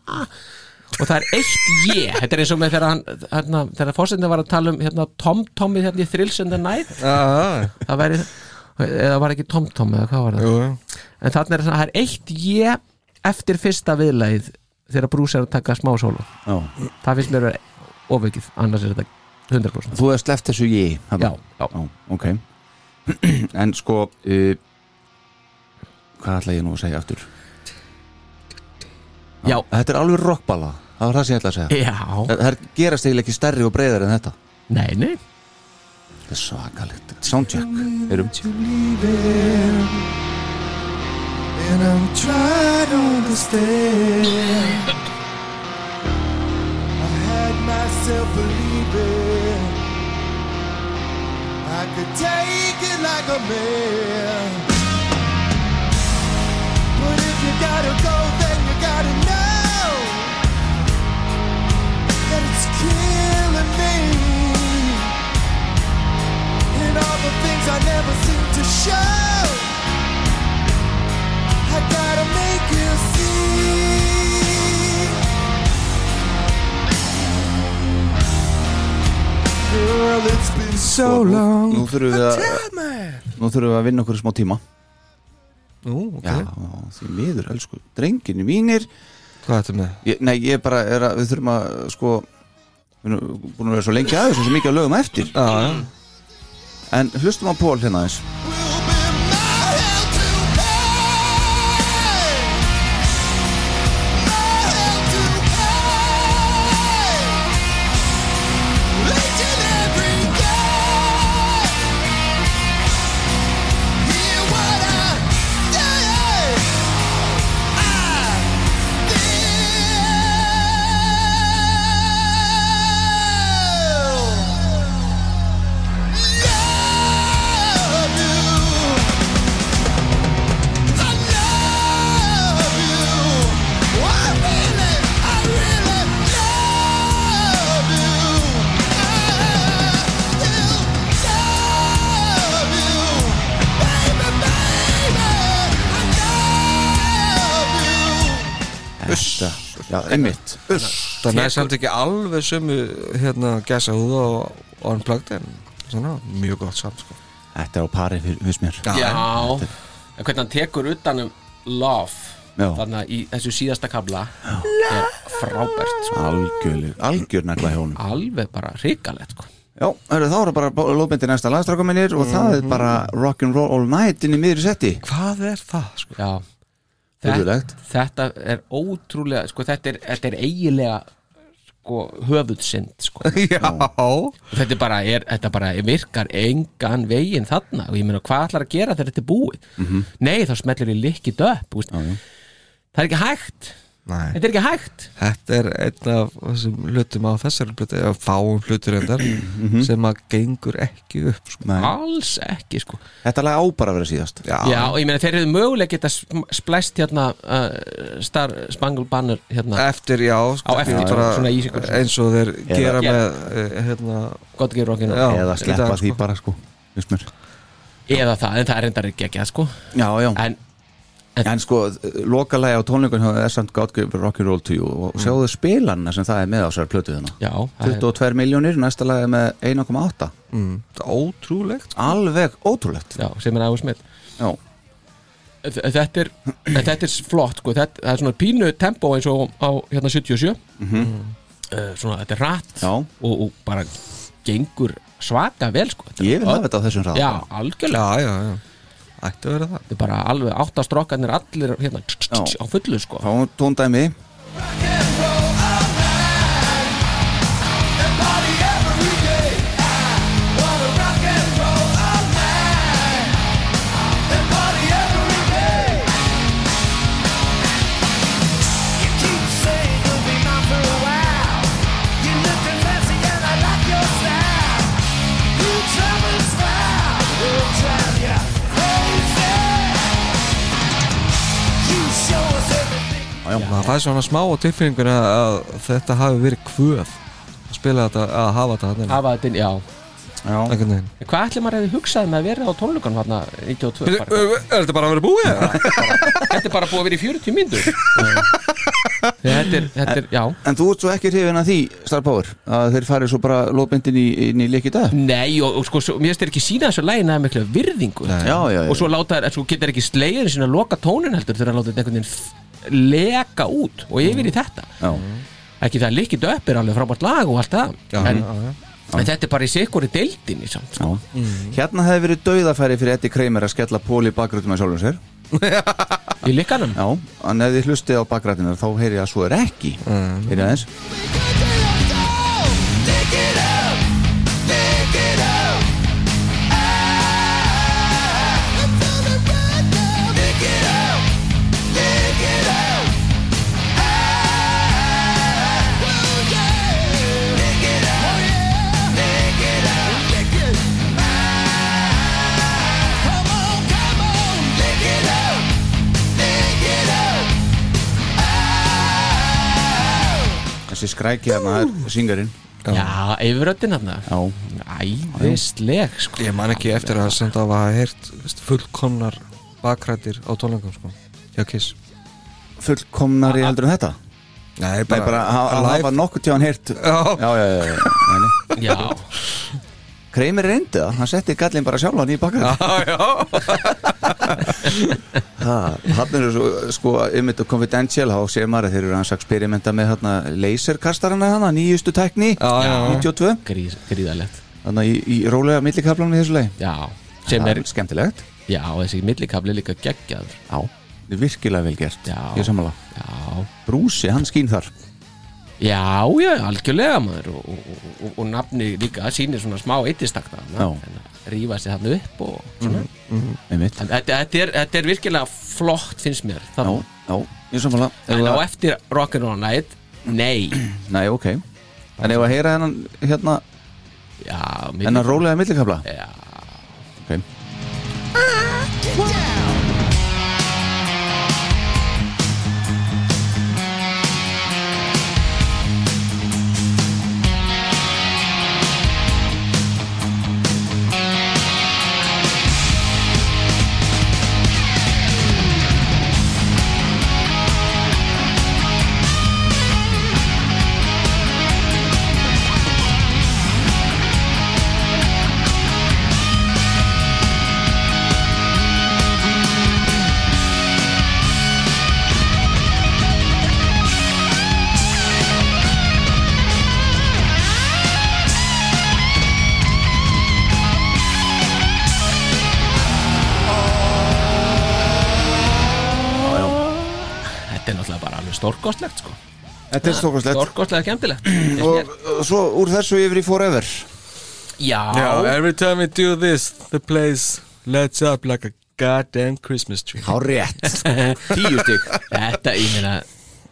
S2: og það er eitt ég, þetta er eins og með þegar hann, hérna, þegar fórsetin var að tala um hérna, Tom Tommy hérna í Thrills in the Night
S3: já,
S2: það væri, eða var ekki Tom Tom eða hvað var
S3: já,
S2: það,
S3: já
S2: en þannig er svona, það er eitt ég eftir fyrsta viðlagið þegar Bruce er að taka smá sólu
S1: já.
S2: það finnst mér að vera ofvikið annars er þetta 100%
S1: Þú hefði sleppt þessu ég
S2: já,
S1: þarna.
S2: já,
S1: já Ok (clears throat) En sko uh, Hvað ætla ég nú að segja aftur?
S2: já,
S1: Þetta er alveg rockballa Það var það sem ég ætla að segja
S2: já
S1: Það það gerast eiginlega ekki stærri og breyðar en þetta
S2: nei, nei,
S1: Þetta er svakalegt Soundcheck Erum
S5: to leave it. And I'm trying to understand. I had myself believing I could take it like a man. But if you gotta go, then you gotta know that it's killing me and all the things I never seem to show. I gotta make you see. Girl, it's been so long.
S1: Nú þurfum við að Nú þurfum við að vinna okkur í smá tíma
S3: Nú, ok.
S1: Já, því miður, elsku Drenginu mínir
S3: Hvað er þetta með?
S1: ég, Nei, ég bara er að Við þurfum að sko Við erum búin að vera svo lengi aðeins og svo mikið að lögum eftir
S3: Já, já.
S1: En hlustum á Pól hérna aðeins
S5: Will be my hell to pay. My hell to pay. Each and every day. Hear what I say. I feel.
S1: Þetta, já, einmitt Uss
S3: Þannig er samt ekki alveg sömu hérna gæsa húða og, og unplugged en svona, mjög gott samt sko.
S1: Þetta er á pari fyrir viss mér
S2: Já, en hvernig hann tekur utanum Love
S1: Já.
S2: Þannig að í þessu síðasta kabla er frábært sko.
S1: Algjörlega, algjör negla hjá honum
S2: Alveg bara hrikalegt sko.
S1: Já, heru, þá eru bara lóðbindi næsta lagstrákuminir og það er bara rock'n'roll all night inn í miður setti
S3: Hvað er það sko?
S2: Já
S1: Furðulegt.
S2: Þetta er ótrúlega sko, þetta, er, þetta er eigilega sko, höfuðsind sko.
S3: (laughs) Já,
S2: þetta er bara, er, þetta bara virkar engan veginn þarna og ég meina hvað ætlar að gera þegar þetta er búið
S1: Mhm.
S2: nei þá smellir ég likkið upp úst. það er ekki hægt
S3: Nei,
S2: þetta er ekki hægt
S3: þetta er einn af þessum hlutum á þessari hlutu eða fáum hlutur endar
S5: Mhm.
S3: sem að gengur ekki upp sko.
S1: Nei.
S2: alls ekki sko.
S1: Þetta lag á bara að vera síðast Já,
S2: já og ég meina þeir eru mögulega geta sm- splæst hérna uh, Star Spangled Banner hérna,
S3: Eftir, já,
S2: Á
S3: sko,
S2: eftir,
S3: ég bara,
S2: svona í sig hversu.
S3: eins og þeir gera
S2: Já.
S3: með eh, hérna,
S2: gott ekki rockinu
S3: Já.
S1: Eða
S3: í
S1: sleppa
S3: dag,
S1: því
S3: sko.
S1: bara sko viss mér
S2: eða það, en það er reyndar ekki ekki sko.
S1: Já, já
S2: en
S1: En sko, lokalægi á tónleikun er samt gátgjöf rock'n'roll to you og sjáðu spilanna sem það er með á sér plötu hérna. þarna
S2: já, það er-
S1: 22 miljónir, næsta lag er með 1,8
S3: mm, ótrúlegt
S1: Alveg ótrúlegt
S2: já, sem er aðeins með
S1: Já,
S2: þetta er, þetta er flott sko. þetta, það er svona pínu tempo eins og á hérna 77 mm
S1: Mhm.
S2: svona þetta er rætt
S1: Já.
S2: og, og bara gengur svaka vel sko. Þetta er-
S1: ég vil hafa þetta á þessum ráð
S2: já, algjörlega
S3: Já, já, já Ætti að vera það
S2: þetta er bara alveg áttastrokarnir allir hérna tss, tss, tss,
S1: Já.
S2: á fullu sko
S1: Fáum tóndæmi
S5: oh,
S3: Maður fæði svona smá á tilfinningur að, að þetta hafi verið kvöð að spila þetta, að hafa þetta hann
S2: hafa þetta inn, já
S1: Já,
S3: einhvern veginn
S2: En hvað ætli maður hefði hugsað með að vera á tónleikan hérna 92
S3: Bíddu,
S2: bara,
S3: ö, ö, Er þetta bara að vera búið? eða?
S2: þetta er bara búið að vera í 40 myndur þetta er, þetta er, já
S1: En þú ert svo ekki hrifin að því, Star Power að þeir farið svo bara lóðbindin í, inn í leikið dag
S2: Nei, og, og sko, svo, mér finnst þeir ekki sína þessu lægin að mikla virðingu
S1: Já, já, já.
S2: Og svo, láta, þeir- svo getur ekki slegin sinna að loka tónin heldur þegar að láta þetta einhvern veginn f- leka út og yfir í þetta
S1: Já,
S2: Ekki það líkið upp er alveg frábært lag og allt það
S3: Já,
S2: en,
S3: já, já.
S2: en þetta er bara í sikkori deildinni samt sko,
S1: já Hérna hefði verið dauðafæri fyrir Eddie Kramer að skella pól í bakgrætum að sjálfum sér
S2: Í líkanum
S1: Já, en ef þið hlustið á bakgrætinu þá heyri ég að svo er ekki Heyri aðeins Þessi skræki hérna, að maður syngarinn
S2: Já, yfirröddin hann
S1: Já,
S2: Æðisleg, sko
S3: (laughs) Ég man ekki eftir að sem það var heyrt veist, fullkomnar bakrættir á tónleikum sko. Já, Kiss
S1: fullkomnari heldur en þetta
S3: Nei,
S1: Nei, bara ha- að hafa nokkuð tján heyrt Já,
S3: Já,
S1: já,
S3: (laughs)
S1: já, já, já. Nei, nei.
S2: Já,
S1: Kramer reyndi það, hann setti gallin bara sjálfan í bakgrætinu
S3: já, já
S1: Þannig eru svo, sko, Imit og Confidential þá sé maður að þeir eru hans að experimenta með hérna, laserkastarana hana, nýjustu tækni
S3: Já, já, já.
S1: 92,
S2: grís, gríðalegt
S1: þannig í, í rólega millikaflanum í þessu leið
S2: Já, sem
S1: Það
S2: er,
S1: er skemmtilegt
S2: já, þessi millikafli er líka geggjaður
S1: Já, það er virkilega vel gert
S2: Já.
S1: Ég sammála
S2: Já,
S1: Brúsi, hann skín þar
S2: Já, já, algjörlega maður og, og, og, og, og nafni líka sýnir svona smá eittistakta
S1: Já. Mhm.
S2: rífa sig hann upp og svona
S1: Einmitt.
S2: En þetta, þetta, er, þetta er virkilega flott finnst mér
S1: Já,
S2: það,
S1: já, ég sammála
S2: En á
S1: Eða-
S2: eftir Rock'n'Roll Night
S1: (clears throat)
S2: Nei,
S1: Nei, ok En ef að heyra hennan, hérna,
S2: já mér-
S1: hennan rólega millikafla
S2: Já,
S1: okay.
S5: Get down,
S2: þetta er náttúrulega bara alveg stórkostlegt sko.
S1: Þetta er stórkostlegt
S2: Stórkostlega
S1: (clears throat)
S2: skemmtilegt finnst mér.
S1: og uh, svo úr þessu yfir í Forever
S2: Já,
S3: Já, every time we do this The place lights up like a goddamn Christmas tree
S1: Há
S2: (laughs)
S1: rétt Tíu stík
S2: þetta, ég meina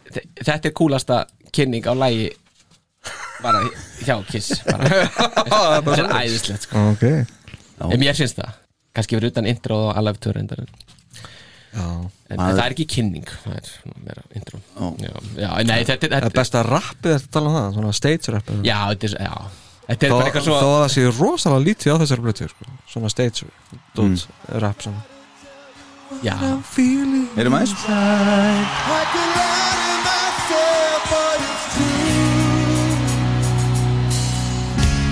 S2: þe- Þetta er kúlasta kynning á lægi bara hjá Kiss
S3: (laughs)
S2: bara. Þetta er æðislegt sko.
S3: Ok
S2: En mér finnst það kannski verið utan intro og Alive Tour endar en, en það er ekki kynning það er svona meira intro Já, já nei, þetta, er-
S3: Það
S2: þetta,
S3: besta rappið er að tala um það, svona stage rappið
S2: já, þetta er já. Þetta er
S3: Þó
S2: bara eitthvað svo
S3: þó að það sé rosalega lítið á þessari blötu sko. Svona stage dot,
S2: Mm.
S3: rap svona.
S2: Já,
S1: Erum aðeins?
S5: I could lie to myself, but it's true.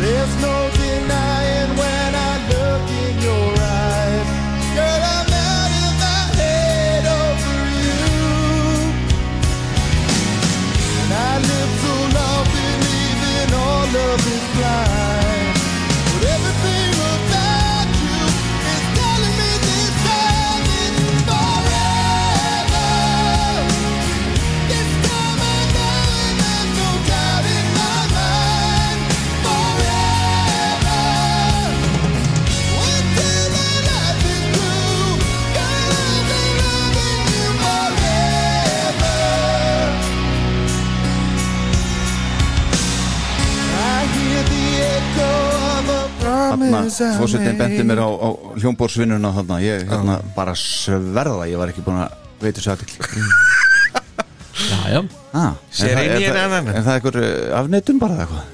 S5: There's no denying when I look in your eyes. Girl, I'm out of my head over you. And I lived so long believing all of is blind. But everything about you is telling me this time is forever. This time I know it, there's no doubt in my mind. Forever. Until the life is through, girl, I'll be loving you forever. I hear the echo of a
S1: Þarna,
S5: promise I
S1: fórsetin
S5: made.
S1: benti mér á, á hljómbórsvinnuna þarna Ég hérna, bara sverða, ég var ekki búin að veitu sér aðtikl
S2: já, já
S1: ah,
S3: Sér
S1: er það-
S3: inn í
S1: er
S3: en
S1: það-
S3: annan.
S1: Er það einhver uh, afneitun bara eða eitthvað?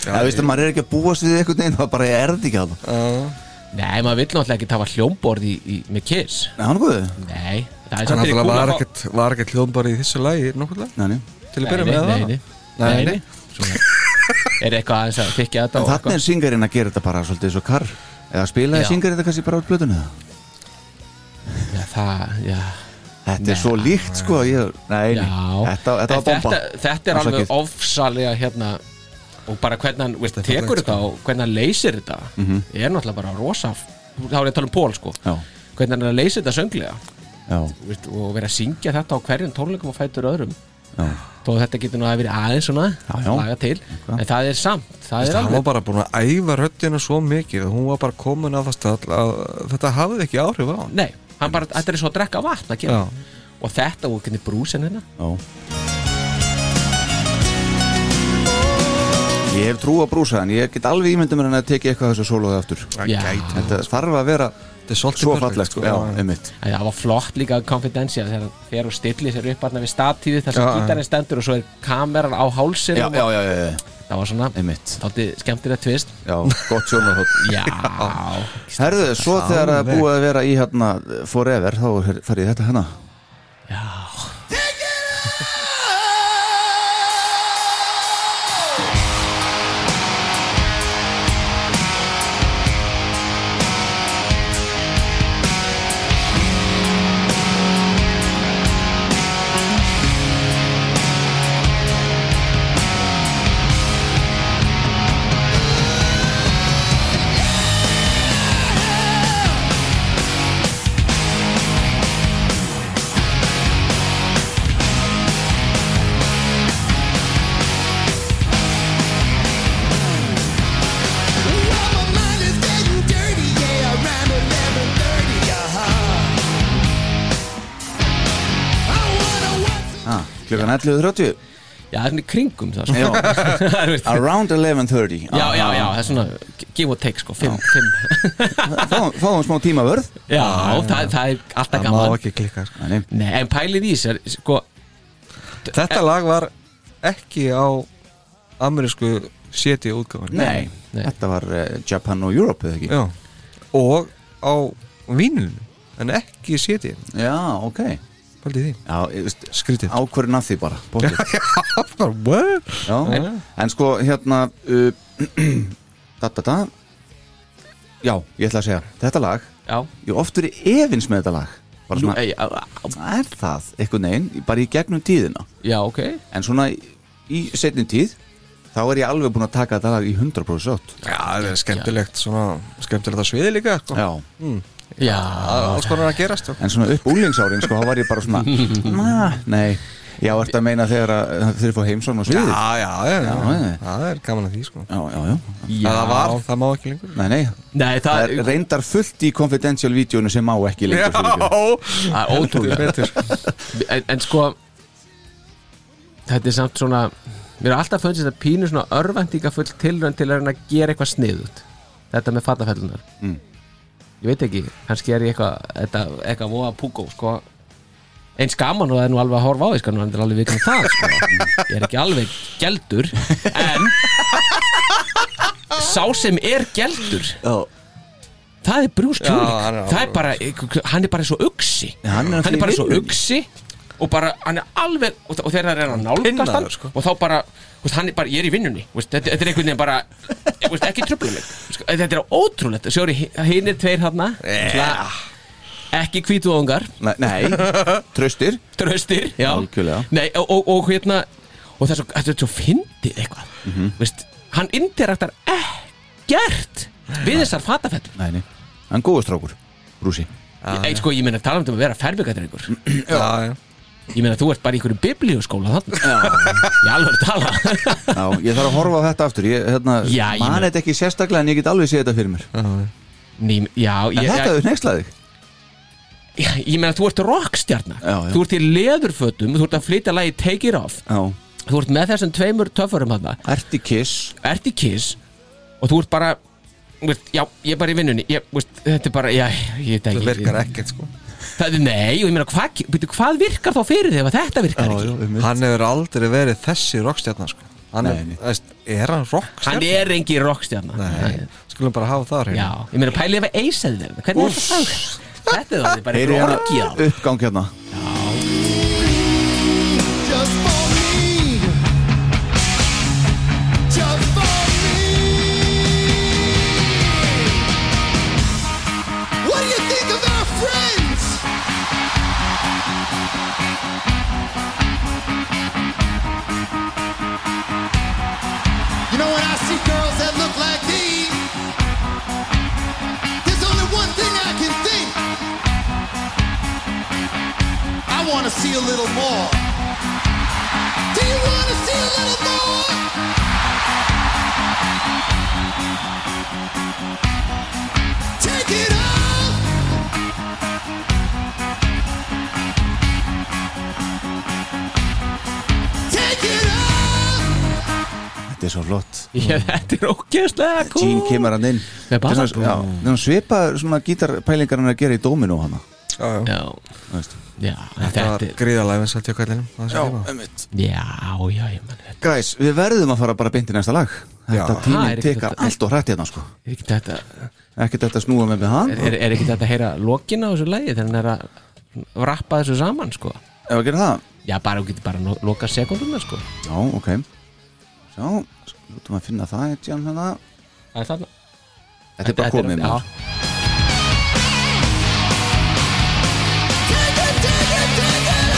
S1: Það veist að maður er ekki að búast við einhvern veginn Það bara er þetta ekki að það
S2: Nei, maður vill náttúrulega ekki tafa hljómborð í, í, með Kiss
S1: Nei, hann góði
S2: Nei, það er samt
S3: Það
S2: ekki
S3: náttúrulega
S2: kúla
S3: var
S2: að fá-
S3: ekkert, var ekkert hljóðbari í þessu lagi nokkulega
S1: Nei, nei.
S3: til að
S2: Nei,
S3: byrja
S2: nei,
S3: með
S2: nei,
S3: það
S2: nei. Nei, nei. Svona, Er eitthvað aðeins að þykja þetta
S1: En
S2: og
S1: þarna er syngarinn að gera þetta bara svolítið eins og kar Eða spilaði
S2: Já.
S1: syngarinn þetta kannski bara út blötunni það
S2: eitthvað- Já, það, já
S1: Þetta
S2: Nei.
S1: er svo líkt sko ég, nei, nei,
S2: Já.
S1: þetta, þetta
S2: En
S1: var bomba
S2: þetta, þetta er
S1: Afsakið.
S2: alveg ofsalega hérna og bara hvernig hann veist,
S3: er
S2: tekur
S3: fallegt,
S2: þetta og hvernig hann leysir þetta er náttúrulega bara rosa þá er ég að tala um Pól sko
S1: Mhm. Já.
S2: hvernig hann er að leysa þetta sönglega
S1: Já,
S2: veist, og vera að syngja þetta á hverjum tónleikum og fætur öðrum
S1: já,
S2: þó að þetta getur nú að verið aðeins svona
S1: Já, já.
S2: laga til en það er samt það er
S3: Hann var
S2: alveg
S3: bara búin að æfa röddina svo mikið og hún var bara komin að það stall að þetta hafði ekki áhrif á hann
S2: nei hann bara þetta er svo að drekka vatn að gera
S3: Já.
S2: og þetta og hvernig brúsin hérna
S1: já Ég hef trú á brúsa en ég get alveg ímyndum en að teki eitthvað af þessu sólóðu aftur
S2: Já.
S1: Þetta þarf að vera
S3: Þetta er svolítið
S1: svo
S3: perfect,
S1: fallegt sko,
S3: sko.
S1: já,
S3: Já, já.
S1: einmitt
S2: En það var flott líka konfidensi þegar hann fer og stillir sér upp hérna við statífið þar sem
S3: Já, já.
S2: gítarinn stendur og svo er kameran á hálsinn
S1: Já,
S2: og
S1: já, já, já, já,
S2: það var svona
S1: einmitt
S2: þátti skemmtilegt tvist
S1: Já, gott sjónarhótt
S2: Já,
S1: Herðu, svo þegar að
S3: Alveg.
S1: búið að vera í hérna forever, þá fer- fer ég þetta hérna
S2: já.
S5: Well, my mind is getting dirty, yeah, around 11:30, uh-huh. I wanna watch some
S1: ah, Klukkan 11.30
S2: já, það er svona í kringum það sko.
S1: Já.
S2: (laughs) Það er, veist,
S1: Around 11.30
S2: já, já, já, það er svona give and take sko, fimm, fimm.
S1: Ah, Fáum fáum smá tíma vörð
S2: Já, það, það er alltaf
S3: Það má
S2: gaman
S3: ekki klikka sko.
S1: Nei,
S2: Nei, en pælið í sér sko,
S3: Þetta lag var ekki á amerísku séti útgáðan
S1: Nei,
S2: Nei.
S1: þetta var uh, Japan og Europe eða ekki
S3: Já. og á vínun en ekki séti
S1: Já, ok
S3: Paldið því
S1: Já, ég veist,
S3: Skrítið
S1: ákvörðin af því bara pottþétt.
S3: (laughs) Bara, what?
S1: Já, en, en sko hérna uh, (clears throat) da, da, da. Já, ég ætla að segja Þetta lag,
S2: Já,
S1: ég hef oft verið efins með þetta lag Bara
S2: nú,
S1: svona,
S2: ei, á, á,
S1: er það einhvern veginn Bara í gegnum tíðina
S2: já, ok
S1: En svona í, í setnum tíð Þá er ég alveg búin að taka þetta lag í 100%
S3: Já, það er skemmtilegt svona, skemmtilegt að sviði líka sko.
S1: Já,
S2: Já,
S3: alls konar að gerast sko.
S1: en svona upp úlingsárin sko, þá var ég bara svona "Ah, nei, já, ertu að meina þegar að þeir fá heimsókn á
S3: Já,
S1: sviðið
S3: já, já, já,
S1: já.
S3: það er gaman að því sko
S1: já, já, já,
S3: Já. Það var, það má ekki lengur
S1: nei, nei
S2: Nei, það,
S1: það er reyndar fullt í confidential vídjónu sem má ekki lengur fyrir.
S2: það er ótrúlega en, en sko þetta er samt svona mér er alltaf fundið þetta pínu svona örvendingafull tilrönd til að reyna að gera eitthvað sniðut þetta með fattafellunar
S1: Mm.
S2: ég veit ekki, kannski er ég eitthvað þetta, eitthvað voða púkó sko. eins gaman og það er nú alveg að horfa á því sko, nú er þetta alveg vikna það sko. ég er ekki alveg gældur en sá sem er gældur
S1: Já.
S2: það er Bruce
S3: Já,
S2: Kulick
S3: hann er
S2: það er bara, hann er bara svo uksi
S1: Já, hann er
S2: hann
S1: náttúrulega
S2: er bara
S1: í
S2: svo
S1: vinnunni.
S2: uksi og bara, hann er alveg og, þa- og þegar það er að nálgast
S3: Pinnaður,
S2: hann
S3: sko.
S2: og þá bara, þú veist, hann er bara, ég er í vinnunni þú veist, þetta, þetta er einhvern veginn bara þú veist, ekki tröfla mig, sko, þetta er ótrúlegt sjóri, hinn er tveir hann
S1: Eh.
S2: ekki kvítuðóðungar
S1: Nei,
S2: (laughs)
S1: nei, traustir
S2: tröstir, já
S1: Algjörlega.
S2: Nei, og, og, og hérna og það er svo, þetta er svo fyndið eitthvað
S1: Mhm.
S2: veist, hann indirektar ekkert við þessar fatafett
S1: Nei, nei, hann góður strákur, brúsi
S2: Ég, sko, ég meina, tala um þetta að vera fermingadrengur
S3: Já, já
S2: Ég meina, þú ert bara í einhverju biblíuskóla þannig Ég alveg að tala
S1: Já, ég þarf að horfa á þetta aftur Ég, hérna,
S2: Já, ég
S1: man
S2: meina-
S1: þetta ekki sérstaklega en ég get alveg séð þetta fyrir mér
S2: Ný, Já,
S1: En
S2: ég,
S1: þetta
S2: ég,
S1: hefur nexlaði þig
S2: ég, ég meina, þú ert rockstjarnar
S1: Já, já.
S2: Þú ert í leðurfötum, þú ert að flytja lagi Take It Off
S1: Já,
S2: Þú ert með þessum tveimur töffurum þarna
S1: ert í kiss
S2: Ert í kiss Og þú ert bara þú veist, Já, ég er bara í vinnunni ég, veist, Þetta er bara, já, ég veit
S3: Það
S2: ekki
S3: virkar ekkert sko
S2: Það er nei, og ég meina, hvað, byrju, hvað virkar þá fyrir þig ef að þetta virkar ekki?
S3: Hann hefur aldrei verið þessi rockstjarnar sko Hann
S1: Nei, nei.
S3: er, veist, er hann
S2: Hann
S3: rockstjarnar?
S2: er engi rockstjarnar
S3: Nei, skulum bara hafa það á hreinu.
S2: Já, ég meina pælið ef að eisa þið þetta Hvernig er þetta samt? Þetta er það, bara
S1: Heyri
S2: einhver
S1: hérna
S2: orgi á
S1: uppgang hérna
S5: Just for me. Just for me. What do you think of our friends?
S4: You know, when I see girls that look like these,
S5: There's only one thing I can think.
S4: I want to see a little more.
S5: Do you want to see a little more? Take it off. Take it off.
S1: Þetta er svo flott
S2: Já, (laughs) þetta er ógeðslega cool
S1: Gene kemur hann inn
S2: Með
S1: Þetta er svona- Já,
S2: barabú.
S1: þannig svipa svona gítarpælingar hann er að gera í Domino hana
S3: já, já.
S2: Já,
S1: þú veist.
S2: já, en
S3: Það
S2: þetta
S3: var
S2: er
S3: gríðalega vinsælt hjá kallinum á þessum tíma.
S1: einmitt
S2: Já, já, ég menn Þetta
S1: Græs, við verðum að fara bara beint í næsta lag Þetta
S3: Já.
S2: Ha, er
S1: tíminn
S2: ekki
S1: tekar
S2: þetta-
S1: allt og hrætt hérna sko
S2: er ekki þetta
S1: Ekkert þetta snúa með með hann
S2: Er, er, er ekki þetta að heyra lokin á þessu lægi þegar hann er að rappa þessu saman, sko
S1: Ef að gera það
S2: Já, bara, þú getur bara no, loka sekundum, sko
S1: Já, ok Sjá, lútum að finna það eitt síðan hérna
S2: Það er þarna
S1: Þetta er bara komið
S2: Já,
S1: með
S5: Take it, take it, take it off.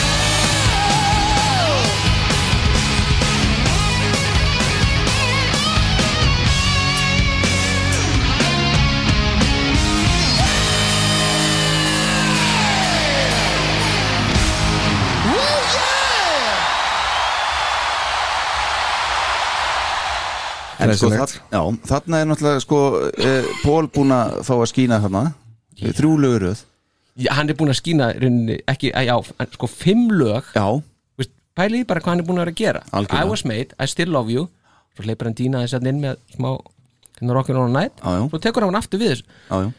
S1: En sko, það,
S3: Glæsilegt.
S1: já, þarna er náttúrulega sko eh, Pól búin að fá að skína þarna yeah. Þrjú löguröð
S2: Já, hann er búin að skína í rauninni, ekki, að, já, en sko fimm lög
S1: Já,
S2: Veist, Pæliði bara hvað hann er búin að vera að gera
S1: Algjörlega.
S2: I was made, I still love you Svo hleypur hann dýna þess að inn með smá hérna rockin' on a night
S1: Já, já.
S2: Svo tekur hann aftur við þessu
S1: já, já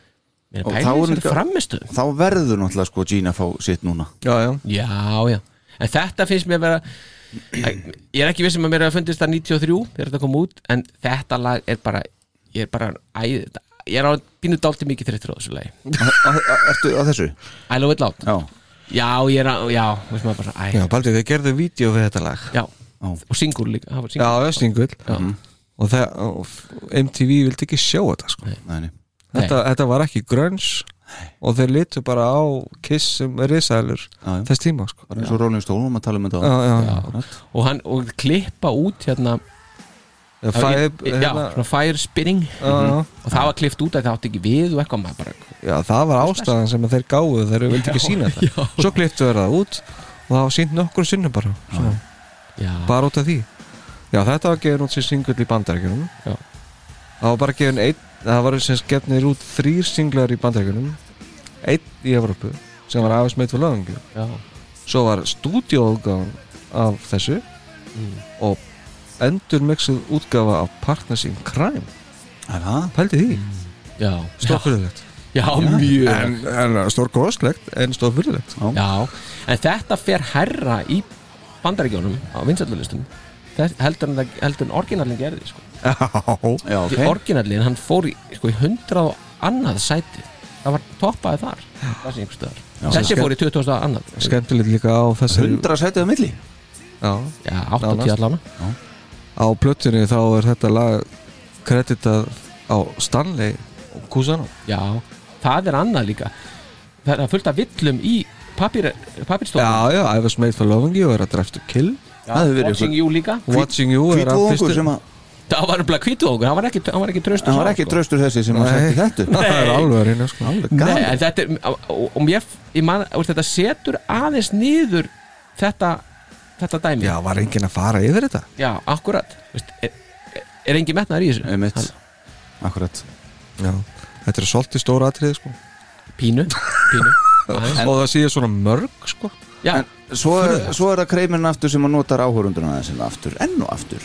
S2: Mér
S1: Og
S2: pælir
S1: þá er
S2: þess að
S1: líka-
S2: þetta framistuð
S1: Þá verður náttúrulega sko Gina að fá sitt núna
S3: Já, já,
S2: Já, já En þetta finnst mér vera Ég er ekki vissum að mér hefði fundist það 93 Þegar þetta kom út En þetta lag er bara Ég er bara æ, Ég er á bínu dálti mikið þreyttur á þessu lagi
S1: A- a- a- Ertu að þessu?
S2: I love it loud
S1: Já,
S2: Já, ég er að Já, veist maður bara
S3: já,
S2: Æ,
S3: Baldur, þið gerðu vídeo við þetta lag
S2: já,
S1: Já.
S2: Og single líka Það var
S3: Já,
S2: single
S3: já, singull Og það, og MTV vildi ekki sjá þetta sko
S1: næni
S3: þetta, þetta var ekki grunge Og þeir litu bara á Kiss sem risælur
S1: Já, já.
S3: Þess tíma sko
S1: Bara eins um og Rolling Stone, maður tala um þetta
S3: Já,
S1: áðan.
S3: já,
S2: Já.
S3: já
S2: Og hann Og klippa út hérna
S3: Fire, hérna-
S2: já, svona fire spinning
S3: já,
S2: og það var klift út að það átti ekki við og eitthvað maður bara
S3: já, það var ástæðan sem að þeir gáðu þeir vildi ekki sína þetta svo kliftu þeir það út og það var sínt nokkur sinnum bara svona,
S2: já,
S3: bara út af því já, þetta var gefin út sem singull í bandarækjunum
S2: Já.
S3: það var bara gefin einn það var sem gefnir út þrýr singlar í bandarækjunum einn í Evrópu sem var aðeins meitt fyrir löðingu
S2: já,
S3: svo var stúdíóðgáðan af þessu
S2: Mm.
S3: og endur mixuð útgáfa af Partners in Crime
S1: Er það?
S3: pældi því,
S2: já,
S3: stórfyrðilegt
S2: Mm. já, mjög
S3: en, en stórgóðslegt en stórfyrðilegt
S2: Já, en þetta fer herra í bandaríkjónum á vinsætlulistum heldur en, það- heldur en orginalin gerði sko.
S3: já,
S1: Já,
S2: okay. orginalin, hann fór í, sko, í 100 og annað sæti það var toppaði þar það sé einhvers staðar. þessi
S3: Skemmt.
S2: fór í 2000 og annað
S3: skemmtilegt líka á þessari
S1: Hundra sætið á milli
S3: já,
S2: já, 80
S3: Nánast.
S2: allan
S3: á plötunni þá er þetta lag kreditað á Stanley og Kusano
S2: já, það er annað líka það er fullt af villum í papirstofnum
S3: já, já, I was made for loving you er að dreftu kill
S1: Það hefur verið
S2: Watching You líka
S3: Watching you er að
S1: Hvítvoðungur sem að
S2: það var bara kvítu okkur, hann var ekki, hann var ekki sko. traust
S1: Það var ekki traustur þessi sem að
S3: Nei.
S1: setti þetta upp.
S3: (laughs) það er alveg að reyna sko. alveg
S2: Nei,
S1: Gaman.
S2: en þetta er, og, og mér, ég man, og þetta setur aðeins niður þetta, þetta dæmi.
S3: Já, var enginn að fara yfir þetta?
S2: Já, akkurat. Veist, er, er engin metnaður í þessu?
S1: Einmitt. Akkurat
S3: Já, þetta er svolítið stóra atriði sko
S2: Pínu, pínu. Aðeins.
S3: Og það séu svona mörg sko
S2: Já,
S1: En svo er, svo er það kreiminn aftur sem að notar áhórundurna þessin aftur, enn og aftur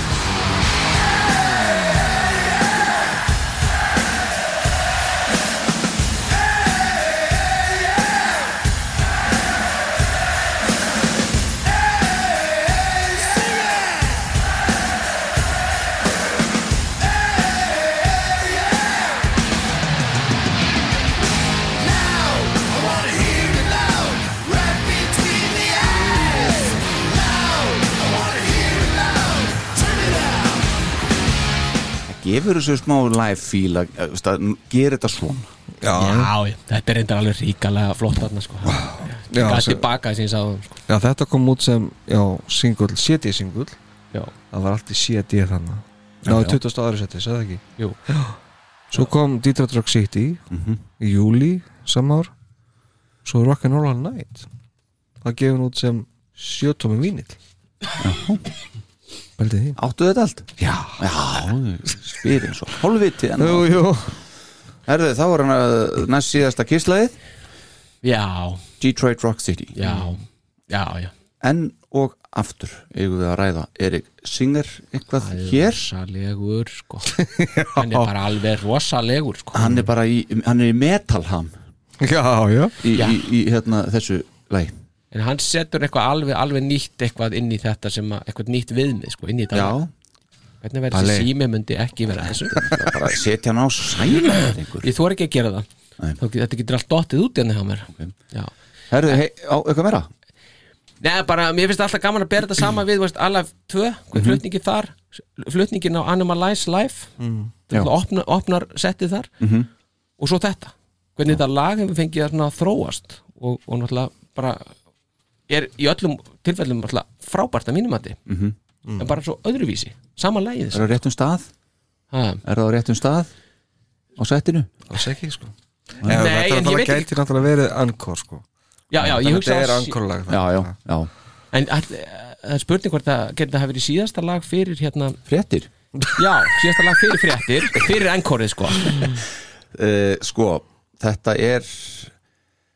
S1: Það gefur þessu smá live feel að, að, veist, að gera þetta svona
S3: Já,
S2: já, já, þetta er reyndar alveg ríkalega flott þarna, sko.
S3: Já,
S2: Já, Gat
S3: sem-
S2: tilbaka þess að ég sáðum, sko.
S3: já þetta kom út sem, já, singull, CD singull
S2: Já,
S3: Það var allt í CD þannig Ná,
S1: já.
S3: 20. ári seti, sagði það ekki
S2: jú.
S3: Svo kom Detroit Rock City í júli, samár Svo Rock'n'Roll All Night Það gefur út sem sjötómi vínill Bældið því
S1: Áttu þetta allt? Já, spyr eins og hálfviti en
S3: Jú, jú
S1: Herðu, þá var hann að næst síðasta kisslaðið
S2: Já,
S1: Detroit Rock City
S2: já, já, já.
S1: Enn og aftur eigum við að ræða Erik Singer eitthvað hér
S2: Rosalegur,
S1: (laughs)
S2: sko. Hann er bara alveg rosalegur, sko.
S1: Hann er bara í, hann er í metalham
S3: Já, já
S1: í, í, í hérna, þessu læg
S2: en hann setur eitthvað alveg, alveg nýtt eitthvað inn í þetta sem að, eitthvað nýtt viðmið sko, inn í þetta
S1: Já,
S2: hvernig verður þessi
S3: Ballet.
S2: sími myndi ekki vera þessu
S1: bara setja hann á sæla einhver.
S2: ég þor ekki að gera það
S1: Nei.
S2: Þá, get- þetta getur allt dottið út hérna hjá mér Já.
S1: Herðu, hei, á eitthvað meira?
S2: Nei, bara, mér finnst alltaf gaman að bera þetta sama við veist, Alive 2, mm flutningi þar flutningin á Animalize Life mm.
S1: Já.
S2: opnar, opnar settið þar -hmm. og svo þetta hvernig þetta lag hefur fengið að svona þróast og, og náttúrulega bara er í öllum tilfellum náttúrulega frábært að mínumati mm -hmm. en bara svo öðruvísi, sama lagið
S1: Er það á réttum stað?
S2: ha,
S1: Er það á réttum stað? Á settinu?
S3: Alls ekki, sko
S2: Nei,
S3: þetta
S2: en ég
S3: náttúrulega
S2: veit ekki-
S3: gæti náttúrulega verið ankor, sko
S2: Já, já, ég
S3: Þannig að
S2: hugsa
S3: þetta er
S2: að-
S3: ankorlag
S1: Já, já, já
S2: En all- eh, það er spurning hvort að getur það hafi verið síðasta lag fyrir hérna
S1: Fréttir?
S2: Já, síðasta lag fyrir fréttir Fyrir enkorið sko
S1: Uh, sko, þetta er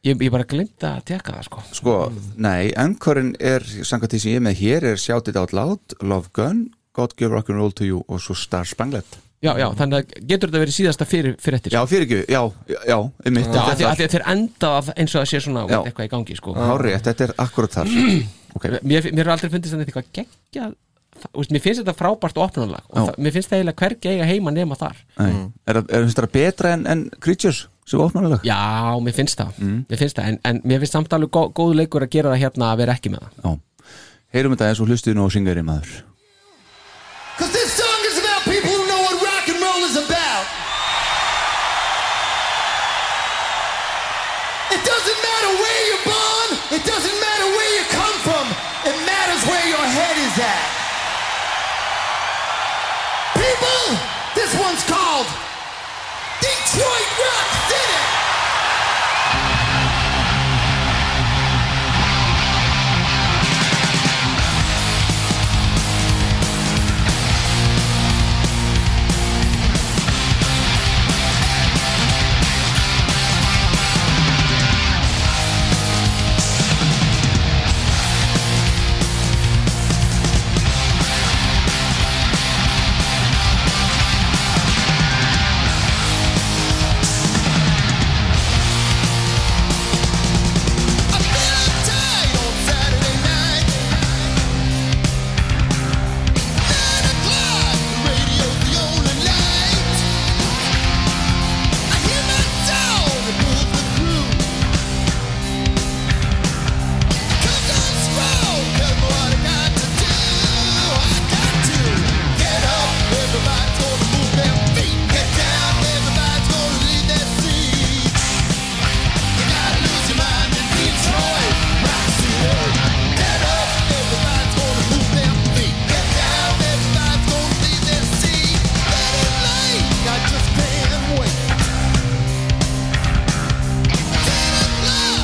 S2: Ég, ég bara glemt að teka það sko
S1: sko, nei, enkorinn er samkvæmt því sem ég er með hér er Shout It Out Loud, Love Gun God Give Rock'n'Roll To You og svo Star Spangled
S2: Já, já, þannig að getur þetta verið síðasta fyrir fréttir sko?
S1: Já, fyrir ekki, já, já, um mitt
S2: já af því, af því að þeir enda af eins og það sé svona
S1: Já.
S2: eitthvað í gangi sko
S1: Hárið, þetta er Mm. akkurat þar Ok,
S2: mér, mér er aldrei fundist þannig eitthvað geggja það, veist, Mér finnst þetta frábært opnunlag og
S1: Já.
S2: það, mér finnst það eiginlega hvergi eiga heima nema þar
S1: nei Er það- er þetta betra en, en Creatures sem opnanuleg?
S2: Já, mér finnst það,
S1: Mm.
S2: mér finnst það en, en mér finnst samt alveg gó, góð leikur að gera það hérna að vera ekki með það
S1: Já, heyrum þetta eins og hlustuðu nú á Singeri maður
S4: Because this song is about people who know what rock and roll is about. It doesn't matter where you're born, it doesn't matter where you come from, it matters where your head is at.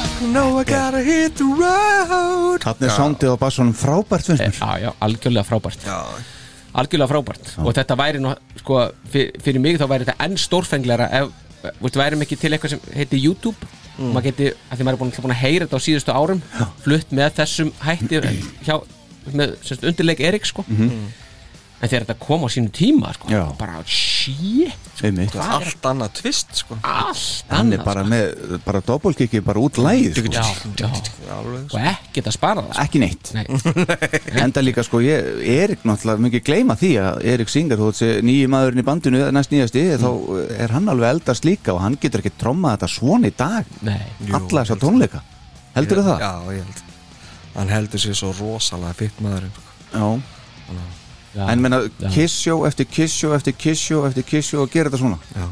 S3: hit the road
S1: Þannig er soundið á bassunum frábært finnst mér
S2: Já, já, algjörlega frábært Algjörlega frábært Og þetta væri nú, sko, fyrir, fyrir mig þá væri þetta enn stórfenglera Ef, veist, værum ekki til eitthvað sem heiti YouTube
S1: Mm.
S2: og maður geti, af því maður er búin, búin að heyra þetta á síðustu árum Flutt með þessum hætti hjá, með semst, undirleik Erik, sko En þegar þetta kom á sínu tíma, sko
S1: Mhm. Já.
S2: Bara, shit,
S1: Einmitt.
S3: Allt annað tvist sko
S2: allt
S1: Hann er
S2: annað,
S1: bara með, bara doppelkikið bara út læð
S2: sko.
S1: sko.
S2: Já, já, og ekkert að spara það,
S1: Ekki neitt
S2: sko Nei,
S1: Enda líka sko, ég, Erik náttúrulega mikið gleyma því að Erik Singer, þú veist, nýji maðurinn í bandinu næst nýjasti, þá er hann alveg eldast líka og hann getur ekki trommað þetta svona í dag
S2: nei
S1: alla þessa tónleika Heldur það?
S3: Já, ég held Hann heldur sér svo rosalega fitt maðurinn sko.
S1: Já.
S2: já,
S1: En menna,
S2: Já.
S1: kissjó eftir kissjó eftir kissjó eftir kissjó og gera þetta svona
S3: Já.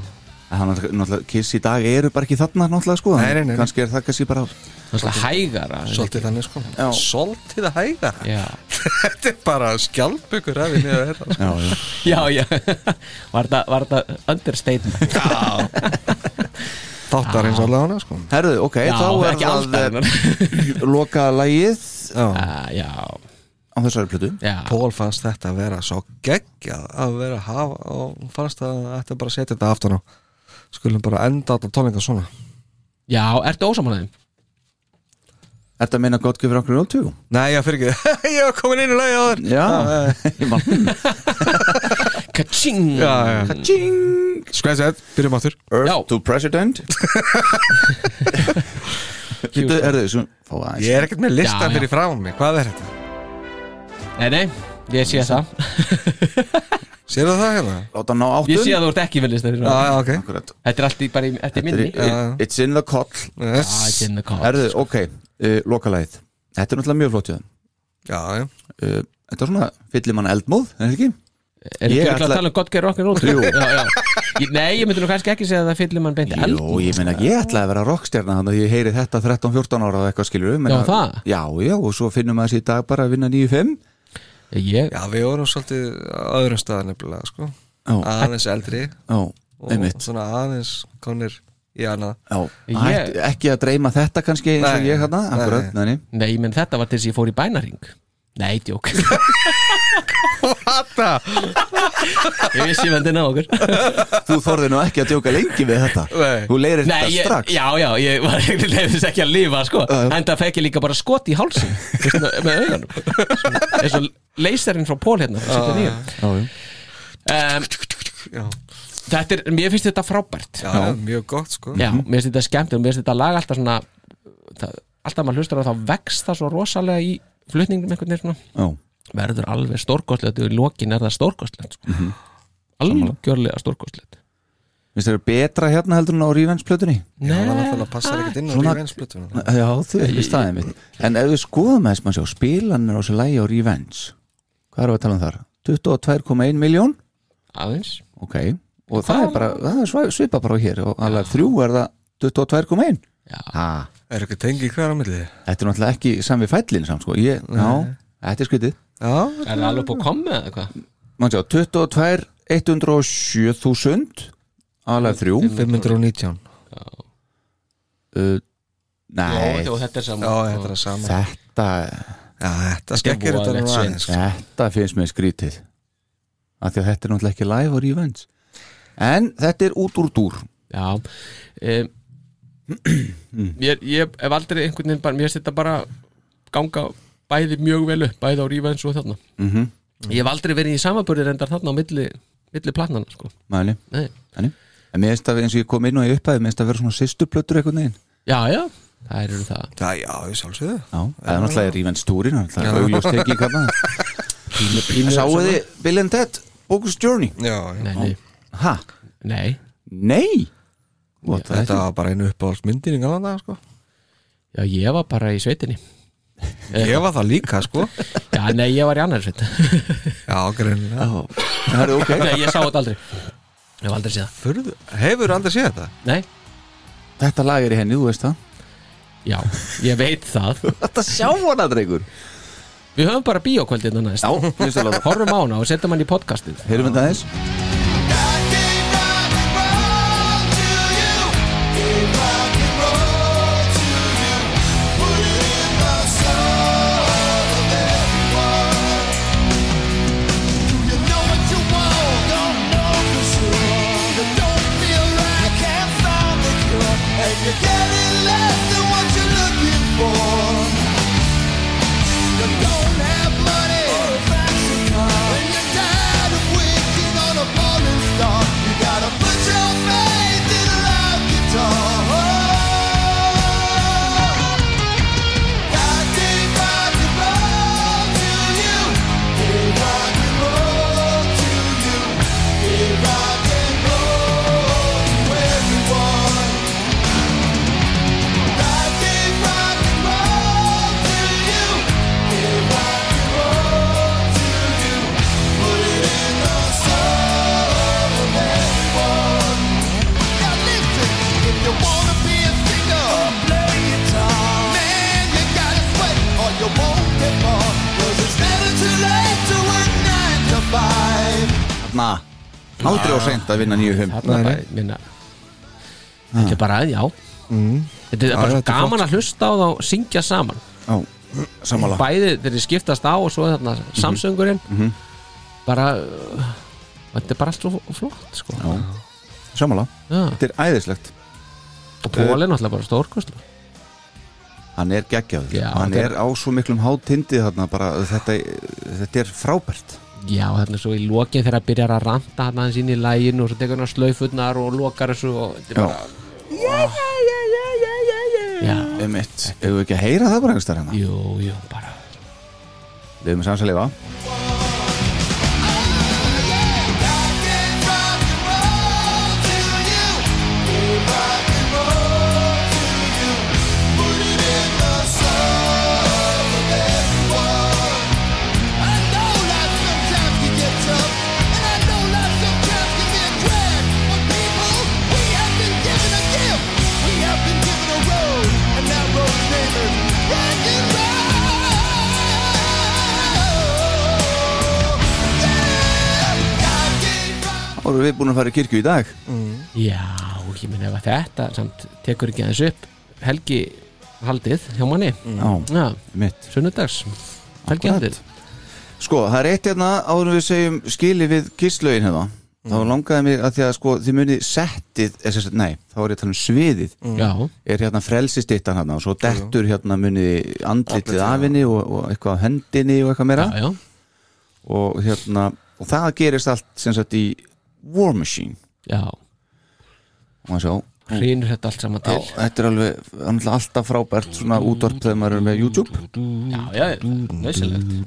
S1: En hann, náttúrulega, kiss í dag eru bara ekki þarna náttúrulega sko
S3: Nei, nei, nei.
S1: Kannski er það kannski bara
S2: Náttúrulega hægara
S3: Svolítið þannig sko
S1: Já.
S3: Svolítið að hæða
S2: Já
S3: Þetta er bara skjaldbyggur af henni að þetta sko.
S1: Já, já,
S2: Já, (laughs) já, var það, var það understatement
S3: Þáttar eins og lána sko
S1: Herðu, ok,
S2: Já, það er ekki
S1: þá er
S2: alltaf (laughs)
S1: það loka lagið
S3: Já.
S2: Já,
S1: á þessari plötu
S2: já,
S3: Pól fannst þetta að vera svo geggjað að vera að hafa og hún fannst að þetta bara að setja þetta aftan á skulum bara enda alltaf tónleika svona
S2: já, ertu ósamálaðin?
S1: Þetta meina gott gefur okkur jóltjú
S3: Nei, já, fyrir ekki, (laughs) ég var komin inn í lagi á þér
S1: Já, ég man
S2: Kaching!
S3: Já, já,
S1: Ching
S3: skræðs þetta, byrjum aftur
S1: Earth
S2: Já.
S1: to
S2: (laughs)
S1: President Þetta er þessu Fá aðeins
S3: Ég er ekkert með listan
S2: Já, já.
S3: fyrir frá mig, hvað er þetta?
S2: Nei, nei, ég sé það
S3: Sérðu það hérna?
S1: Láta hann á áttun
S2: Ég sé að þú ert ekki velist
S3: Já,
S2: Þetta
S3: já, ok
S1: Akkurat
S2: er allt í, bara í, þetta er
S1: Þetta er
S2: minni
S1: í- it- It's in the coll
S3: yes.
S2: Ah, it's in the car.
S1: Herðu, ok, uh, lokalægið Þetta er náttúrulega mjög flott í það
S3: Já, já
S1: uh, Þetta er svona fyllir mann eldmóð, er það ekki?
S2: Er
S1: ég
S2: ekki örugglega
S1: ætla-
S2: að tala um gott gerir okkur út?
S1: Jú.
S2: já, já. Ég- Nei, ég myndi nú kannski ekki segja að það fyllir mann beint í eld
S1: Jó, ég meina, ég ætlaði að vera rockstjarna þannig að ég heyri þetta 13-14 ára og eitthvað skilur um
S2: Já, það?
S1: Já, já, og svo finnum maður sér í dag bara að vinna 9-5
S2: Ég,
S3: Já, við vorum svolítið á öðrum staðar nefnilega, sko
S1: Já,
S3: Aðeins eldri
S1: já,
S3: og
S1: einmitt
S3: svona aðeins komnir í annað
S1: Já,
S2: Ég-
S1: Hætt, ekki að dreyma þetta kannski eins og
S3: Nei,
S1: ég hérna, akkurat, nei,
S2: (laughs)
S1: nei
S2: nei, menn þetta var til þess að ég fór í bænaring Nei, djók
S3: Hata!
S2: Ég vissi vendina á okkur
S1: Þú þorði nú ekki að djóka lengi við þetta
S3: Nei.
S1: Þú leirir
S2: Nei,
S1: þetta
S2: ég,
S1: strax
S2: já, já, ég var (laughs) leiðis ekki að lifa sko.
S1: Já, já.
S2: en það fekk ég líka bara skot í hálsin með augunum Svona, eins og leyserinn frá Pól hérna frá 79.
S1: Ah. já.
S2: um,
S3: Já,
S2: Þetta er, mér finnst þetta frábært
S3: já, mjög gott, sko
S1: Mhm.
S2: Já, mér finnst þetta skemmt og mér finnst þetta lag alltaf svona það, alltaf maður hlustar á það, þá vex það svo rosalega í flutningnum einhvern veginn svona.
S1: já,
S2: verður alveg stórkostlegt og í lokin er það stórkostlegt sko.
S1: Mhm.
S2: algjörlega stórkostlegt
S1: Finnst þér betra hérna heldur en á rífensplötunni?
S3: Já, það náttúrulega passar ekkert inn á
S1: Svona-
S3: rífensplutunum
S1: Já, þú veist það einmitt En ef við skoðum aðeins maður sjá spilanir á þessu lægi á Revenge Hvað erum við að tala um þar? 22,1 miljón
S2: aðeins
S1: Ok, og það er bara, það er svæ- svipað bara á hér og alveg þrjú er það 22,1
S2: Já.
S1: ha,
S3: Er ekki tengi hver á milli?
S1: Þetta er náttúrulega ekki sami fællin samt sko Ég, Já, þetta er skvitið
S3: Já,
S2: Er það alveg búið að koma eða hvað?
S1: Maður sjá, 22, 107.000 alveg þrjú
S3: 519
S1: uh, Nei,
S2: Jó, þetta er
S3: Já,
S2: saman
S3: þetta er það sama
S1: þetta
S3: Já, þetta skekkir þetta nú
S2: voðalegt
S3: aðeins sko.
S1: Þetta finnst mér skrítið af því að þetta er náttúrulega ekki live og revenge en þetta er út úr dúr
S2: Já um, (clears throat) ég, ég hef aldrei einhvern veginn bara, mér finnst þetta bara ganga bæði mjög vel upp, bæði á Rífens og þarna
S1: mm -hmm.
S2: Ég hef aldrei verið í samaburði reyndar þarna á milli, milli platnana sko.
S1: Mæli,
S2: Nei.
S1: þannig En mér finnst að eins og ég kom inn og ég upphæði mér finnst að vera svona sýstuplötur einhvern veginn
S2: Já, já, það eru það
S3: Já, já, ég sjálfsögðu
S1: Já, það er náttúrulega revenge túrin það er augljóst ekki (laughs) hvað Sáuði þið Bill and Ted Bogus Journey?
S3: Já, já
S2: Nei, nei,
S1: Ha?
S2: nei.
S1: Nei? What, það
S3: Þetta var bara einu uppáhalds myndin í galanda sko.
S2: Já, ég var bara í sveitinni
S3: Ég var það líka sko
S2: Já, nei, ég var í annar sveit (laughs)
S3: Já, greinlega
S1: Það er ok
S2: Nei, ég sá þetta aldrei Ég hef aldrei séð það
S3: Furðu, hefur aldrei séð þetta?
S2: Nei,
S1: (laughs) Þetta lag er í henni, þú veist það
S2: já, ég veit
S1: (laughs)
S2: það
S1: Þetta sjá hana, drengur
S2: Við höfum bara bíókvöldina næst
S1: Já, finnst að láta
S2: Horfum á hana og setjum hann í podcastið
S1: Heyrum þetta aðeins
S5: Rock and roll to you. Put it
S1: þarna Aldrei og seint að vinna nýju fimm
S2: Þarna
S3: Nei, nei.
S2: bara, minna Þetta er bara, já Þetta er
S3: Mm. Já,
S2: bara svo
S3: þetta er
S2: gaman að hlusta á þá syngja saman
S1: Já,
S3: Ah.
S1: samanlega
S2: Bæði þegar þið skiptast á og svo þarna
S3: Mhm.
S2: samsöngurinn Bara uh, Þetta er bara allt svo flott sko.
S1: Já. Samanlega,
S2: Já.
S1: þetta er æðislegt
S2: Og Pól er náttúrulega bara stórkost
S1: Hann er geggjaður,
S2: Já,
S1: hann
S2: þetta
S1: er
S2: er-
S1: á svo miklum hátindi þarna bara, þetta, þetta er frábært
S2: Já, þarna svo í lokin þegar að byrja að ranta hann aðeins inn í lægin og svo tekur hann að slaufurnar og lokar þessu og þetta er
S1: Já,
S2: bara, já,
S1: einmitt Ef við ekki að heyra það bara einhvers þar hérna
S2: jú, jú, bara
S1: Við erum samsælið, va? Þá erum við búin að fara í kirkju í dag
S2: Já, ég minn ef að þetta samt tekur ekki aðeins upp helgi haldið hjá manni
S1: Já,
S2: Já,
S1: Mm. einmitt
S2: sunnudags helgi haldið
S1: Sko, það er eitt hérna áður en við segjum skili við kistlögin hérna Þá langaði mér að því að sko, þið munið settið, er, sem sagt- nei, þá er ég að tala um sviðið
S2: Já,
S1: er hérna frelsistittan hérna og svo dettur hérna munið andlitið
S3: Andlitið,
S1: af
S3: já.
S1: henni og, og eitthvað af hendinni og eitthvað meira
S2: já, já,
S1: og hérna, og það gerist allt sem sagt í War Machine
S2: já
S1: Mm. og það sjá
S2: Hrýnur þetta allt saman
S1: Já,
S2: til
S1: þetta er alveg það er náttúrulega alltaf frábært svona útvarp þegar maður er með YouTube
S2: Já, já,
S1: Mm.
S2: nöðsilegt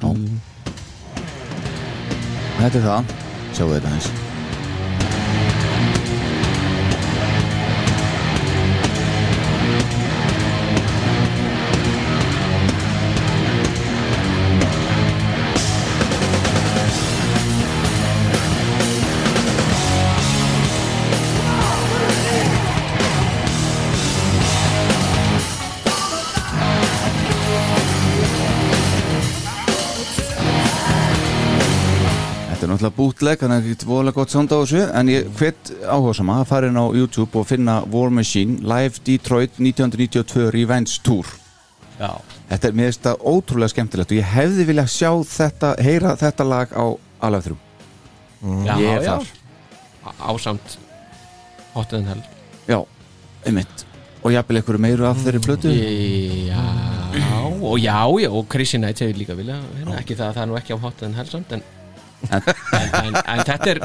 S1: Þetta er það, sjáu þetta eins Þetta er náttúrulega bútleg, þannig að það getur voðalega gott sound á þessu en ég hvet áhuga sama að fara inn á YouTube og finna War Machine Live Detroit 1992 Revenge Tour
S2: Já,
S1: Þetta er mér finnst það ótrúlega skemmtilegt og ég hefði viljað sjá þetta, heyra þetta lag á Alive 3
S2: já,
S1: Mm. Ég er
S2: já
S1: þar.
S2: Á- Ásamt Hotten held
S1: Já, einmitt og jafnvel einhverju meiru af þeirri plötu
S2: Mm, Já, og já, já og Chrissy Knight hefur líka vilja hérna, ekki það að það er nú ekki á Hotten held samt en En, en, en þetta er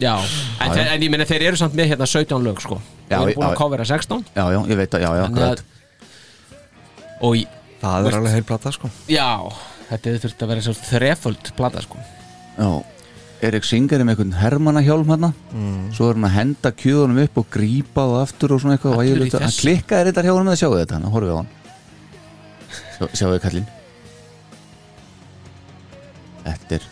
S2: já, en, þe- en ég meina þeir eru samt með hérna 17 lög sko
S1: Já,
S2: og eru búin
S1: já,
S2: að
S1: já.
S2: covera 16
S1: Já, já, ég veit að, já, já,
S2: Þannig
S1: akkurat
S2: að- og í-
S3: Það
S2: Veist-
S3: er alveg heil plata sko
S2: já, þetta hefur þurft að vera svo þreföld plata sko
S1: Já, Erik Singer er með einhvern hermannahjálm hérna svo er hann að henda kjöðunum upp og grípa og aftur og svona eitthvað og
S2: Allur í
S1: ægilegt. hann
S2: þessu.
S1: klikkaði reyndar hjá honum eða sjáu þetta hann, horfið á hann Sjá, Sjáuðu kallinn Þetta er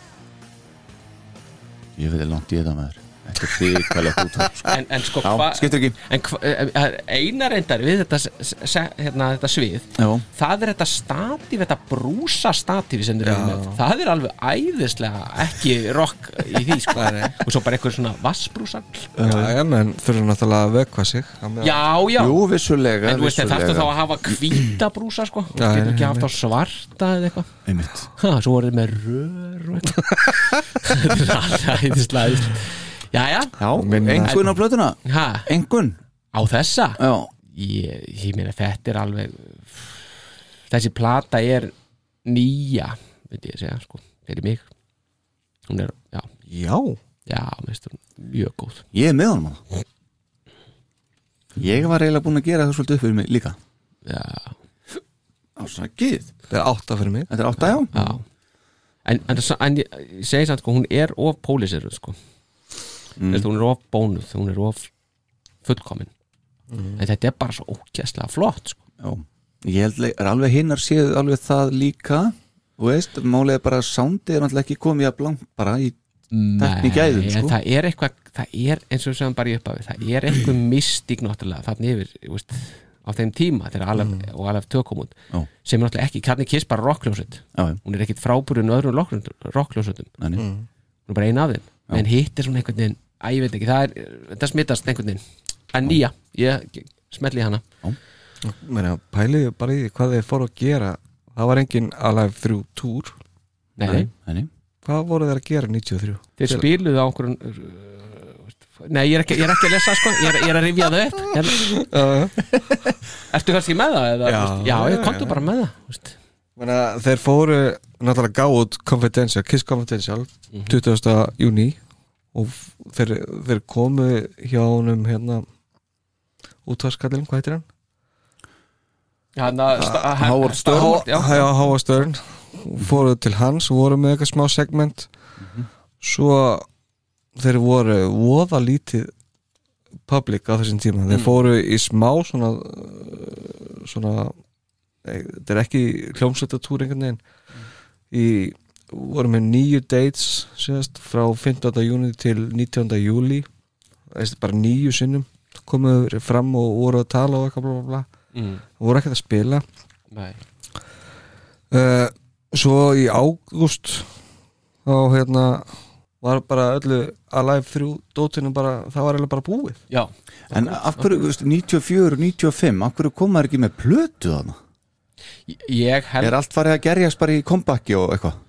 S1: ég veit að langt í þetta maður Þetta er fyrkalegt útvarp sko.
S2: en, en sko,
S1: Já,
S2: hva-
S1: skiptir ekki.
S2: en hva, eh, eh, eina reyndar við þetta, s- s- hérna, þetta svið
S1: Já,
S2: það er þetta statíf, þetta brúsa statífi sem þeir eru með, það er alveg æðislega ekki rock í því sko, og svo bara eitthvað svona vassbrúsa
S3: Já, já, menn þurfum náttúrulega að vökva sig á meðan.
S2: já, já
S1: Jú, vissulega,
S2: En þú veist, þarftu þá
S1: vissulega.
S2: að hafa hvíta brúsa sko Þú
S3: Já,
S2: getur ekki
S3: já,
S2: haft á svarta eða eitthvað
S1: Einmitt.
S2: Ha, svo voruð með rör
S1: (laughs)
S2: og (laughs) eitthvað Ræðislega Jæja,
S1: Já,
S3: minna-
S1: engun á plötuna
S2: ha,
S1: Engun,
S2: á þessa
S1: já,
S2: Ég, ég meina, þetta er alveg Þessi plata er nýja, veit ég að segja sko Fyrir mig Hún er, já,
S3: já.
S2: já, minnst hún mjög góð
S1: ég er með honum hana. Ég var eiginlega búin að gera það svolítið upp fyrir mig líka
S2: Já,
S1: Ásakið
S3: Það er átta fyrir mig
S1: Þetta er átta já
S2: já En, en, en ég, ég segi samt sko, hún er of póliseruð sko mm.
S1: mm.
S2: hún er of bónuð, hún er of fullkomin en þetta er bara svo ókjæslega flott sko.
S1: Já. Ég held le- er alveg hinnar séu alveg það líka Þú veist, málið er bara að soundið er náttúrulega ekki komið að blank bara í Tækni í gæðum,
S2: Nei,
S1: sko.
S2: en það er eitthvað, það er eins og sem bara í upphafi, það er eitthvað mystík náttúrulega þarna yfir, þú veist, á þeim tíma þegar alveg,
S1: Mm.
S2: og alveg tökum út
S1: Já.
S2: sem er náttúrulega ekki, Kjarni Kiss bara rockljóset
S1: Já, já,
S2: hún er ekkit frábúrun öðrum rockljósetum
S1: þannig
S2: hún er bara eina af þeim en hitt er svona einhvern veginn að ég veit ekki, það er, þetta smittast einhvern veginn en nýja, ég smelli í hana
S3: Meina, pæliðu bara í því hvað þeir fóru að gera það var engin alveg þrjú túr
S2: nei, nei.
S1: Henni.
S3: hvað voru þeir að gera 93?
S2: þeir spiluðu á okkur nei, ég er ekki, ég er ekki að lesa sko. ég, er, ég er að rifja þau upp Ég
S1: (laughs)
S2: er- ertu kannski með það? Eða,
S3: Já.
S2: já, veist, já, ég komdu bara með það veist.
S3: Meina, þeir fóru náttúrulega gáð út Confidential, Kiss Confidential 20. júni og f- þeir, þeir komu hjá honum hérna útvarskallin, hvað heitir hann?
S2: Hanna,
S3: Ah,
S2: sta, Howard
S3: Stern,
S2: já,
S3: já, Háa Stern fóru til hans, voru með eitthvað smá segment svo þeir voru voða lítið public á þessum tíma þeir fóru í smá svona uh, svona nei, þetta er ekki hljómsveitatúr einhvern veginn í voru með nýju dates síðast, frá 15. júni til 19. júli Þessi bara nýju sinnum komuðu þeir fram og voru að tala og eitthvað bla bla bla
S2: mm,
S3: voru ekkert að spila
S2: nei.
S3: Eh, svo í ágúst þá hérna var bara öllu Alive 3 dótinu bara, það var eiginlega bara búið
S2: já,
S1: En af hverju, þú veist, 94 og 95 af hverju koma þær ekki með plötu þarna?
S2: Ég- ég held
S1: Er allt farið að gerjast bara í kompakki og eitthvað?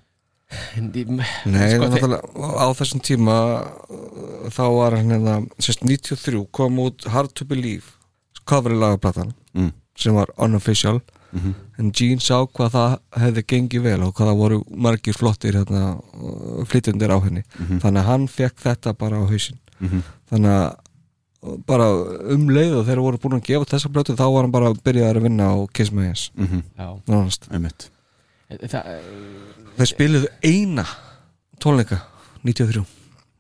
S3: Nei,
S2: (laughs) sko,
S3: sko,
S2: þeir,
S3: náttúrulega á þessum tíma eh, þá var hann hérna sérst 93 kom út Hard to Believe cover lagaplatan
S1: Mm.
S3: sem var unofficial en Gene sá hvað það hefði gengið vel og hvað það voru margir flottir hérna, eh, flytjendur á henni þannig að hann fekk þetta bara á hausinn þannig að eh, bara um leið og þeir voru búin að gefa út þessa blötu þá var hann bara að byrja að vinna á Kiss My Ass
S2: já,
S3: nánast
S1: Einmitt.
S2: það,
S3: þeir spiluðu eina tónleika 93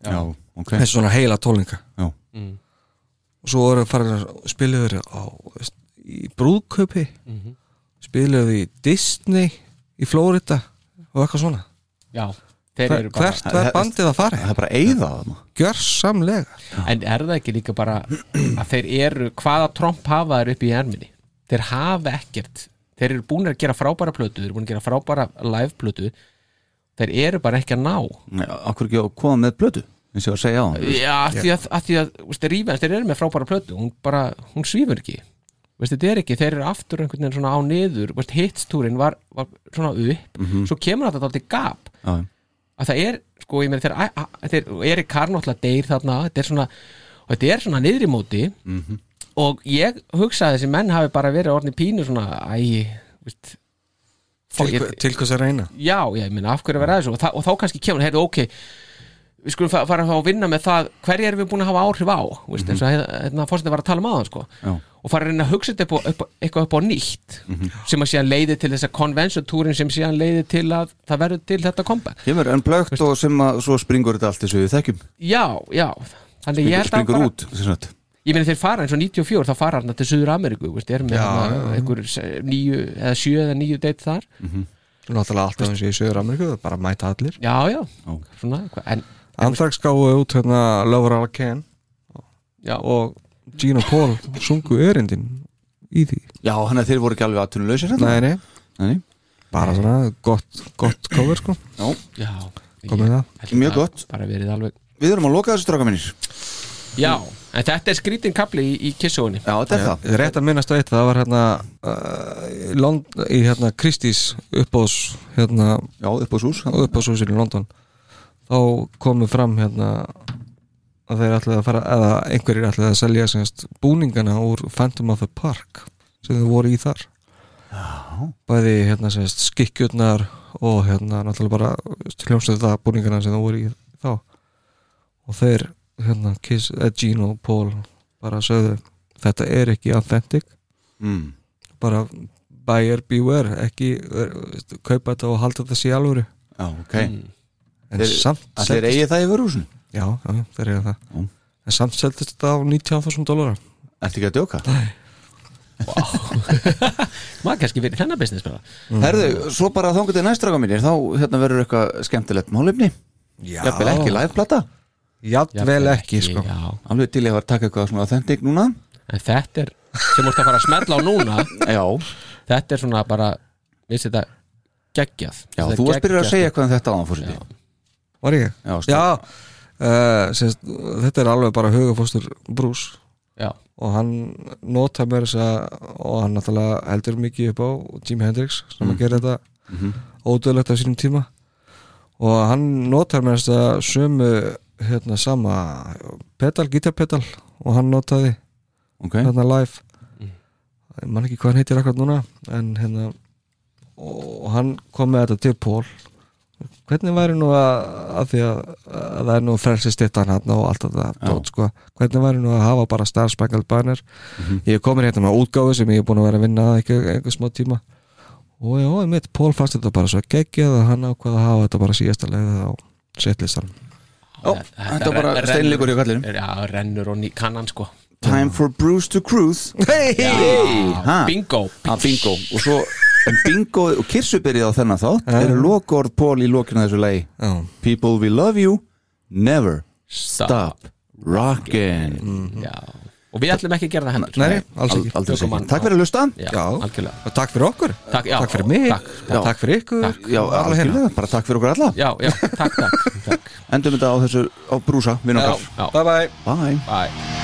S1: Já, ok
S3: þessi svona heila tólinga
S1: Já.
S2: Mm.
S3: og svo voru farin að spila þeir á, veist, í brúðkaupi mm -hmm. spilaðu í Disney í Florida og eitthvað svona
S2: já, þeir
S3: Hver,
S2: eru bara
S3: hvert var bandið að
S1: Það
S3: fara
S1: er bara eigða þarna
S3: gjörsamlega
S2: en er það ekki líka bara að þeir eru, hvaða tromp hafa þeir upp í erminni þeir hafa ekkert þeir eru búin að gera frábæra plötu þeir eru búin að gera frábæra live plötu þeir eru bara ekki að ná
S1: Nei, Af hverju ekki að koma með plötu? eins og ég var að segja á hann
S2: já, að því að, að, því að veist, rífans, þeir eru með frábæra plötu hún bara, hún svífur ekki veist, þetta er ekki, þeir eru aftur einhvern veginn svona á niður veist, hitstúrin var, var svona upp svo kemur þetta alltaf til gap
S1: Já,
S2: að það er sko, ég meina þeir, a- a- þeir Erik Karn alltaf deyr þarna þetta er svona, og þetta er svona niðri móti og ég hugsa að þessi menn hafi bara verið orðin pínu svona æ, veist fá-
S3: til,
S2: ég-
S3: til hvers að reyna
S2: já, ég meina af hverju að vera að þessu og, þa og þá kannski kemur, heyrðu, ok við skulum fa- fara þá að vinna með það hverju erum við búin að hafa áhrif á veist, eins
S1: Mhm.
S2: og hérna- hérna fórsetið var að tala um aðan sko.
S1: Já.
S2: og fara að reyna að hugsa þetta upp á, upp, á- eitthvað upp á nýtt
S1: Mhm.
S2: sem að síðan leiði til þessa konvensutúrin sem síðan leiði til að það verður til þetta comeback
S1: Kemur en blögt og sem að svo springur þetta allt þessu við þekkjum
S2: já, já þannig ég held að
S1: Springur
S2: bara,
S1: út sem sagt.
S2: ég meina þeir fara eins og 94 þá fara hann til Suður Ameríku, veist, er með
S3: Já,
S2: hana,
S3: já, já.
S2: einhver se- níu eða sjö eða níu deitt þar,
S1: Mm.
S3: náttúrulega alltaf eins og í Söður Ameríku bara mæta allir
S2: já, já svona, eitthvað, en,
S3: Andrax gáðu út hérna Lover All I Can
S2: já,
S3: og Gene og Paul sungu erindin í því
S1: Já, hann að þeir voru ekki alveg aðtunuleysir
S3: nei, nei,
S1: Nei,
S3: bara svona gott, gott cover sko
S1: já
S2: já
S3: Komið
S2: ég
S3: það.
S2: held
S1: Mjög
S2: að
S1: gott.
S2: bara verið alveg,
S1: Við erum að loka þessu stráka minnir Já,
S2: já, en þetta er skrítin kapli í, í kissugunni
S1: þetta er það
S3: Ég er rétt að minnast á eitt það var hérna uh, í Lond- í hérna Kristís uppbóðs hérna
S1: Já, upp á sús
S3: uppbóðshúsin í London þá komu fram hérna að þeir ætlaði að fara eða einhverjir ætlaði að selja semst búningana úr Phantom of the Park sem þau voru í þar bæði hérna semst skikkjurnar og hérna náttúrulega bara hljómsöðu það búningana sem þau voru í þá og þeir hérna Kiss, eh, Gene og Paul bara sögðu þetta er ekki authentic
S1: mm.
S3: bara buyer beware ekki er, veist, kaupa þetta og halda þetta sér alvöru
S1: Já, ok
S3: en
S1: Þeir-
S3: samt
S1: Það er
S3: seldist-
S1: eigið Mm. það í vörúsinu
S3: já, já, já, þeir eiga það
S1: Já.
S3: en samt seldist þetta á 19.000 dólara
S1: Ertu ekki að djóka?
S2: maður kannski verið þennan business bara
S1: Mm. Herðu, svo bara þangur til næst stráka mínir þá hérna verður eitthvað skemmtilegt málefni
S3: já,
S1: Jafnvel ekki liveplata
S3: jafnvel ekki sko.
S2: já.
S1: Alveg til ég var að taka eitthvað svona authentic núna
S2: en þetta er, sem múst að fara að smerla á núna
S1: Já,
S2: þetta er svona bara, minnst þetta geggjað
S1: já
S2: Þetta er
S1: þú varst byrjað að
S2: geggjað, sko.
S1: segja eitthvað um þetta áðan fórseti
S3: var ég?
S1: Já, stráka.
S3: já, uh, semst, þetta er alveg bara hugafóstur brús
S2: já,
S3: og hann nota mér þess að og hann náttúrulega heldur mikið upp á Jimi Hendrix sem að gera þetta mm ódöðlegt á sínum tíma og hann notar mér þess að sömu hérna sama pedal, gítarpedal og hann notaði
S1: ok,
S3: hérna live ég man ekki hvað hann heitir akkurat núna en hérna og, og hann kom með þetta til Pól hvernig væri nú að, að því að, að það er nú frelsistittan hann og allt þetta dót, sko. hvernig væri nú að hafa bara Star Spangled Banner ég er komin hérna með útgáfu sem ég er búin að vera að vinna að einhver, einhver smá tíma og já, mitt Pól fannst þetta bara svo geggjað að hann ákvað að hafa þetta bara síðasta leiðið á setlistan
S1: Ó, þetta var bara
S2: rennur-
S1: steinleikur hjá kallinum
S2: já, rennur og ný kannan sko
S1: Time for Bruce to cruise
S2: hey,
S1: ha.
S2: bingo
S1: Ah, bingo og svo en bingo og kirsubyrið á þennan þátt eru lokaord pól í lokinu af þessu lei
S3: Já.
S1: People we love you never
S2: Stop. Mm.
S1: stop rockin
S2: já. og við ætlum ekki að gera það hendur
S3: Nei, alls ekki
S1: aldrei
S2: Tökum
S1: segir
S2: hann.
S1: Takk fyrir að hlusta
S2: já,
S3: Já.
S2: algjörlega
S3: og takk fyrir okkur,
S2: Takk, já.
S3: fyrir mig
S2: Takk.
S3: takk, fyrir ykkur
S1: Já,
S3: Alla hérna.
S1: algjörlega, bara takk fyrir okkur alla
S2: já,
S1: (laughs)
S2: já, takk, takk, takk.
S1: Endum þetta á þessu, á brúsa, vinn
S2: Já,
S1: okkar
S2: já,
S3: bye bye
S1: Bye
S2: bye